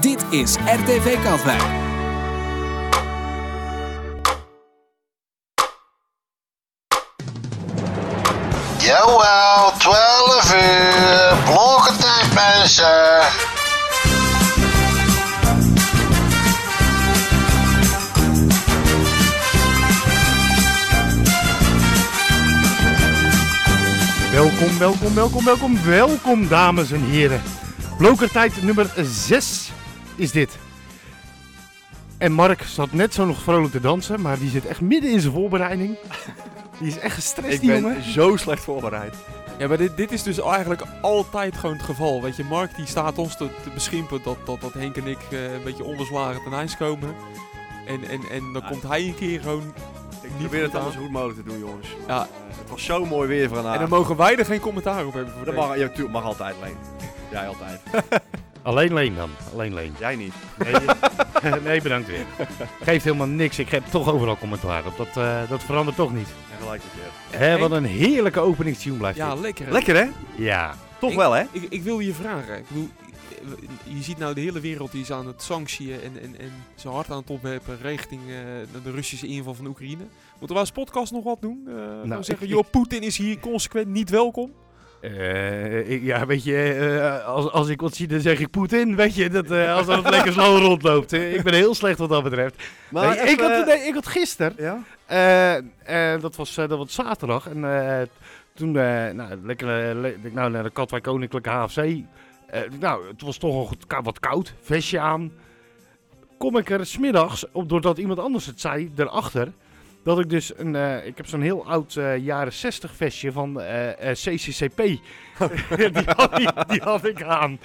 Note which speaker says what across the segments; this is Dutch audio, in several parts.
Speaker 1: Dit is RTV Katwijk.
Speaker 2: Jawel, 12 uur. Blokkentijd, mensen.
Speaker 3: Welkom, welkom, welkom, welkom, welkom, dames en heren. Blokertijd nummer 6 is dit. En Mark zat net zo nog vrolijk te dansen, maar die zit echt midden in zijn voorbereiding. Die is echt gestrest,
Speaker 4: Ik
Speaker 3: die
Speaker 4: ben
Speaker 3: jongen.
Speaker 4: zo slecht voorbereid. Ja, maar dit, dit is dus eigenlijk altijd gewoon het geval. Weet je, Mark die staat ons te, te beschimpen dat, dat, dat Henk en ik eh, een beetje onbeslagen ten ijs komen. En, en, en dan
Speaker 5: Ah.
Speaker 4: komt hij een keer gewoon...
Speaker 5: Ik
Speaker 4: Niet
Speaker 5: probeer het
Speaker 4: gedaan.
Speaker 5: allemaal zo goed mogelijk te doen, jongens.
Speaker 4: Ja.
Speaker 5: Eh, het was zo mooi weer vandaag.
Speaker 4: En dan mogen wij er geen commentaar op hebben voor
Speaker 5: dat
Speaker 4: deze.
Speaker 5: mag, ja, tuurlijk, mag altijd, Leen. Jij altijd.
Speaker 3: Alleen Leen dan, alleen Leen.
Speaker 5: Jij niet.
Speaker 3: Nee, nee, bedankt weer. Geeft helemaal niks, ik heb toch overal commentaar op. Dat, eh, dat verandert toch niet.
Speaker 5: En gelijk weer.
Speaker 3: Hè, wat een heerlijke openingstune blijft
Speaker 4: Ja,
Speaker 3: dit.
Speaker 4: lekker. hè?
Speaker 5: Lekker, hè?
Speaker 3: Ja.
Speaker 5: Toch
Speaker 4: Ik-
Speaker 5: wel, hè?
Speaker 4: Ik, ik wil je vragen. Ik bedoel, eh, je ziet nou de hele wereld die is aan het sanctieën en, en, en zijn hart aan het opheffen richting eh, de Russische inval van Oekraïne. Moeten we als podcast nog wat doen? Eh
Speaker 5: Nou,
Speaker 4: gewoon zeggen,
Speaker 3: ik-
Speaker 4: joh, Poetin is hier consequent niet welkom.
Speaker 3: Eh, ik- ja, weet je, eh, als, als ik wat zie, dan zeg ik Poetin, weet je, dat, eh, als dat lekker slow rondloopt. Eh, Ik ben heel slecht wat dat betreft. Nee, ik,
Speaker 5: even,
Speaker 3: had,
Speaker 5: eh,
Speaker 3: nee, ik had gisteren,
Speaker 5: Ja?
Speaker 3: eh, eh, dat, was, eh, dat was zaterdag, en eh, toen, eh, nou, lekker, eh, le- ik nou, naar de Katwijk Koninklijke HFC. Eh, nou, het was toch al goed- ka- wat koud, vestje aan. Kom ik er smiddags, op, doordat iemand anders het zei, erachter, dat ik dus een, eh, ik heb zo'n heel oud eh, jaren 60 vestje van eh, eh, CCCP. die, had, die, die had ik aan.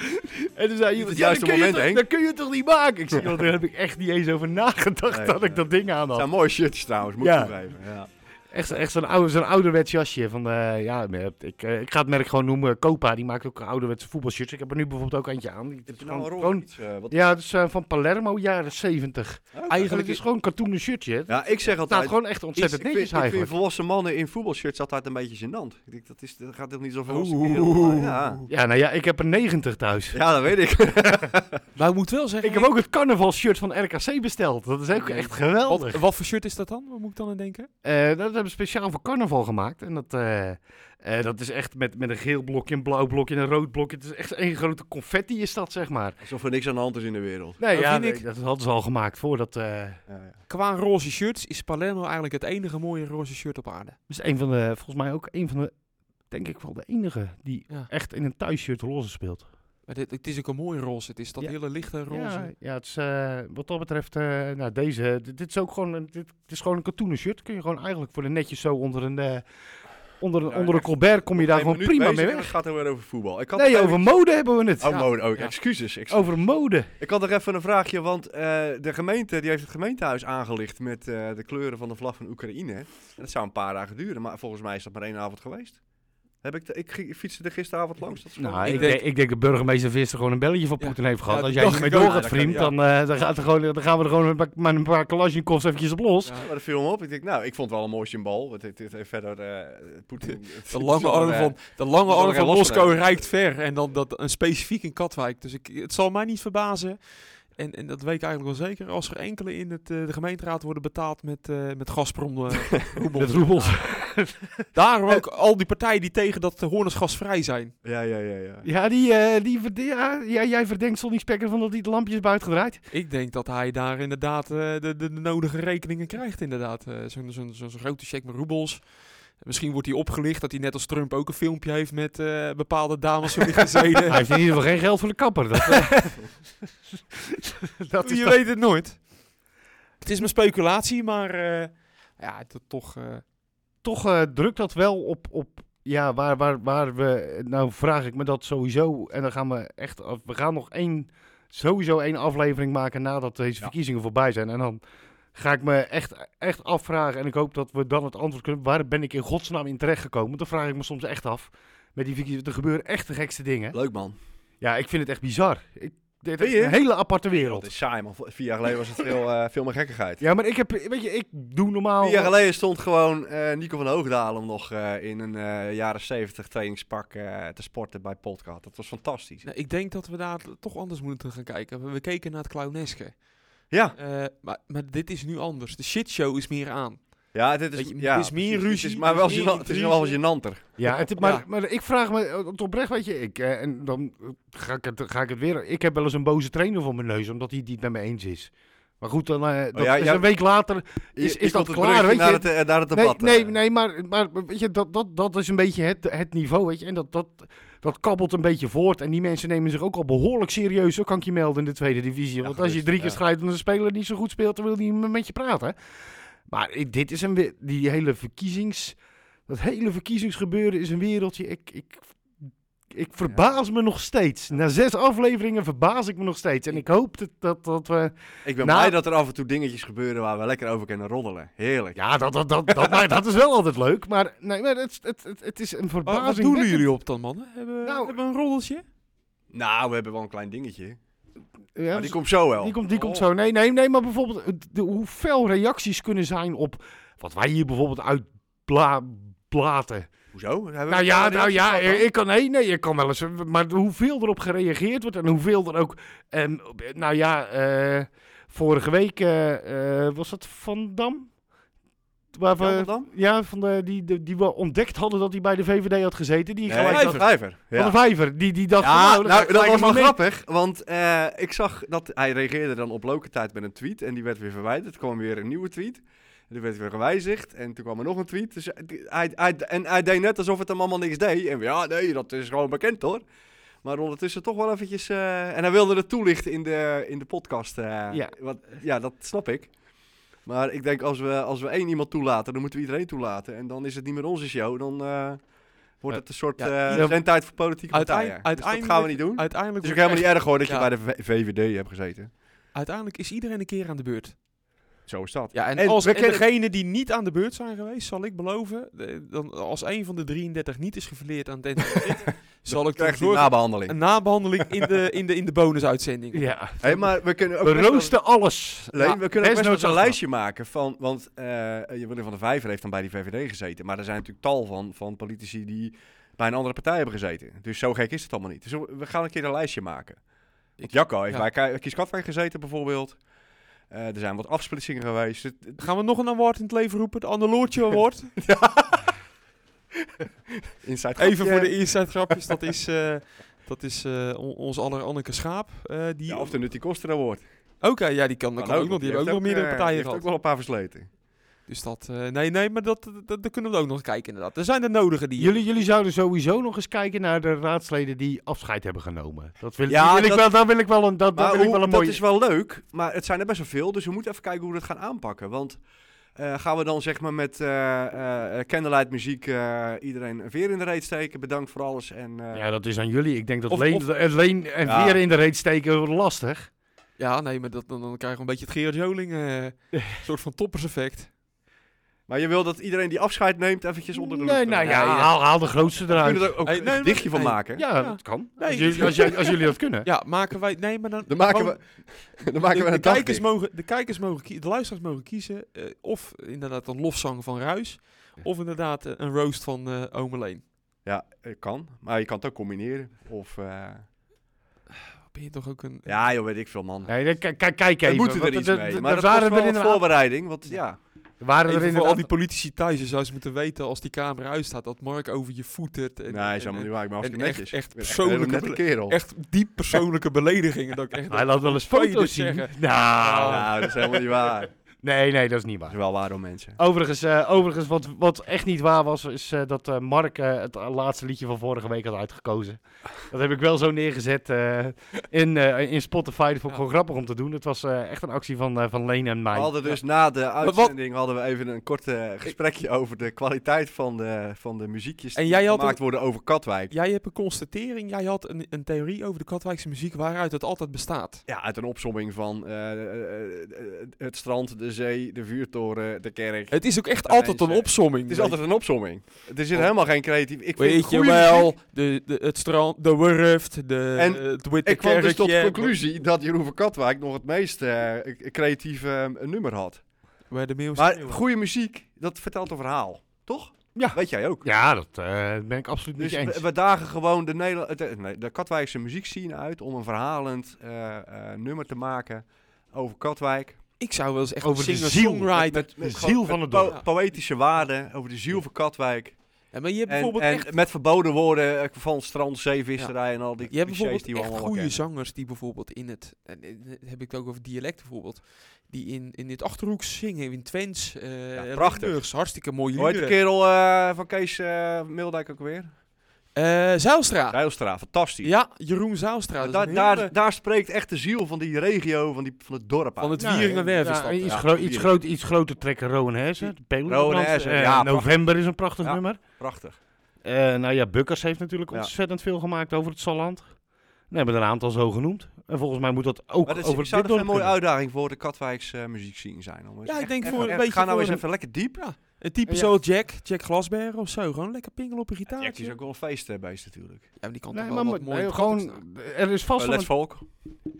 Speaker 3: En toen zei iemand,
Speaker 5: Niet het
Speaker 3: ja, dat
Speaker 5: juiste
Speaker 3: kun, je
Speaker 5: moment,
Speaker 3: toch,
Speaker 5: Henk?"
Speaker 3: dat kun je toch niet maken? Ik zei, "Joh, daar heb ik echt niet eens over nagedacht
Speaker 5: Nee,
Speaker 3: dat ik
Speaker 5: nee.
Speaker 3: dat ding aan
Speaker 5: Het
Speaker 3: had.
Speaker 5: zijn mooie shirtjes trouwens, moet
Speaker 3: Ja.
Speaker 5: ik toegeven. Ja.
Speaker 3: Echt, echt zo'n, oude, zo'n ouderwets jasje. Van, eh, ja, ik, eh, ik ga het merk gewoon noemen. Copa, die maakt ook ouderwetse voetbalshirts. Ik heb er nu bijvoorbeeld ook eentje aan. Die-
Speaker 5: Heb je
Speaker 3: gewoon-
Speaker 5: nou een rol?
Speaker 3: gewoon-
Speaker 5: Iets, eh, wat-
Speaker 3: ja, het is eh, van Palermo, jaren 70.
Speaker 5: Oké.
Speaker 3: Eigenlijk is het gewoon een katoenen shirtje. Het
Speaker 5: Ja, ik zeg
Speaker 3: staat
Speaker 5: altijd...
Speaker 3: gewoon echt
Speaker 5: iets-
Speaker 3: ontzettend
Speaker 5: ik,
Speaker 3: netjes
Speaker 5: vind, ik vind
Speaker 3: eigenlijk.
Speaker 5: volwassen mannen in voetbalshirts altijd een beetje gênant. Ik denk, dat, is, dat gaat toch niet zo van ons. Ja.
Speaker 3: Ja, nou ja, ik heb er 90 thuis.
Speaker 5: ja, dat weet ik.
Speaker 4: Maar Nou, ik moet wel zeggen...
Speaker 3: Ik heb ook het carnavalshirt van RKC besteld. Dat is ook echt geweldig.
Speaker 4: Wat, wat voor shirt is dat dan? Wat moet ik dan aan denken?
Speaker 3: Eh, dat hebben we speciaal voor carnaval gemaakt. En dat, eh, eh, dat is echt met, met een geel blokje, een blauw blokje en een rood blokje. Het is echt één grote confetti is dat, zeg maar.
Speaker 5: Alsof er niks aan de hand is in de wereld.
Speaker 3: Nee,
Speaker 4: Dat
Speaker 3: ja,
Speaker 4: vind
Speaker 3: nee,
Speaker 4: ik-
Speaker 3: dat hadden ze al gemaakt voordat... eh,
Speaker 5: Ja, ja.
Speaker 4: Qua roze shirts is Palermo eigenlijk het enige mooie roze shirt op aarde.
Speaker 3: Dat is een van de, volgens mij ook een van de, denk ik wel de enige die
Speaker 4: Ja.
Speaker 3: echt in een thuisshirt roze speelt.
Speaker 4: Maar dit, het is ook een mooie roze. Het is dat
Speaker 3: Ja.
Speaker 4: hele lichte roze.
Speaker 3: Ja, ja het is, eh, wat dat betreft, eh, nou deze, dit, dit is ook gewoon, een- dit, dit is gewoon een katoenen shirt. Kun je gewoon eigenlijk voor de netjes zo onder een, eh, onder een,
Speaker 5: Ja,
Speaker 3: onder een
Speaker 5: echt.
Speaker 3: colbert kom je daar
Speaker 5: Geen
Speaker 3: gewoon
Speaker 5: minuut
Speaker 3: prima
Speaker 5: bezig
Speaker 3: mee
Speaker 5: en Het
Speaker 3: weg.
Speaker 5: gaat er weer over voetbal. Ik had
Speaker 3: Nee,
Speaker 5: er
Speaker 3: over mode hebben we het.
Speaker 5: Oh,
Speaker 4: Ja.
Speaker 5: mode ook.
Speaker 4: Ja.
Speaker 5: Excuses. Ex-
Speaker 3: Over mode.
Speaker 5: Ik had nog even een vraagje, want eh, de gemeente die heeft het gemeentehuis aangelicht met eh, de kleuren van de vlag van Oekraïne. En dat zou een paar dagen duren, maar volgens mij is dat maar één avond geweest. Heb ik, de, ik, ging- ik fietste er gisteravond langs. Dat is
Speaker 3: Nou,
Speaker 5: gewoon-
Speaker 3: ik,
Speaker 4: ik
Speaker 3: denk,
Speaker 4: denk-
Speaker 3: ik denk dat burgemeester Visser gewoon een belletje van
Speaker 4: Ja.
Speaker 3: Poetin heeft gehad.
Speaker 4: Ja,
Speaker 3: Als
Speaker 4: dat
Speaker 3: jij niet
Speaker 4: dacht
Speaker 3: mee
Speaker 4: ik ook.
Speaker 3: doorgaat,
Speaker 5: Ja, dat
Speaker 3: vriend,
Speaker 5: kan, ja.
Speaker 3: dan, eh, dan, gaat er gewoon, dan gaan we er gewoon met een paar- met een paar kalasjnikovs eventjes op los.
Speaker 4: Ja.
Speaker 5: Ja, maar dat viel me op. Ik denk, nou, ik vond het wel een mooi symbool. Want dit, dit heeft verder eh, Poetin...
Speaker 4: De lange arm van, de lange
Speaker 5: zal er
Speaker 4: arm van
Speaker 5: geen last van
Speaker 4: Moskou reikt ver. En dan dat, een specifiek in Katwijk. Dus ik, het zal mij niet verbazen. En, en dat weet ik eigenlijk wel zeker. Als er enkele in het, eh, de gemeenteraad worden betaald met, eh met Gazprom. eh, roebels.
Speaker 3: Met roebels.
Speaker 4: Daarom ook al die partijen die tegen dat de hoorners gasvrij zijn.
Speaker 5: eh, Ja, ja, ja. ja.
Speaker 3: Ja, die, eh, die, verde- ja, ja, jij verdenkt Sonny Spekker van dat hij de lampjes buiten gedraaid.
Speaker 4: Ik denk dat hij daar inderdaad eh, de, de, de nodige rekeningen krijgt, inderdaad. Eh, Zo'n zo'n zo'n grote check met roebels. Misschien wordt hij opgelicht dat hij net als Trump ook een filmpje heeft met eh, bepaalde dames van
Speaker 3: Hij
Speaker 4: gezeten.
Speaker 3: heeft in ieder geval geen geld voor de kapper. Dat, eh, dat is
Speaker 4: Je
Speaker 3: toch-
Speaker 4: weet het nooit. Het is maar speculatie, maar eh, ja, het is toch... eh,
Speaker 3: toch eh, drukt dat wel op, op ja, waar, waar, waar we... Nou vraag ik me dat sowieso. En dan gaan we echt... af- We gaan nog één, sowieso één aflevering maken nadat deze verkiezingen voorbij zijn. En dan ga ik me echt, echt afvragen. En ik hoop dat we dan het antwoord kunnen... Waar ben ik in godsnaam in terechtgekomen? Dan vraag ik me soms echt af. Met die verkiezingen, er gebeuren echt de gekste dingen.
Speaker 5: Leuk, man.
Speaker 3: Ja, ik vind het echt bizar. Ik, Dit
Speaker 5: Vind
Speaker 3: is
Speaker 5: je?
Speaker 3: een hele aparte
Speaker 5: Dat
Speaker 3: wereld.
Speaker 5: is saai, man. Vier jaar geleden was het veel, eh, veel meer gekkigheid.
Speaker 3: Ja, maar ik heb, weet je, ik doe normaal...
Speaker 5: Vier jaar geleden stond gewoon eh, Nico van Hoogdalen nog eh, in een eh, jaren 70 trainingspak eh, te sporten bij Podcast. Dat was fantastisch.
Speaker 4: Nou, ik denk dat we daar toch anders moeten gaan kijken. We, we keken naar het clowneske.
Speaker 5: Ja,
Speaker 4: Eh, maar, maar dit is nu anders. De shitshow is meer aan.
Speaker 5: ja, dit
Speaker 4: Weet
Speaker 5: is,
Speaker 4: je,
Speaker 5: ja,
Speaker 4: het is meer
Speaker 5: precies.
Speaker 4: ruzie,
Speaker 5: Het is, maar wel
Speaker 4: het is meer
Speaker 5: gênant- het is wel
Speaker 4: intrige.
Speaker 5: gênanter.
Speaker 3: Ja, het, maar,
Speaker 4: Ja.
Speaker 3: maar ik vraag me eh, oprecht, weet je, ik, eh, en dan eh, ga ik, het, ga ik het weer... Ik heb wel eens een boze trainer voor mijn neus, omdat hij het niet met me eens is. Maar goed, dan, eh, dat
Speaker 5: Oh ja,
Speaker 3: is
Speaker 5: ja,
Speaker 3: een week later
Speaker 5: Je-
Speaker 3: is,
Speaker 5: je
Speaker 3: is
Speaker 5: komt
Speaker 3: dat
Speaker 5: het
Speaker 3: klaar,
Speaker 5: bruggetje
Speaker 3: weet je.
Speaker 5: Naar het, eh, naar het
Speaker 3: nee,
Speaker 5: debat.
Speaker 3: nee,
Speaker 5: eh.
Speaker 3: nee, maar, maar weet je, dat, dat, dat is een beetje het, het niveau, weet je. En dat, dat, dat kabbelt een beetje voort. En die mensen nemen zich ook al behoorlijk serieus, zo kan ik je melden, in de tweede divisie. Want als je
Speaker 5: gerust,
Speaker 3: drie keer
Speaker 5: ja.
Speaker 3: strijdt en een speler niet zo goed speelt, dan wil die niet met je praten. Maar ik- dit is een, we- die hele verkiezings... Dat hele verkiezingsgebeuren is een wereldje. Ik, ik, ik verbaas me nog steeds. Na zes afleveringen verbaas ik me nog steeds. En ik hoop dat, dat, dat we...
Speaker 5: Ik ben
Speaker 3: Nou-
Speaker 5: blij dat er af en toe dingetjes gebeuren waar we lekker over kunnen roddelen. Heerlijk.
Speaker 3: Ja, dat, dat, dat, dat, maar dat is wel altijd leuk. Maar, nee, maar het, het, het, het is een
Speaker 4: Wat,
Speaker 3: verbazing.
Speaker 4: wat doen jullie op dan, mannen? Hebben, we-
Speaker 3: Nou,
Speaker 4: hebben we een roddeltje?
Speaker 5: Nou, we hebben wel een klein dingetje.
Speaker 3: Ja,
Speaker 5: Maar die komt zo wel.
Speaker 3: dus- die komt, die komt
Speaker 5: Oh.
Speaker 3: zo. Nee, nee, nee. Maar bijvoorbeeld het- de, hoe fel reacties kunnen zijn op wat wij hier bijvoorbeeld uitblaten.
Speaker 5: Hoezo? Hebben we
Speaker 3: Nou ja,
Speaker 5: een
Speaker 3: nou ja,
Speaker 5: reactie gehad
Speaker 3: ik kan, nee, nee, ik kan wel eens. eh, Maar hoeveel erop gereageerd wordt en hoeveel er ook. ehm, nou ja, eh, vorige week eh, eh, was dat Van Dam? Waar
Speaker 5: dan? Jan
Speaker 3: we,
Speaker 5: van Dam?
Speaker 3: ja, van de, die, die, die we ontdekt hadden dat hij bij de VVD had gezeten. Die
Speaker 5: Nee,
Speaker 3: gelijk
Speaker 5: Van de Vijver.
Speaker 3: Van
Speaker 5: Ja.
Speaker 3: de Vijver. Die, die dacht.
Speaker 5: Ja,
Speaker 3: van,
Speaker 5: nou, dat was wel
Speaker 3: grappig.
Speaker 5: grappig, want eh, ik zag dat hij reageerde dan op loke tijd met een tweet en die werd weer verwijderd. Er kwam weer een nieuwe tweet, en die werd weer gewijzigd en toen kwam er nog een tweet. Dus hij- hij, hij, en hij deed net alsof het hem allemaal niks deed. En ja, nee, dat is gewoon bekend hoor. Maar ondertussen toch wel eventjes... eh, en hij wilde het toelichten in de, in de podcast. eh,
Speaker 3: Ja.
Speaker 5: Wat, ja, dat snap ik. Maar ik denk, als we, als we één iemand toelaten, dan moeten we iedereen toelaten. En dan is het niet meer onze show, dan... eh, Wordt
Speaker 3: Ja.
Speaker 5: het een soort eh
Speaker 4: Ja,
Speaker 3: ja.
Speaker 5: zendtijd voor politieke partijen.
Speaker 4: Uiteind-
Speaker 5: Dus dat gaan we niet doen.
Speaker 4: Uiteindelijk,
Speaker 5: Het is ook
Speaker 4: wordt
Speaker 5: helemaal niet erg hoor dat je
Speaker 4: Ja.
Speaker 5: bij de V- VVD hebt gezeten.
Speaker 4: echt- uiteindelijk is iedereen een keer aan de beurt.
Speaker 5: Zo is dat.
Speaker 4: Ja, en,
Speaker 5: En
Speaker 4: als
Speaker 5: we
Speaker 4: en
Speaker 5: kennen-
Speaker 4: degene die niet aan de beurt zijn geweest, zal ik beloven, eh, dan, als een van de 33 niet is geverleerd aan het NTT, zal ik ervoor
Speaker 5: Krijgt die
Speaker 4: zorgen
Speaker 5: nabehandeling.
Speaker 4: een nabehandeling in de, in de, in de bonusuitzending.
Speaker 3: Ja.
Speaker 5: Hey, maar we kunnen ook
Speaker 3: We
Speaker 5: best wel-
Speaker 3: roosten alles.
Speaker 5: Leen,
Speaker 3: Ja,
Speaker 5: we kunnen ook best wel eens
Speaker 3: desnoods
Speaker 5: een
Speaker 3: achteraf.
Speaker 5: lijstje maken van... Want eh, je Willem van der Vijver heeft dan bij die VVD gezeten. Maar er zijn natuurlijk tal van, van politici die bij een andere partij hebben gezeten. Dus zo gek is het allemaal niet. Dus we gaan een keer een lijstje maken. Want Jacco heeft
Speaker 4: ja.
Speaker 5: bij Ki- Kies Katwijk gezeten bijvoorbeeld. Eh, er zijn wat afsplitsingen geweest. Het- het-
Speaker 4: Gaan we nog een award in het leven roepen? Het Anneloortje Award?
Speaker 5: Inside
Speaker 4: Even voor
Speaker 5: grapje.
Speaker 4: de inside grapjes, dat is, eh, dat is eh, on- ons aller Anneke Schaap. eh, die,
Speaker 5: Ja, of
Speaker 4: Oké,
Speaker 5: de Nutty Koster Award.
Speaker 4: ja, die kan, dat kan ook nog. Die hebben ook nog meerdere
Speaker 5: meer
Speaker 4: partijen
Speaker 5: heeft ook
Speaker 4: gehad.
Speaker 5: wel een paar versleten.
Speaker 4: Dus dat, eh, nee, nee, maar dat, dat, dat- daar kunnen we ook nog kijken inderdaad. Er zijn de nodige die...
Speaker 3: Jullie, jullie zouden sowieso nog eens kijken naar de raadsleden die afscheid hebben genomen. Dat wil,
Speaker 5: Ja,
Speaker 3: die wil
Speaker 5: dat-
Speaker 3: ik wel. Daar wil ik wel een, dat, daar
Speaker 5: Maar
Speaker 3: wil ik
Speaker 5: hoe-
Speaker 3: wel een
Speaker 5: dat
Speaker 3: mooie.
Speaker 5: is wel leuk, maar het zijn er best wel veel. Dus we moeten even kijken hoe we dat gaan aanpakken. Want eh, gaan we dan zeg maar met eh eh candlelight muziek eh, iedereen een veer in de reet steken. Bedankt voor alles. En, eh,
Speaker 3: Ja, dat is aan jullie. Ik denk dat
Speaker 4: Of-
Speaker 3: Leen,
Speaker 4: of-
Speaker 3: eh, Leen en
Speaker 5: Ja.
Speaker 3: Weer in de reet steken wordt lastig.
Speaker 4: Ja, nee, maar dat, dan, dan krijgen we een beetje het Gerard Joling eh, soort van topperseffect.
Speaker 5: Maar je wil dat iedereen die afscheid neemt eventjes onder de loep.
Speaker 3: nee, nou
Speaker 5: eh,
Speaker 3: ja,
Speaker 4: Nee, ja.
Speaker 3: Haal, haal de grootste
Speaker 5: We
Speaker 3: eruit.
Speaker 5: kunnen er ook
Speaker 4: Hey, nee,
Speaker 5: een dichtje
Speaker 4: nee.
Speaker 5: van maken.
Speaker 3: Ja,
Speaker 4: Ja.
Speaker 3: dat kan.
Speaker 4: Nee.
Speaker 3: Als, jullie, als, jij- als jullie dat kunnen.
Speaker 4: Ja, maken wij... Nee, maar dan...
Speaker 5: Dan maken
Speaker 4: gewoon-
Speaker 5: we, dan maken
Speaker 4: de,
Speaker 5: we
Speaker 4: de
Speaker 5: een
Speaker 4: kijkers
Speaker 5: dagdicht.
Speaker 4: mogen, de kijkers mogen kie- de luisteraars mogen kiezen eh, of inderdaad een lofzang van Ruis, of inderdaad eh, een roast van eh Ome Leen.
Speaker 5: Ja, eh, kan. Maar je kan het ook combineren. Of, eh,
Speaker 4: Ben je toch ook een...
Speaker 5: ja joh, weet ik veel man.
Speaker 3: Nee, dan k- k- kijk
Speaker 5: We
Speaker 3: even.
Speaker 5: moeten er
Speaker 3: want
Speaker 5: iets
Speaker 3: er-
Speaker 5: mee.
Speaker 3: er-
Speaker 5: Maar
Speaker 3: er
Speaker 5: dat was
Speaker 3: waren
Speaker 5: wel
Speaker 3: er
Speaker 5: een
Speaker 3: inderdaad-
Speaker 5: voorbereiding. Want ja,
Speaker 3: waren er
Speaker 4: Even voor al die
Speaker 3: inderdaad...
Speaker 4: politici thuis dus zou ze moeten weten als die camera uitstaat dat Mark over je voetert. En,
Speaker 5: nee, is
Speaker 4: en-
Speaker 5: allemaal
Speaker 4: en
Speaker 5: niet waar. Ik ben hartstikke
Speaker 4: Eh, en echt-
Speaker 5: netjes.
Speaker 4: echt
Speaker 5: Ik ben
Speaker 4: persoonlijke
Speaker 5: een hele nette kerel.
Speaker 4: echt diep persoonlijke beledigingen. Dat ik echt
Speaker 3: Hij laat wel eens
Speaker 4: Kan je
Speaker 3: foto's
Speaker 4: dit
Speaker 3: zien. Nou,
Speaker 4: zeggen?
Speaker 5: Nou, dat is helemaal niet waar.
Speaker 3: nee, nee, dat is niet waar.
Speaker 5: Dat is wel waar om mensen.
Speaker 3: Overigens, eh, overigens wat, wat echt niet waar was, is eh, dat eh, Mark eh, het laatste liedje van vorige week had uitgekozen. Dat heb ik wel zo neergezet eh, in, eh, in Spotify. Dat vond ik
Speaker 4: Ja.
Speaker 3: gewoon grappig om te doen. Het was eh, echt een actie van, eh, van Leen en
Speaker 5: We
Speaker 3: mij.
Speaker 5: hadden dus na de
Speaker 4: Ah, wat-
Speaker 5: uitzending hadden we even een kort eh, gesprekje over de kwaliteit van de, van de muziekjes
Speaker 4: En
Speaker 5: die
Speaker 4: jij had
Speaker 5: gemaakt worden over Katwijk.
Speaker 4: Jij hebt een constatering, jij had een, een theorie over de Katwijkse muziek waaruit het altijd bestaat.
Speaker 5: Ja, uit een opsomming van eh, eh, eh, het strand, de de zee, de vuurtoren, de kerk.
Speaker 4: Het is ook echt
Speaker 5: Dat
Speaker 4: altijd een
Speaker 5: mensen-
Speaker 4: opsomming.
Speaker 5: Het is altijd een opsomming. Er zit helemaal geen creatief... Ik vind
Speaker 4: Oh. Weet je
Speaker 5: goede
Speaker 4: wel,
Speaker 5: muziek.
Speaker 4: de, de, het strand, de wurft, de, eh,
Speaker 5: En
Speaker 4: het witte
Speaker 5: Ik kwam dus tot de
Speaker 4: kerkje.
Speaker 5: conclusie dat Jeroen van Katwijk nog het meest eh, creatieve eh, nummer had.
Speaker 4: Waar de meeuw
Speaker 5: Maar
Speaker 4: sneeuwen.
Speaker 5: goede muziek, dat vertelt een verhaal. Toch?
Speaker 3: Ja.
Speaker 5: Weet jij ook.
Speaker 3: Ja, dat eh, ben ik absoluut niet
Speaker 5: Dus
Speaker 3: eens.
Speaker 5: we, we dagen gewoon de, Nederla- het- eh, nee, de Katwijkse muziekscene uit om een verhalend eh, eh, nummer te maken over Katwijk.
Speaker 4: Ik zou wel eens echt
Speaker 3: Over de
Speaker 4: singer-songwriter...
Speaker 5: Met,
Speaker 3: de ziel van het
Speaker 5: po-
Speaker 3: dorp.
Speaker 5: poëtische waarde over de ziel van Katwijk.
Speaker 4: Ja, maar je hebt
Speaker 5: En,
Speaker 4: bijvoorbeeld
Speaker 5: en
Speaker 4: echt...
Speaker 5: met verboden woorden eh, van strand, zeevisserij en al die
Speaker 4: Je hebt
Speaker 5: clichés
Speaker 4: bijvoorbeeld
Speaker 5: die we
Speaker 4: echt
Speaker 5: allemaal
Speaker 4: goede
Speaker 5: kennen.
Speaker 4: zangers die bijvoorbeeld in het... En, en, en heb ik het ook over dialect bijvoorbeeld. Die in, in het Achterhoeks zingen, in Twents. eh
Speaker 5: Ja, prachtig.
Speaker 4: Limburgs, hartstikke mooie
Speaker 5: Hoe heet de
Speaker 4: liederen.
Speaker 5: kerel eh, van Kees eh Mildijk ook weer?
Speaker 4: Eh, Zijlstra.
Speaker 5: Zijlstra, fantastisch.
Speaker 4: Ja, Jeroen Zijlstra.
Speaker 5: Maar
Speaker 4: Dat is
Speaker 5: daar-
Speaker 4: een hele-
Speaker 5: daar, daar spreekt echt de ziel van die regio, van, die, van het dorp
Speaker 4: Van
Speaker 5: uit.
Speaker 4: het Wieringenwervenstad.
Speaker 3: Ja, iets,
Speaker 5: ja.
Speaker 3: gro- iets, groot, iets groter trekken Rowan Hersen. de Peloton.
Speaker 5: Rowan Hersen,
Speaker 3: Eh,
Speaker 5: ja, prachtig.
Speaker 3: November is een prachtig
Speaker 5: Ja.
Speaker 3: nummer.
Speaker 5: Prachtig.
Speaker 3: Eh, nou ja, Bukkers heeft natuurlijk
Speaker 5: Ja.
Speaker 3: ontzettend veel gemaakt over het Salland. We hebben er een aantal zo genoemd. En volgens mij moet dat ook
Speaker 5: Maar dat is,
Speaker 3: over
Speaker 5: zou
Speaker 3: dit
Speaker 5: dat een
Speaker 3: dorp
Speaker 5: mooie
Speaker 3: kunnen.
Speaker 5: uitdaging voor de Katwijks eh, muziekscene zijn? Om eens
Speaker 4: Ja, ik
Speaker 5: echt-
Speaker 4: denk
Speaker 5: echt-
Speaker 4: voor een
Speaker 5: echt-
Speaker 4: beetje
Speaker 5: Ga nou
Speaker 4: voor
Speaker 5: eens
Speaker 4: een-
Speaker 5: even lekker diep.
Speaker 4: Ja, een type
Speaker 3: Ja.
Speaker 4: zo Jack, Jack Glasberg of zo. Gewoon lekker pingelen op een gitaar.
Speaker 5: Jack is ook wel een feestbeest natuurlijk.
Speaker 4: Ja, maar die kan
Speaker 3: Nee,
Speaker 4: toch
Speaker 3: maar
Speaker 4: wel
Speaker 3: moet-
Speaker 4: wat mooie
Speaker 3: nee,
Speaker 4: covers
Speaker 3: gewoon, er, is vast wel
Speaker 5: Let's
Speaker 3: een,
Speaker 5: Volk.
Speaker 4: maken.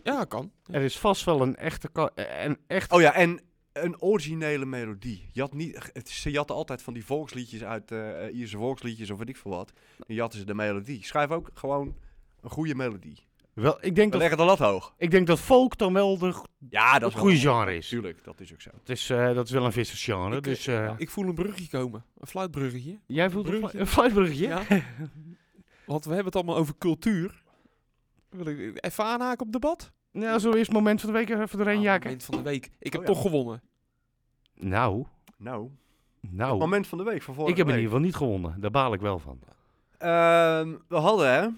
Speaker 4: Ja, kan.
Speaker 3: er is vast wel een echte... ka- eh, Een echt
Speaker 5: Oh ja, en een originele melodie. Je had niet, het- ze jatten altijd van die volksliedjes uit eh eh, Ierse volksliedjes of weet ik veel wat. Dan jatten ze de melodie. Schrijf ook gewoon een goede melodie.
Speaker 3: wel, ik, denk
Speaker 5: We
Speaker 3: dat,
Speaker 5: leggen de lat hoog.
Speaker 3: ik denk dat folk dan wel de, go-
Speaker 5: Ja,
Speaker 3: het goede genre is.
Speaker 5: Tuurlijk, dat is ook zo.
Speaker 3: Het is eh, dat is wel een vissersgenre.
Speaker 4: Ik,
Speaker 3: Dus, eh,
Speaker 4: Ik voel een brugje komen. Een fluitbruggetje.
Speaker 3: jij voelt een
Speaker 4: bruggetje.
Speaker 3: fly- een flybruggetje?
Speaker 4: Ja. Want we hebben het allemaal over cultuur. Wil ik even aanhaken op het debat?
Speaker 3: Nou, zo is moment van de week even doorheen
Speaker 4: Ah,
Speaker 3: jaken.
Speaker 4: moment van de week. Ik heb
Speaker 5: Oh ja.
Speaker 4: toch gewonnen.
Speaker 3: Nou,
Speaker 5: Nou,
Speaker 3: nou.
Speaker 5: moment van de week van vorige
Speaker 3: Ik heb in
Speaker 5: week.
Speaker 3: ieder geval niet gewonnen. Daar baal ik wel van.
Speaker 5: Ehm, we hadden hè,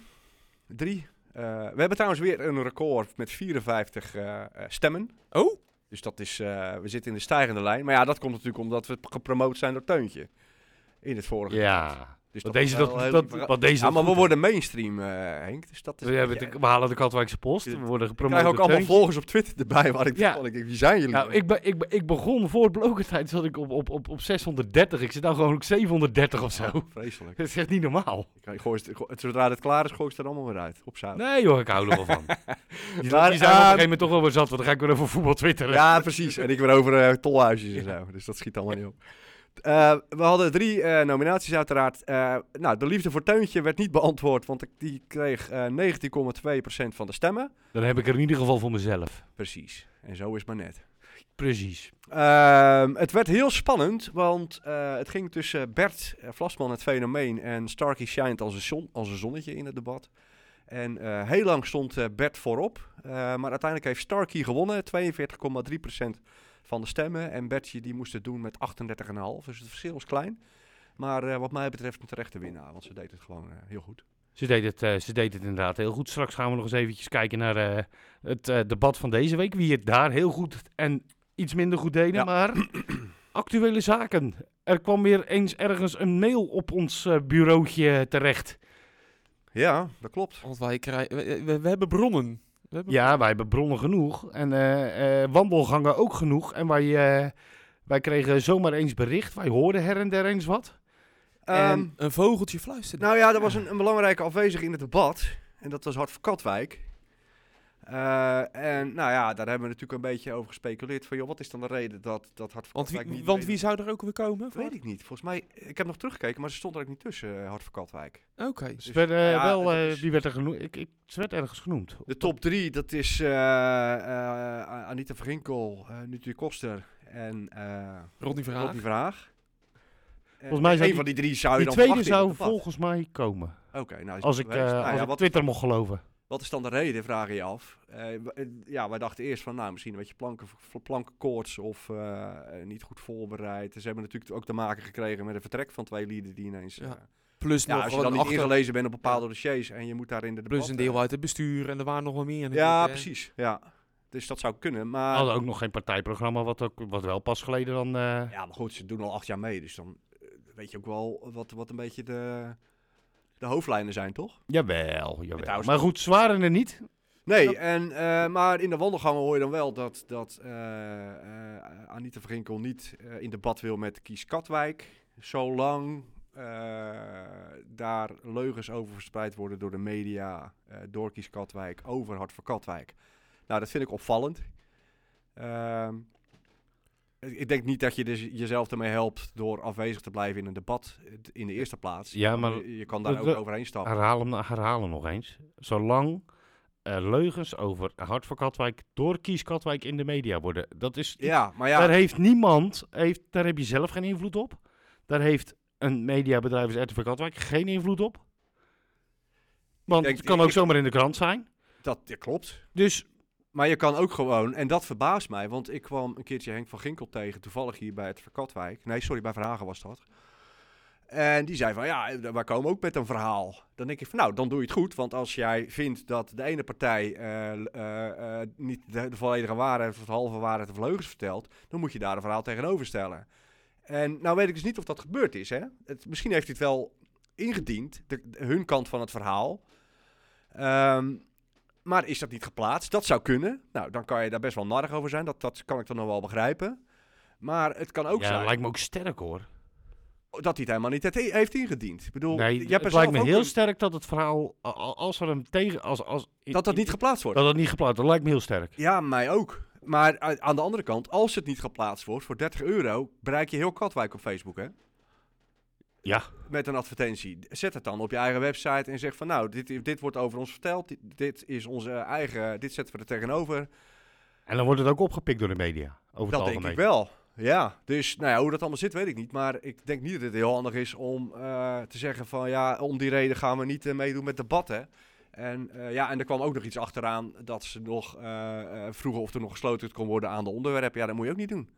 Speaker 5: drie. eh, we hebben trouwens weer een record met 54 eh, eh, stemmen.
Speaker 4: Oh?
Speaker 5: Dus dat is, eh, we zitten in de stijgende lijn. Maar ja, dat komt natuurlijk omdat we gepromoot zijn door Teuntje. In het vorige.
Speaker 3: Ja.
Speaker 5: Dus
Speaker 3: Wat
Speaker 5: dat
Speaker 3: deze
Speaker 5: is wel
Speaker 3: dat,
Speaker 5: heel
Speaker 3: dat,
Speaker 5: verra-
Speaker 3: wat deze
Speaker 5: Ja,
Speaker 3: dat
Speaker 5: maar we
Speaker 3: goed
Speaker 5: worden mainstream, eh, Henk. Dus dat is.
Speaker 3: doet. We, hebben de- we halen de Katwijkse Post. We
Speaker 5: Ik
Speaker 3: worden
Speaker 5: ik
Speaker 3: gepromoot.
Speaker 5: krijg ook
Speaker 3: door
Speaker 5: allemaal
Speaker 3: Teuntje.
Speaker 5: volgers op Twitter erbij. Waar ik
Speaker 3: Ja.
Speaker 5: van, ik denk, wie zijn jullie?
Speaker 3: Nou, ik, be, ik, be- ik begon voor blokertijd zat ik op, op, op, op 630. Ik zit nou gewoon op 730 of zo.
Speaker 5: Vreselijk.
Speaker 3: Dat is echt niet normaal.
Speaker 5: Ik- ik gooi het- go- het- zodra het klaar is, gooi ik het er allemaal weer uit. Op zout.
Speaker 3: Nee joh, ik hou er wel van. Die,
Speaker 5: Maar,
Speaker 3: die zijn we op een
Speaker 5: ehm,
Speaker 3: gegeven moment toch wel weer zat. Want dan ga ik weer over voetbal twitteren.
Speaker 5: Ja, precies. En ik weer over eh, tolhuisjes en zo. Dus dat schiet allemaal niet op. Eh, we hadden drie eh, nominaties uiteraard. Eh, nou, de liefde voor Teuntje werd niet beantwoord, want ik- die kreeg eh 19,2% van de stemmen.
Speaker 3: Dan heb ik er in ieder geval voor mezelf.
Speaker 5: Precies. En zo is het maar net.
Speaker 3: Precies.
Speaker 5: Ehm, het werd heel spannend, want eh, het ging tussen Bert eh, Vlasman, het fenomeen, en Starkey Shine als een, zon, als een zonnetje in het debat. En eh, heel lang stond eh, Bert voorop, eh, maar uiteindelijk heeft Starkey gewonnen, 42,3% van de stemmen. En Bertje die moest het doen met 38,5, dus het verschil was klein. Maar eh, wat mij betreft een terechte winnaar, want ze deed het gewoon eh, heel goed.
Speaker 3: Ze deed, het, eh, ze deed het inderdaad heel goed. Straks gaan we nog eens eventjes kijken naar eh, het eh, debat van deze week. Wie het daar heel goed en iets minder goed deden.
Speaker 5: Ja.
Speaker 3: Maar actuele zaken. Er kwam weer eens ergens een mail op ons eh, bureautje terecht.
Speaker 5: Ja, dat klopt.
Speaker 4: Want wij krijgen... We, we- we hebben bronnen. We hebben
Speaker 3: Ja, wij hebben bronnen genoeg. En eh, eh, wandelgangen ook genoeg. En wij, eh, wij kregen zomaar eens bericht. Wij hoorden her en der eens wat.
Speaker 5: Ehm,
Speaker 4: Een vogeltje fluistert.
Speaker 5: Nou ja, er was een, een belangrijke afwezige in het debat. En dat was Hart van Katwijk. Eh, en nou ja, daar hebben we natuurlijk een beetje over gespeculeerd. Van joh, wat is dan de reden dat, dat Hart van
Speaker 4: want
Speaker 5: Katwijk
Speaker 4: wie,
Speaker 5: niet
Speaker 4: want
Speaker 5: meedoet?
Speaker 4: wie zou er ook weer komen?
Speaker 5: Dat weet ik niet. Volgens mij, ik heb nog teruggekeken, maar ze stond er ook niet tussen, eh, Hart van Katwijk. Dus,
Speaker 4: Oké.
Speaker 3: Ze werden, eh,
Speaker 5: ja,
Speaker 3: wel,
Speaker 5: dat
Speaker 3: eh,
Speaker 5: is-
Speaker 3: Wie werd er genoemd? Ik, ik, ze werd ergens genoemd.
Speaker 5: De top drie, dat is eh eh, Anita Verginkel, eh Nutri Koster en eh
Speaker 4: Rodney Verhaag.
Speaker 5: Rodney Vraag.
Speaker 3: Volgens mij zou
Speaker 5: een
Speaker 3: die-
Speaker 5: van die drie zou je
Speaker 3: Die
Speaker 5: dan
Speaker 3: tweede
Speaker 5: verwachten in
Speaker 3: zou
Speaker 5: het debat.
Speaker 3: volgens mij komen.
Speaker 5: Oké, nou, is
Speaker 3: Als
Speaker 5: niet
Speaker 3: ik,
Speaker 5: geweest.
Speaker 3: eh,
Speaker 5: Nou
Speaker 3: als
Speaker 5: ja,
Speaker 3: ik
Speaker 5: wat-
Speaker 3: Twitter mocht geloven.
Speaker 5: Wat is dan de reden, vraag je je af. Eh, w- eh, ja, wij dachten eerst van, nou, misschien een beetje planken, v- plankenkoorts of eh, eh, niet goed voorbereid. Dus Ze hebben natuurlijk ook te maken gekregen met een vertrek van twee lieden die ineens... eh,
Speaker 4: Ja.
Speaker 5: ja.
Speaker 4: Plus nog
Speaker 5: als je
Speaker 4: wel
Speaker 5: dan
Speaker 4: een
Speaker 5: niet
Speaker 4: achter...
Speaker 5: ingelezen bent op bepaalde dossiers en je moet daar in de
Speaker 4: Plus een
Speaker 5: debatten-
Speaker 4: deel uit het bestuur. En er waren nog wel meer.
Speaker 5: Ja,
Speaker 4: natuurlijk, hè.
Speaker 5: precies. Ja. Dus dat zou kunnen, maar...
Speaker 3: hadden ook nog geen partijprogramma, wat, ook, wat wel pas geleden dan... eh,
Speaker 5: Ja, maar goed, ze doen al acht jaar mee, dus dan eh, weet je ook wel wat, wat een beetje de, de hoofdlijnen zijn, toch?
Speaker 3: Jawel, jawel.
Speaker 5: trouwens-
Speaker 3: Maar goed, ze waren er niet.
Speaker 5: Nee, en, eh, maar in de wandelgangen hoor je dan wel dat, dat eh, eh, Anita van Ginkel niet eh, in debat wil met Kies Katwijk. Zolang eh, daar leugens over verspreid worden door de media, eh, door Kies Katwijk, over Hart voor Katwijk. Nou, dat vind ik opvallend. Ehm, ik ik denk niet dat je dus jezelf ermee helpt door afwezig te blijven in een debat eh, in de eerste plaats.
Speaker 3: Ja, maar-
Speaker 5: je, je kan daar
Speaker 3: dat- Ah,
Speaker 5: ook
Speaker 3: dat-
Speaker 5: overheen stappen.
Speaker 3: Herhaal hem, herhaal hem nog eens. Zolang eh, leugens over Hart voor Katwijk door Kies Katwijk in de media worden. Dat is,
Speaker 5: Ja, maar ja.
Speaker 3: Daar heeft niemand, heeft, daar heb je zelf geen invloed op. Daar heeft een mediabedrijf als RTV Katwijk geen invloed op. Want
Speaker 5: denk-
Speaker 3: het kan ook
Speaker 5: ik-
Speaker 3: zomaar in de krant zijn.
Speaker 5: Dat ja, klopt.
Speaker 3: Dus
Speaker 5: Maar je kan ook gewoon, en dat verbaast mij, want ik kwam een keertje Henk van Ginkel tegen, toevallig hier bij het Verkatwijk. Nee, sorry, bij Verhagen was dat. En die zei van, ja, eh, wij komen ook met een verhaal. Dan denk ik van, nou, dan doe je het goed. Want als jij vindt dat de ene partij eh, l- eh, eh, niet de, de volledige waarheid of de halve waarheid of leugens vertelt, dan moet je daar een verhaal tegenover stellen. En nou weet ik dus niet of dat gebeurd is, hè. Het, misschien heeft hij het wel ingediend, de- de- hun kant van het verhaal. Ehm, maar is dat niet geplaatst? Dat zou kunnen. Nou, dan kan je daar best wel narig over zijn. Dat, dat kan ik dan nog wel begrijpen. Maar het kan ook
Speaker 3: ja,
Speaker 5: zijn
Speaker 3: lijkt me ook sterk hoor.
Speaker 5: dat hij het helemaal niet heeft- heeft ingediend. Ik bedoel,
Speaker 3: Nee,
Speaker 5: je hebt er
Speaker 3: het lijkt me
Speaker 5: zelf ook
Speaker 3: heel
Speaker 5: een-
Speaker 3: sterk dat het verhaal, a- a- als er hem tegen... Als, als,
Speaker 5: dat dat niet geplaatst wordt.
Speaker 3: dat het niet geplaatst Dat lijkt me heel sterk.
Speaker 5: Ja, mij ook. Maar a- aan de andere kant, als het niet geplaatst wordt voor 30 euro, bereik je heel Katwijk op Facebook, hè?
Speaker 3: Ja.
Speaker 5: Met een advertentie. Zet het dan op je eigen website en zeg van, nou, dit, dit wordt over ons verteld. Dit, dit is onze eigen, dit zetten we er tegenover.
Speaker 3: En dan wordt het ook opgepikt door de media. Over
Speaker 5: Dat
Speaker 3: het
Speaker 5: denk
Speaker 3: algemeen.
Speaker 5: ik wel. Ja, dus nou ja, hoe dat allemaal zit, weet ik niet. Maar ik denk niet dat het heel handig is om eh, te zeggen van ja, om die reden gaan we niet eh, meedoen met debatten. En eh, ja, en er kwam ook nog iets achteraan dat ze nog eh, eh, vroegen of er nog gesloten kon worden aan de onderwerpen. Ja, dat moet je ook niet doen.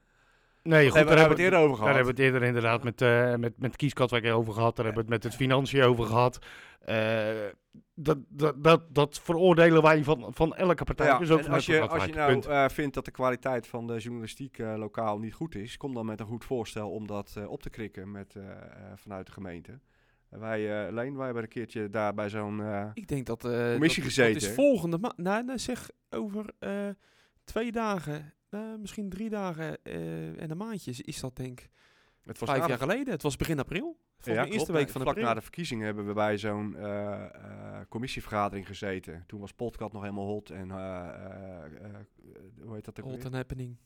Speaker 3: Nee,
Speaker 5: Daar
Speaker 3: goed,
Speaker 5: hebben we het eerder over
Speaker 3: Daar
Speaker 5: gehad.
Speaker 3: hebben we het eerder inderdaad met, eh met, met Kieskatwijk over gehad. Daar hebben we het met het financiën over gehad. Eh, dat, dat, dat, dat veroordelen wij van, van elke partij.
Speaker 5: Ja,
Speaker 3: dus ook
Speaker 5: en
Speaker 3: van
Speaker 5: als, je,
Speaker 3: Edward
Speaker 5: als je
Speaker 3: Katwijk.
Speaker 5: nou
Speaker 3: Punt.
Speaker 5: eh, vindt dat de kwaliteit van de journalistiek eh, lokaal niet goed is, kom dan met een goed voorstel om dat eh, op te krikken met, eh, eh, vanuit de gemeente. Wij, eh Leen, wij hebben een keertje daar bij zo'n... eh,
Speaker 4: Ik denk dat... eh
Speaker 5: Commissie
Speaker 4: dat,
Speaker 5: gezeten,
Speaker 4: Dat
Speaker 5: hè?
Speaker 4: is volgende maand. Nou, nou, zeg over eh, twee dagen, nou, misschien drie dagen eh, en een maandje is- is dat denk ik
Speaker 5: het was
Speaker 4: vijf
Speaker 5: aardig
Speaker 4: jaar geleden. Het was begin april. Volgens de
Speaker 5: klopt.
Speaker 4: eerste week van
Speaker 5: Vlak
Speaker 4: april.
Speaker 5: na de verkiezingen hebben we bij zo'n eh, eh, commissievergadering gezeten. Toen was Podcast nog helemaal hot en eh, eh, eh, hoe heet dat ook
Speaker 4: Old
Speaker 5: weer?
Speaker 4: and happening.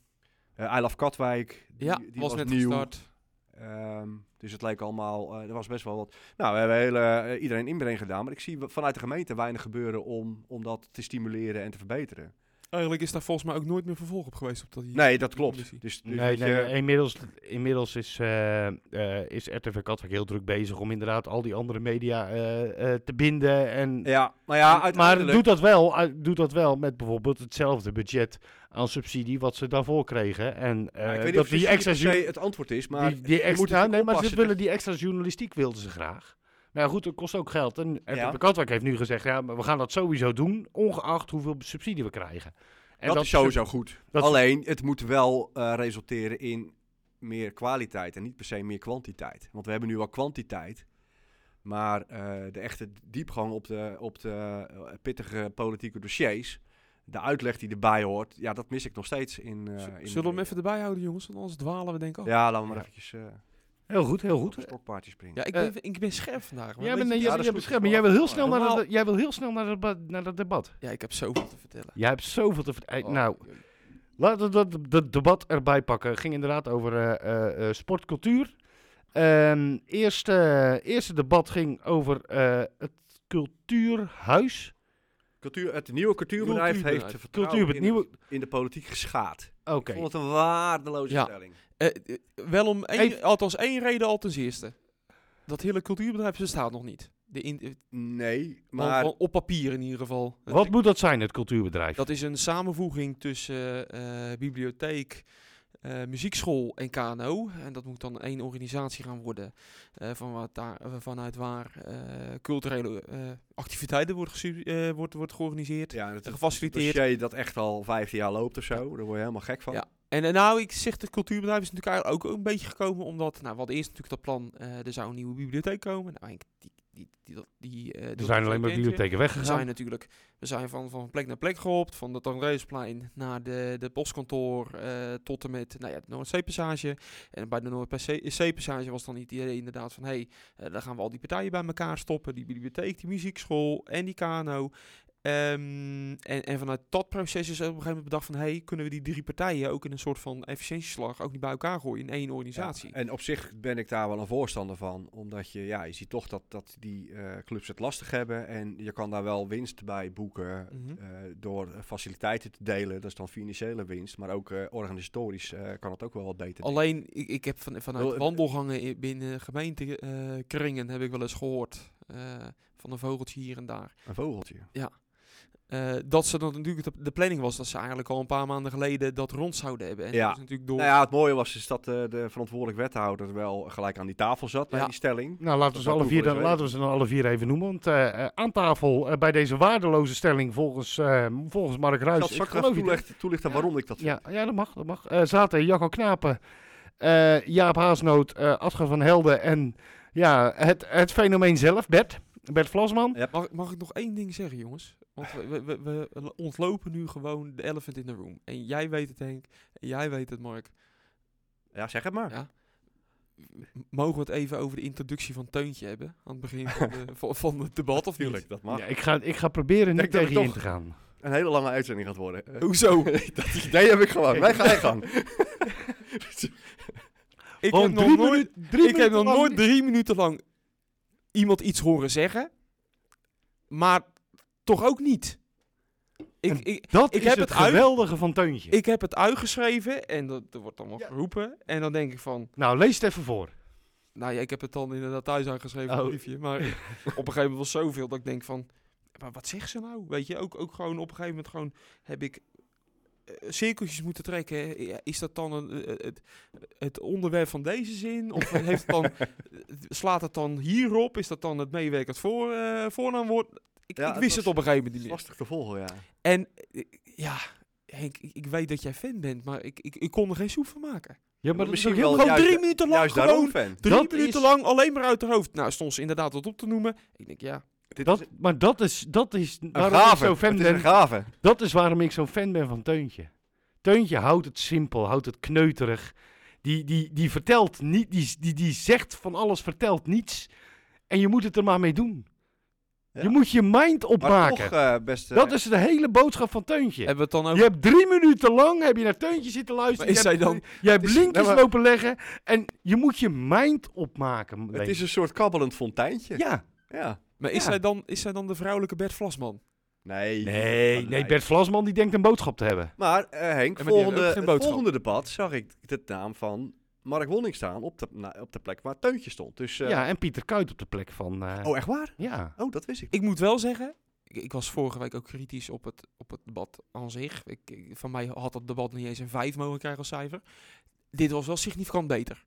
Speaker 5: Eh, I Love Katwijk. Die,
Speaker 4: ja,
Speaker 5: die
Speaker 4: was, net
Speaker 5: nieuw.
Speaker 4: gestart.
Speaker 5: Ehm, dus het leek allemaal, eh, er was best wel wat. Nou, we hebben heel, eh, iedereen inbreng gedaan, maar ik zie we- vanuit de gemeente weinig gebeuren om, om dat te stimuleren en te verbeteren.
Speaker 4: Eigenlijk is daar volgens mij ook nooit meer vervolg op geweest. Op dat die-
Speaker 5: Nee, dat
Speaker 4: commissie.
Speaker 5: klopt. Dus, dus
Speaker 3: Nee,
Speaker 5: weet
Speaker 3: nee,
Speaker 5: je-
Speaker 3: nee, inmiddels, inmiddels is, eh eh, is RTV Katwijk heel druk bezig om inderdaad al die andere media eh, eh, te binden. En,
Speaker 5: ja, maar ja,
Speaker 3: maar
Speaker 5: uiteindelijk.
Speaker 3: doet dat, wel, eh, doet dat wel met bijvoorbeeld hetzelfde budget aan subsidie wat ze daarvoor kregen. En eh,
Speaker 5: Ja, ik weet niet
Speaker 3: dat
Speaker 5: of
Speaker 3: die
Speaker 5: subsidie
Speaker 3: extra
Speaker 5: per se het antwoord is, maar
Speaker 3: die, die
Speaker 5: je
Speaker 3: extra,
Speaker 5: moet dus-
Speaker 3: ja, nee,
Speaker 5: natuurlijk
Speaker 3: maar ze
Speaker 5: oppassen
Speaker 3: willen die extra journalistiek wilden ze graag. Maar ja, goed, dat kost ook geld. En RTV
Speaker 5: Ja.
Speaker 3: Katwijk heeft nu gezegd, ja, maar we gaan dat sowieso doen, ongeacht hoeveel subsidie we krijgen. En
Speaker 5: dat, is sowieso goed.
Speaker 3: dat-
Speaker 5: Alleen, het moet wel eh, resulteren in meer kwaliteit en niet per se meer kwantiteit. Want we hebben nu wel kwantiteit. Maar eh, de echte diepgang op de, op de eh, pittige politieke dossiers, de uitleg die erbij hoort, ja, dat mis ik nog steeds in. eh,
Speaker 4: Z-
Speaker 5: in de
Speaker 4: Zullen we hem
Speaker 5: media.
Speaker 4: even erbij houden, jongens? Want anders dwalen we denk ik oh. af.
Speaker 5: Ja, laten we maar
Speaker 3: Ja.
Speaker 5: eventjes eh
Speaker 3: Heel goed, heel
Speaker 5: op
Speaker 3: goed.
Speaker 5: een stokpaardje springen.
Speaker 4: Ja, ik,
Speaker 3: Eh,
Speaker 4: ben, ik ben scherp vandaag. maar
Speaker 3: Ja,
Speaker 4: weet
Speaker 3: maar, nee,
Speaker 4: je-
Speaker 3: jij,
Speaker 5: dat is
Speaker 3: jij
Speaker 5: goed.
Speaker 3: beschermt, maar jij wil heel snel naar
Speaker 4: Normaal-
Speaker 3: dat, jij wil heel snel naar dat, ba- naar dat debat.
Speaker 4: ja, ik heb zoveel te vertellen.
Speaker 3: Jij hebt zoveel te vertellen.
Speaker 4: Oh,
Speaker 3: Nou,
Speaker 4: joh.
Speaker 3: Laten we dat dat debat erbij pakken. Het ging inderdaad over eh, eh, eh, sportcultuur. Ehm eerste, eerste debat ging over eh, het cultuurhuis.
Speaker 5: Cultuur, het nieuwe cultuurbedrijf
Speaker 4: Cultuurbedrijf.
Speaker 5: heeft de vertrouwen
Speaker 3: Cultuur, het
Speaker 5: in,
Speaker 3: nieuwe...
Speaker 5: in de politiek geschaad.
Speaker 3: Oké.
Speaker 5: Ik vond het een waardeloze
Speaker 4: Ja.
Speaker 5: stelling.
Speaker 4: Eh, eh, wel om één,
Speaker 3: Even-
Speaker 4: althans één reden al ten eerste. Dat hele cultuurbedrijf bestaat nog niet. De in, eh,
Speaker 5: Nee,
Speaker 4: maar,
Speaker 5: maar
Speaker 4: op papier in ieder geval. Het-
Speaker 3: Wat moet dat zijn, het cultuurbedrijf?
Speaker 4: Dat is een samenvoeging tussen eh, eh, bibliotheek, eh, muziekschool en KNO. En dat moet dan één organisatie gaan worden. eh, van wat daar, eh, vanuit waar eh, culturele eh, activiteiten wordt, gesu- eh, wordt, wordt georganiseerd.
Speaker 5: ja, het
Speaker 4: en
Speaker 5: is
Speaker 4: gefaciliteerd.
Speaker 5: dossier dat echt al 15 jaar loopt of zo. Daar word je helemaal gek van.
Speaker 4: Ja. En eh, nou, ik zeg, het cultuurbedrijf is natuurlijk eigenlijk ook een beetje gekomen omdat, nou, we hadden eerst natuurlijk dat plan, eh, er zou een nieuwe bibliotheek komen. Nou, Henk, die, die die, die, dat- die, eh,
Speaker 3: Er
Speaker 4: dat
Speaker 3: zijn alleen maar
Speaker 4: frequentie.
Speaker 3: bibliotheken
Speaker 4: We
Speaker 3: weggegaan.
Speaker 4: zijn natuurlijk we zijn van, van plek naar plek gehopt. Van het Andreesplein naar de, de postkantoor eh, tot en met nou ja, de Noordzee-passage. En bij de Noordzee-passage was dan het idee inderdaad van... hé, hey, eh, daar gaan we al die partijen bij elkaar stoppen. Die bibliotheek, die muziekschool en die kano. Ehm, en, en vanuit dat proces is op een gegeven moment bedacht van... hé, hey, kunnen we die drie partijen ook in een soort van efficiëntieslag... ook niet bij elkaar gooien in één organisatie?
Speaker 5: Ja, eh, en op zich ben ik daar wel een voorstander van. Omdat je, ja, je ziet toch dat, dat die eh, clubs het lastig hebben. En je kan daar wel winst bij boeken.
Speaker 4: Mhm.
Speaker 5: eh, door faciliteiten te delen. Dat is dan financiële winst. Maar ook eh, organisatorisch eh, kan het ook wel wat beter.
Speaker 4: Alleen, ik, ik heb van, vanuit
Speaker 5: Wel, eh,
Speaker 4: wandelgangen i- binnen gemeentekringen heb ik wel eens gehoord eh, van een vogeltje hier en daar.
Speaker 5: Een vogeltje.
Speaker 4: eh, dat ze dan natuurlijk de, de planning was dat ze eigenlijk al een paar maanden geleden dat rond zouden hebben. En
Speaker 5: Ja.
Speaker 4: dat is natuurlijk door.
Speaker 5: Nou ja, het mooie was is dat eh, de verantwoordelijk wethouder wel gelijk aan die tafel zat bij
Speaker 4: Ja.
Speaker 5: die stelling.
Speaker 3: Nou, laten we, ze
Speaker 5: Dat
Speaker 3: alle
Speaker 5: had
Speaker 3: vier,
Speaker 5: Google
Speaker 3: dan,
Speaker 5: eens
Speaker 3: laten we ze dan alle vier even noemen. Want eh, eh, aan tafel eh, bij deze waardeloze stelling volgens, eh, volgens Mark
Speaker 5: Ik zal
Speaker 3: Ruijs. Ik
Speaker 5: straks
Speaker 3: geloof
Speaker 5: even
Speaker 3: je dit.
Speaker 5: toelichten, toelichten
Speaker 3: Ja.
Speaker 5: waarom ik dat
Speaker 3: Ja, ja, dat mag. Dat mag. Eh, zaten Jacco Knapen, eh, Jaap Haasnoot, eh Adger van Helden en ja, het, het fenomeen zelf, Bert. Bert Vlasman.
Speaker 4: Mag, mag ik nog één ding zeggen, jongens? Want we, we, we, we ontlopen nu gewoon de elephant in the room. En jij weet het, Henk. En jij weet het, Mark.
Speaker 5: Ja, zeg het maar.
Speaker 4: Ja. M- Mogen we het even over de introductie van Teuntje hebben? Aan het begin van, de, van, van het debat, of niet?
Speaker 5: Tuurlijk, dat mag.
Speaker 3: Ja, ik, ga, ik ga proberen niet
Speaker 5: Denk dat
Speaker 3: tegen
Speaker 5: ik
Speaker 3: je in
Speaker 5: toch-
Speaker 3: te gaan.
Speaker 5: Een hele lange uitzending gaat worden. Eh,
Speaker 4: Hoezo?
Speaker 5: dat idee heb ik gewoon. Wij gaan gang.
Speaker 4: Ik
Speaker 3: Gewoon
Speaker 4: heb nog
Speaker 3: drie
Speaker 4: nooit,
Speaker 3: minuten- drie
Speaker 4: ik heb
Speaker 3: minuten
Speaker 4: nog
Speaker 3: lang-
Speaker 4: nooit drie minuten lang iemand iets horen zeggen, maar toch ook niet. Ik,
Speaker 3: En
Speaker 4: ik,
Speaker 3: Dat
Speaker 4: Ik
Speaker 3: is
Speaker 4: heb
Speaker 3: het
Speaker 4: het uit-
Speaker 3: geweldige van Teuntje.
Speaker 4: ik heb het uitgeschreven en dat, er wordt allemaal
Speaker 3: Ja.
Speaker 4: geroepen. En dan denk ik van,
Speaker 3: Nou, lees het even voor.
Speaker 4: nou ja, ik heb het dan inderdaad thuis uitgeschreven in
Speaker 3: Oh.
Speaker 4: een briefje. Maar op een gegeven moment was zoveel dat ik denk van, maar wat zegt ze nou? Weet je, ook, ook gewoon op een gegeven moment gewoon heb ik eh, cirkeltjes moeten trekken. Eh, ja, Is dat dan een, eh, het, het onderwerp van deze zin? Of heeft het dan, eh, slaat het dan hierop? Is dat dan het meewerkend voor, eh, voornaamwoord? Ik,
Speaker 5: Ja,
Speaker 4: ik
Speaker 5: het
Speaker 4: wist
Speaker 5: was-
Speaker 4: het op een gegeven moment niet meer.
Speaker 5: Lastig te volgen, ja.
Speaker 4: En eh, ja, Henk, ik, ik weet dat jij fan bent, maar ik, ik, ik kon er geen soep van maken.
Speaker 3: Ja, maar dat is
Speaker 5: Misschien
Speaker 3: ook
Speaker 5: wel
Speaker 3: heel
Speaker 4: Gewoon
Speaker 5: juist
Speaker 4: drie
Speaker 5: da-
Speaker 4: minuten lang
Speaker 5: Juist daarom
Speaker 4: gewoon...
Speaker 5: fan.
Speaker 4: Drie
Speaker 3: Dat
Speaker 4: minuten
Speaker 3: is-
Speaker 4: lang alleen maar uit haar hoofd. Nou, stond ze inderdaad wat op te noemen. Ik denk, ja,
Speaker 5: Dit
Speaker 3: Dat,
Speaker 5: is
Speaker 3: maar dat is, dat is
Speaker 5: een
Speaker 3: waarom ik
Speaker 5: gave.
Speaker 3: zo'n fan
Speaker 5: Het is een
Speaker 3: ben.
Speaker 5: gave.
Speaker 3: Dat is waarom ik zo'n fan ben van Teuntje. Teuntje houdt het simpel, houdt het kneuterig. Die, die, die vertelt niet, die, die, die zegt van alles, vertelt niets. En je moet het er maar mee doen.
Speaker 5: Ja.
Speaker 3: Je moet je mind
Speaker 5: Maar
Speaker 3: opmaken.
Speaker 5: toch, eh best... eh,
Speaker 3: dat is de hele boodschap van Teuntje.
Speaker 4: hebben we het dan ook...
Speaker 3: Je hebt drie minuten lang heb je naar Teuntje zitten
Speaker 4: Maar
Speaker 3: luisteren.
Speaker 4: is
Speaker 3: je
Speaker 4: zij
Speaker 3: hebt,
Speaker 4: dan...
Speaker 3: je hebt
Speaker 5: is-
Speaker 3: linkjes
Speaker 5: nou, maar-
Speaker 3: lopen leggen. En je moet je mind opmaken.
Speaker 5: het
Speaker 3: Leen.
Speaker 5: is een soort kabbelend fonteintje. Ja.
Speaker 3: ja.
Speaker 4: Maar is,
Speaker 3: Ja.
Speaker 4: zij dan, is zij dan de vrouwelijke Bert Vlasman?
Speaker 5: Nee.
Speaker 3: Nee,
Speaker 5: Ah,
Speaker 3: nee, Bert Vlasman die denkt een boodschap te hebben.
Speaker 5: Maar eh, Henk,
Speaker 4: Ja, maar die hebben
Speaker 5: volgende,
Speaker 4: ook geen
Speaker 5: het
Speaker 4: boodschap.
Speaker 5: volgende debat zag ik de naam van Mark Wonning staan op de, na- op de plek waar Teuntje stond. Dus, eh,
Speaker 3: Ja, en Pieter Kuit op de plek van... eh,
Speaker 5: Oh, echt waar?
Speaker 3: Ja.
Speaker 5: Oh, dat wist ik.
Speaker 4: Ik moet wel zeggen... Ik, ik was vorige week ook kritisch op het, op het debat aan zich. Ik, ik- van mij had dat debat niet eens een 5 mogen krijgen als cijfer. Dit was wel significant beter.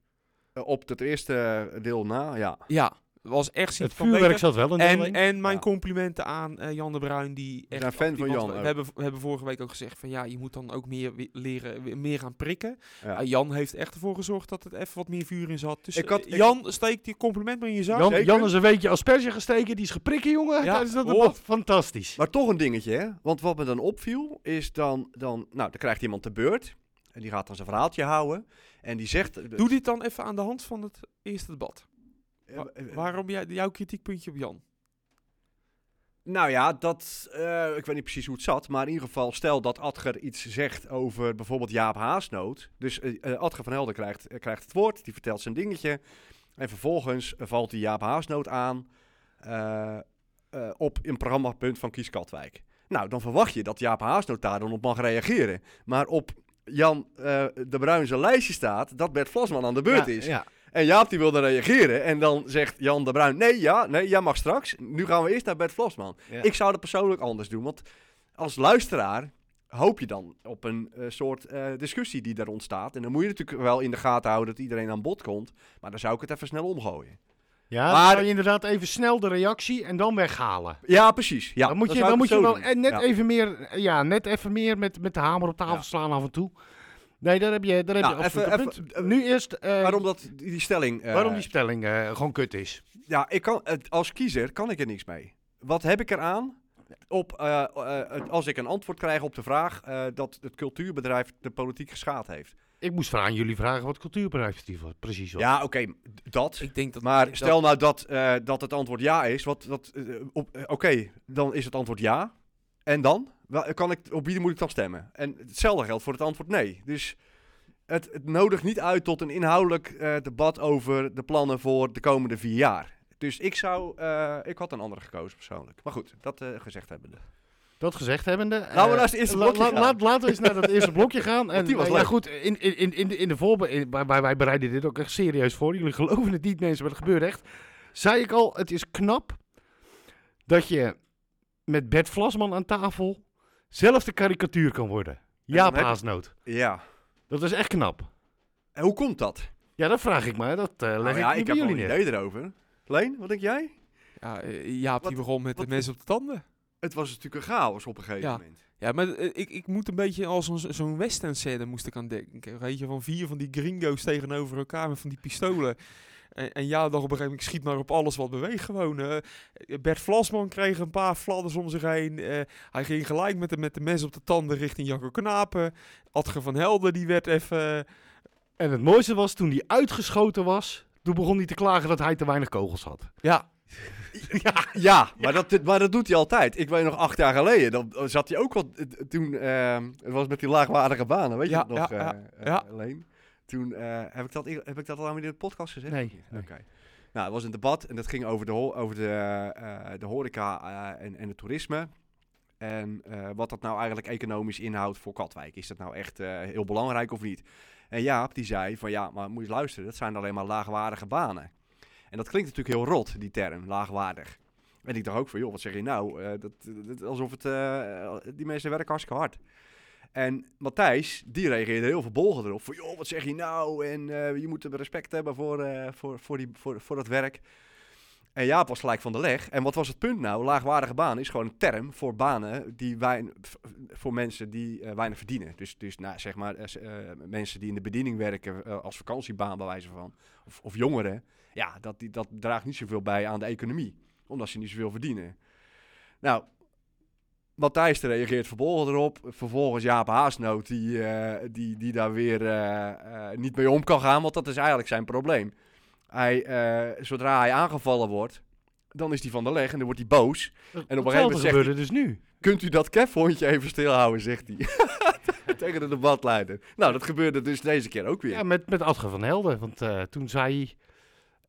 Speaker 5: Eh, op het eerste eh, deel na, ja.
Speaker 4: Ja, was echt
Speaker 3: Het
Speaker 4: significant beter.
Speaker 3: vuurwerk zat wel in de
Speaker 4: En,
Speaker 3: lijn.
Speaker 4: en mijn
Speaker 5: Ja.
Speaker 4: complimenten aan eh, Jan de Bruin, die echt...
Speaker 5: zijn fan
Speaker 4: actief
Speaker 5: van
Speaker 4: was.
Speaker 5: Jan
Speaker 4: We
Speaker 5: ook.
Speaker 4: hebben, we hebben vorige week ook gezegd van ja, je moet dan ook meer wi- leren, wi- meer gaan prikken.
Speaker 5: Ja.
Speaker 4: Ah, Jan heeft echt ervoor gezorgd dat het even wat meer vuur in zat. Dus
Speaker 5: Ik had-
Speaker 4: eh,
Speaker 5: ik-
Speaker 4: Jan, steek die compliment maar in je zak.
Speaker 3: Jan,
Speaker 5: zeker. Oh.
Speaker 3: Jan is een weekje asperge gesteken, die is geprikken, jongen.
Speaker 4: Ja,
Speaker 3: Tijdens dat
Speaker 4: hoor.
Speaker 3: debat. Fantastisch.
Speaker 5: Maar toch een dingetje, hè? Want wat me dan opviel, is dan, dan... Nou, dan krijgt iemand de beurt. En die gaat dan zijn verhaaltje houden. En die zegt...
Speaker 4: Doe dit dan even aan de hand van het eerste debat.
Speaker 5: eh, eh,
Speaker 4: Waarom jij, jouw kritiekpuntje op Jan?
Speaker 5: Nou ja, dat, eh, ik weet niet precies hoe het zat, maar in ieder geval stel dat Adger iets zegt over bijvoorbeeld Jaap Haasnoot. Dus eh, eh, Adger van Helden krijgt, eh, krijgt het woord, die vertelt zijn dingetje. En vervolgens eh, valt die Jaap Haasnoot aan eh, eh, op een programmapunt van Kies Katwijk. Nou, dan verwacht je dat Jaap Haasnoot daar dan op mag reageren. Maar op Jan eh, de Bruin zijn lijstje staat dat Bert Vlasman aan de beurt
Speaker 3: Ja,
Speaker 5: is.
Speaker 3: Ja.
Speaker 5: En Jaap die wilde reageren. En dan zegt Jan de Bruin: Nee, ja, nee, jij mag straks. Nu gaan we eerst naar Bert Vlasman.
Speaker 3: Ja.
Speaker 5: Ik zou dat persoonlijk anders doen. Want als luisteraar hoop je dan op een eh, soort eh, discussie die daar ontstaat. En dan moet je natuurlijk wel in de gaten houden dat iedereen aan bod komt. Maar dan zou ik het even snel omgooien.
Speaker 3: Ja, dan
Speaker 5: Maar-
Speaker 3: zou je inderdaad even snel de reactie en dan weghalen.
Speaker 5: Ja, precies. Ja,
Speaker 3: dan moet
Speaker 5: dat
Speaker 3: je,
Speaker 5: zou
Speaker 3: dan
Speaker 5: ik
Speaker 3: moet
Speaker 5: het
Speaker 3: je
Speaker 5: zo
Speaker 3: wel
Speaker 5: doen.
Speaker 3: en net,
Speaker 5: Ja.
Speaker 3: even meer, ja, net even meer met, met de hamer op tafel
Speaker 5: Ja.
Speaker 3: slaan af en toe. Nee, daar heb je, daar heb
Speaker 5: Nou,
Speaker 3: je absoluut
Speaker 5: even-
Speaker 3: een punt.
Speaker 5: even-
Speaker 3: nu eerst eh,
Speaker 5: Waarom dat, die stelling... eh,
Speaker 3: waarom die spelling eh, gewoon kut is.
Speaker 5: Ja, ik kan, het- als kiezer kan ik er niks mee. Wat heb ik eraan? Op, eh, eh, het- als ik een antwoord krijg op de vraag eh, dat het cultuurbedrijf de politiek geschaad heeft.
Speaker 3: Ik moest van aan jullie vragen wat cultuurbedrijf was. Precies wat.
Speaker 5: Ja, oké, d- dat.
Speaker 4: Ik denk dat...
Speaker 5: Maar
Speaker 4: dat-
Speaker 5: stel nou dat, eh, dat het antwoord ja is. wat- dat, eh, op- eh, oké, dan is het antwoord ja. En dan? Wel, kan ik, op wie moet ik dan stemmen? En hetzelfde geldt voor het antwoord nee. Dus het, het nodigt niet uit tot een inhoudelijk eh, debat over de plannen voor de komende vier jaar. Dus ik zou, eh, ik had een andere gekozen persoonlijk. Maar goed, dat eh, gezegd hebbende.
Speaker 3: Dat gezegd hebbende. eh,
Speaker 5: Laten we naar het eerste blokje gaan.
Speaker 3: laat- laten we eens naar dat eerste blokje gaan. En,
Speaker 5: Want die was
Speaker 3: eh, ja,
Speaker 5: leuk.
Speaker 3: goed, in, in, in, in de- in de voorbe in- wij, wij- wij bereiden dit ook echt serieus voor. Jullie geloven het niet, mensen, maar het gebeurt echt. Zei ik al, het is knap dat je met Bert Vlasman aan tafel zelf de karikatuur kan worden. Ja,
Speaker 5: dan heb-
Speaker 3: paasnoot.
Speaker 5: Ja.
Speaker 3: Dat is echt knap.
Speaker 5: En hoe komt dat?
Speaker 3: Ja, dat vraag ik me. Dat eh, leg
Speaker 5: Nou ja,
Speaker 3: ik, niet bij
Speaker 5: ik heb wel
Speaker 3: jullie
Speaker 5: een
Speaker 3: neer.
Speaker 5: idee erover. Leen, wat denk jij?
Speaker 4: Ja, eh, Jaap die
Speaker 5: Wat-
Speaker 4: begon met
Speaker 5: wat-
Speaker 4: de mensen op de tanden.
Speaker 5: Het was natuurlijk een chaos op een gegeven
Speaker 4: Ja.
Speaker 5: moment.
Speaker 4: Ja, maar eh, ik, ik moet een beetje als een- zo'n western scène moest ik aan denken. Weet je, van vier van die gringo's tegenover elkaar met van die pistolen. En, en ja, dan op een gegeven moment, ik schiet maar op alles wat beweegt gewoon. eh. Bert Vlasman kreeg een paar fladders om zich heen. eh, hij ging gelijk met de, met de mes op de tanden richting Jacco Knapen. Adger van Helden, die werd even...
Speaker 3: En het mooiste was, toen hij uitgeschoten was, toen begon hij te klagen dat hij te weinig kogels had.
Speaker 4: Ja,
Speaker 5: Ja, maar, Dat, maar dat doet hij altijd. Ik weet nog acht jaar geleden, dan zat hij ook wat eh, toen, eh, het was met die laagwaardige banen, weet
Speaker 4: Ja,
Speaker 5: je dat nog,
Speaker 4: ja, ja,
Speaker 5: eh, eh,
Speaker 4: ja.
Speaker 5: Leen? Toen, eh, heb, ik dat, heb ik dat al aan in de podcast gezegd?
Speaker 3: Nee,
Speaker 5: Oké.
Speaker 3: nee.
Speaker 5: Nou, het was een debat en dat ging over de, ho- over de, eh, de horeca eh, en, en het toerisme. En eh, wat dat nou eigenlijk economisch inhoudt voor Katwijk. Is dat nou echt eh, heel belangrijk of niet? En Jaap die zei van ja, maar moet je eens luisteren, dat zijn alleen maar laagwaardige banen. En dat klinkt natuurlijk heel rot, die term, laagwaardig. En ik dacht ook van joh, wat zeg je nou? Eh, dat, dat- alsof het, eh, die mensen werken hartstikke hard. En Matthijs, die reageerde heel verbolgen erop. Van, joh, wat zeg je nou? En eh, je moet respect hebben voor, eh, voor, voor, die, voor, voor dat werk. En Jaap was gelijk van de leg. En wat was het punt nou? Laagwaardige baan is gewoon een term voor banen die wein, v- voor mensen die eh, weinig verdienen. Dus, dus nou, zeg maar eh, s- eh, mensen die in de bediening werken eh, als vakantiebaan bij wijze van. Of, of jongeren. Ja, dat, die, dat draagt niet zoveel bij aan de economie. Omdat ze niet zoveel verdienen. Nou, Matthijs reageert vervolgens erop. Vervolgens Jaap Haasnoot, die, eh, die, die daar weer eh, eh, niet mee om kan gaan, want dat is eigenlijk zijn probleem. Hij, eh, zodra hij aangevallen wordt, dan is hij van de leg en dan wordt hij boos.
Speaker 3: En op
Speaker 5: moment
Speaker 3: een
Speaker 5: zegt
Speaker 3: gegeven
Speaker 5: hij-
Speaker 3: gebeurde dus nu.
Speaker 5: Kunt u dat kefhondje even stilhouden, zegt hij. Tegen de debatleider. Nou, dat gebeurde dus deze keer ook weer.
Speaker 3: Ja, met, met Adger van Helden. Want eh, toen zei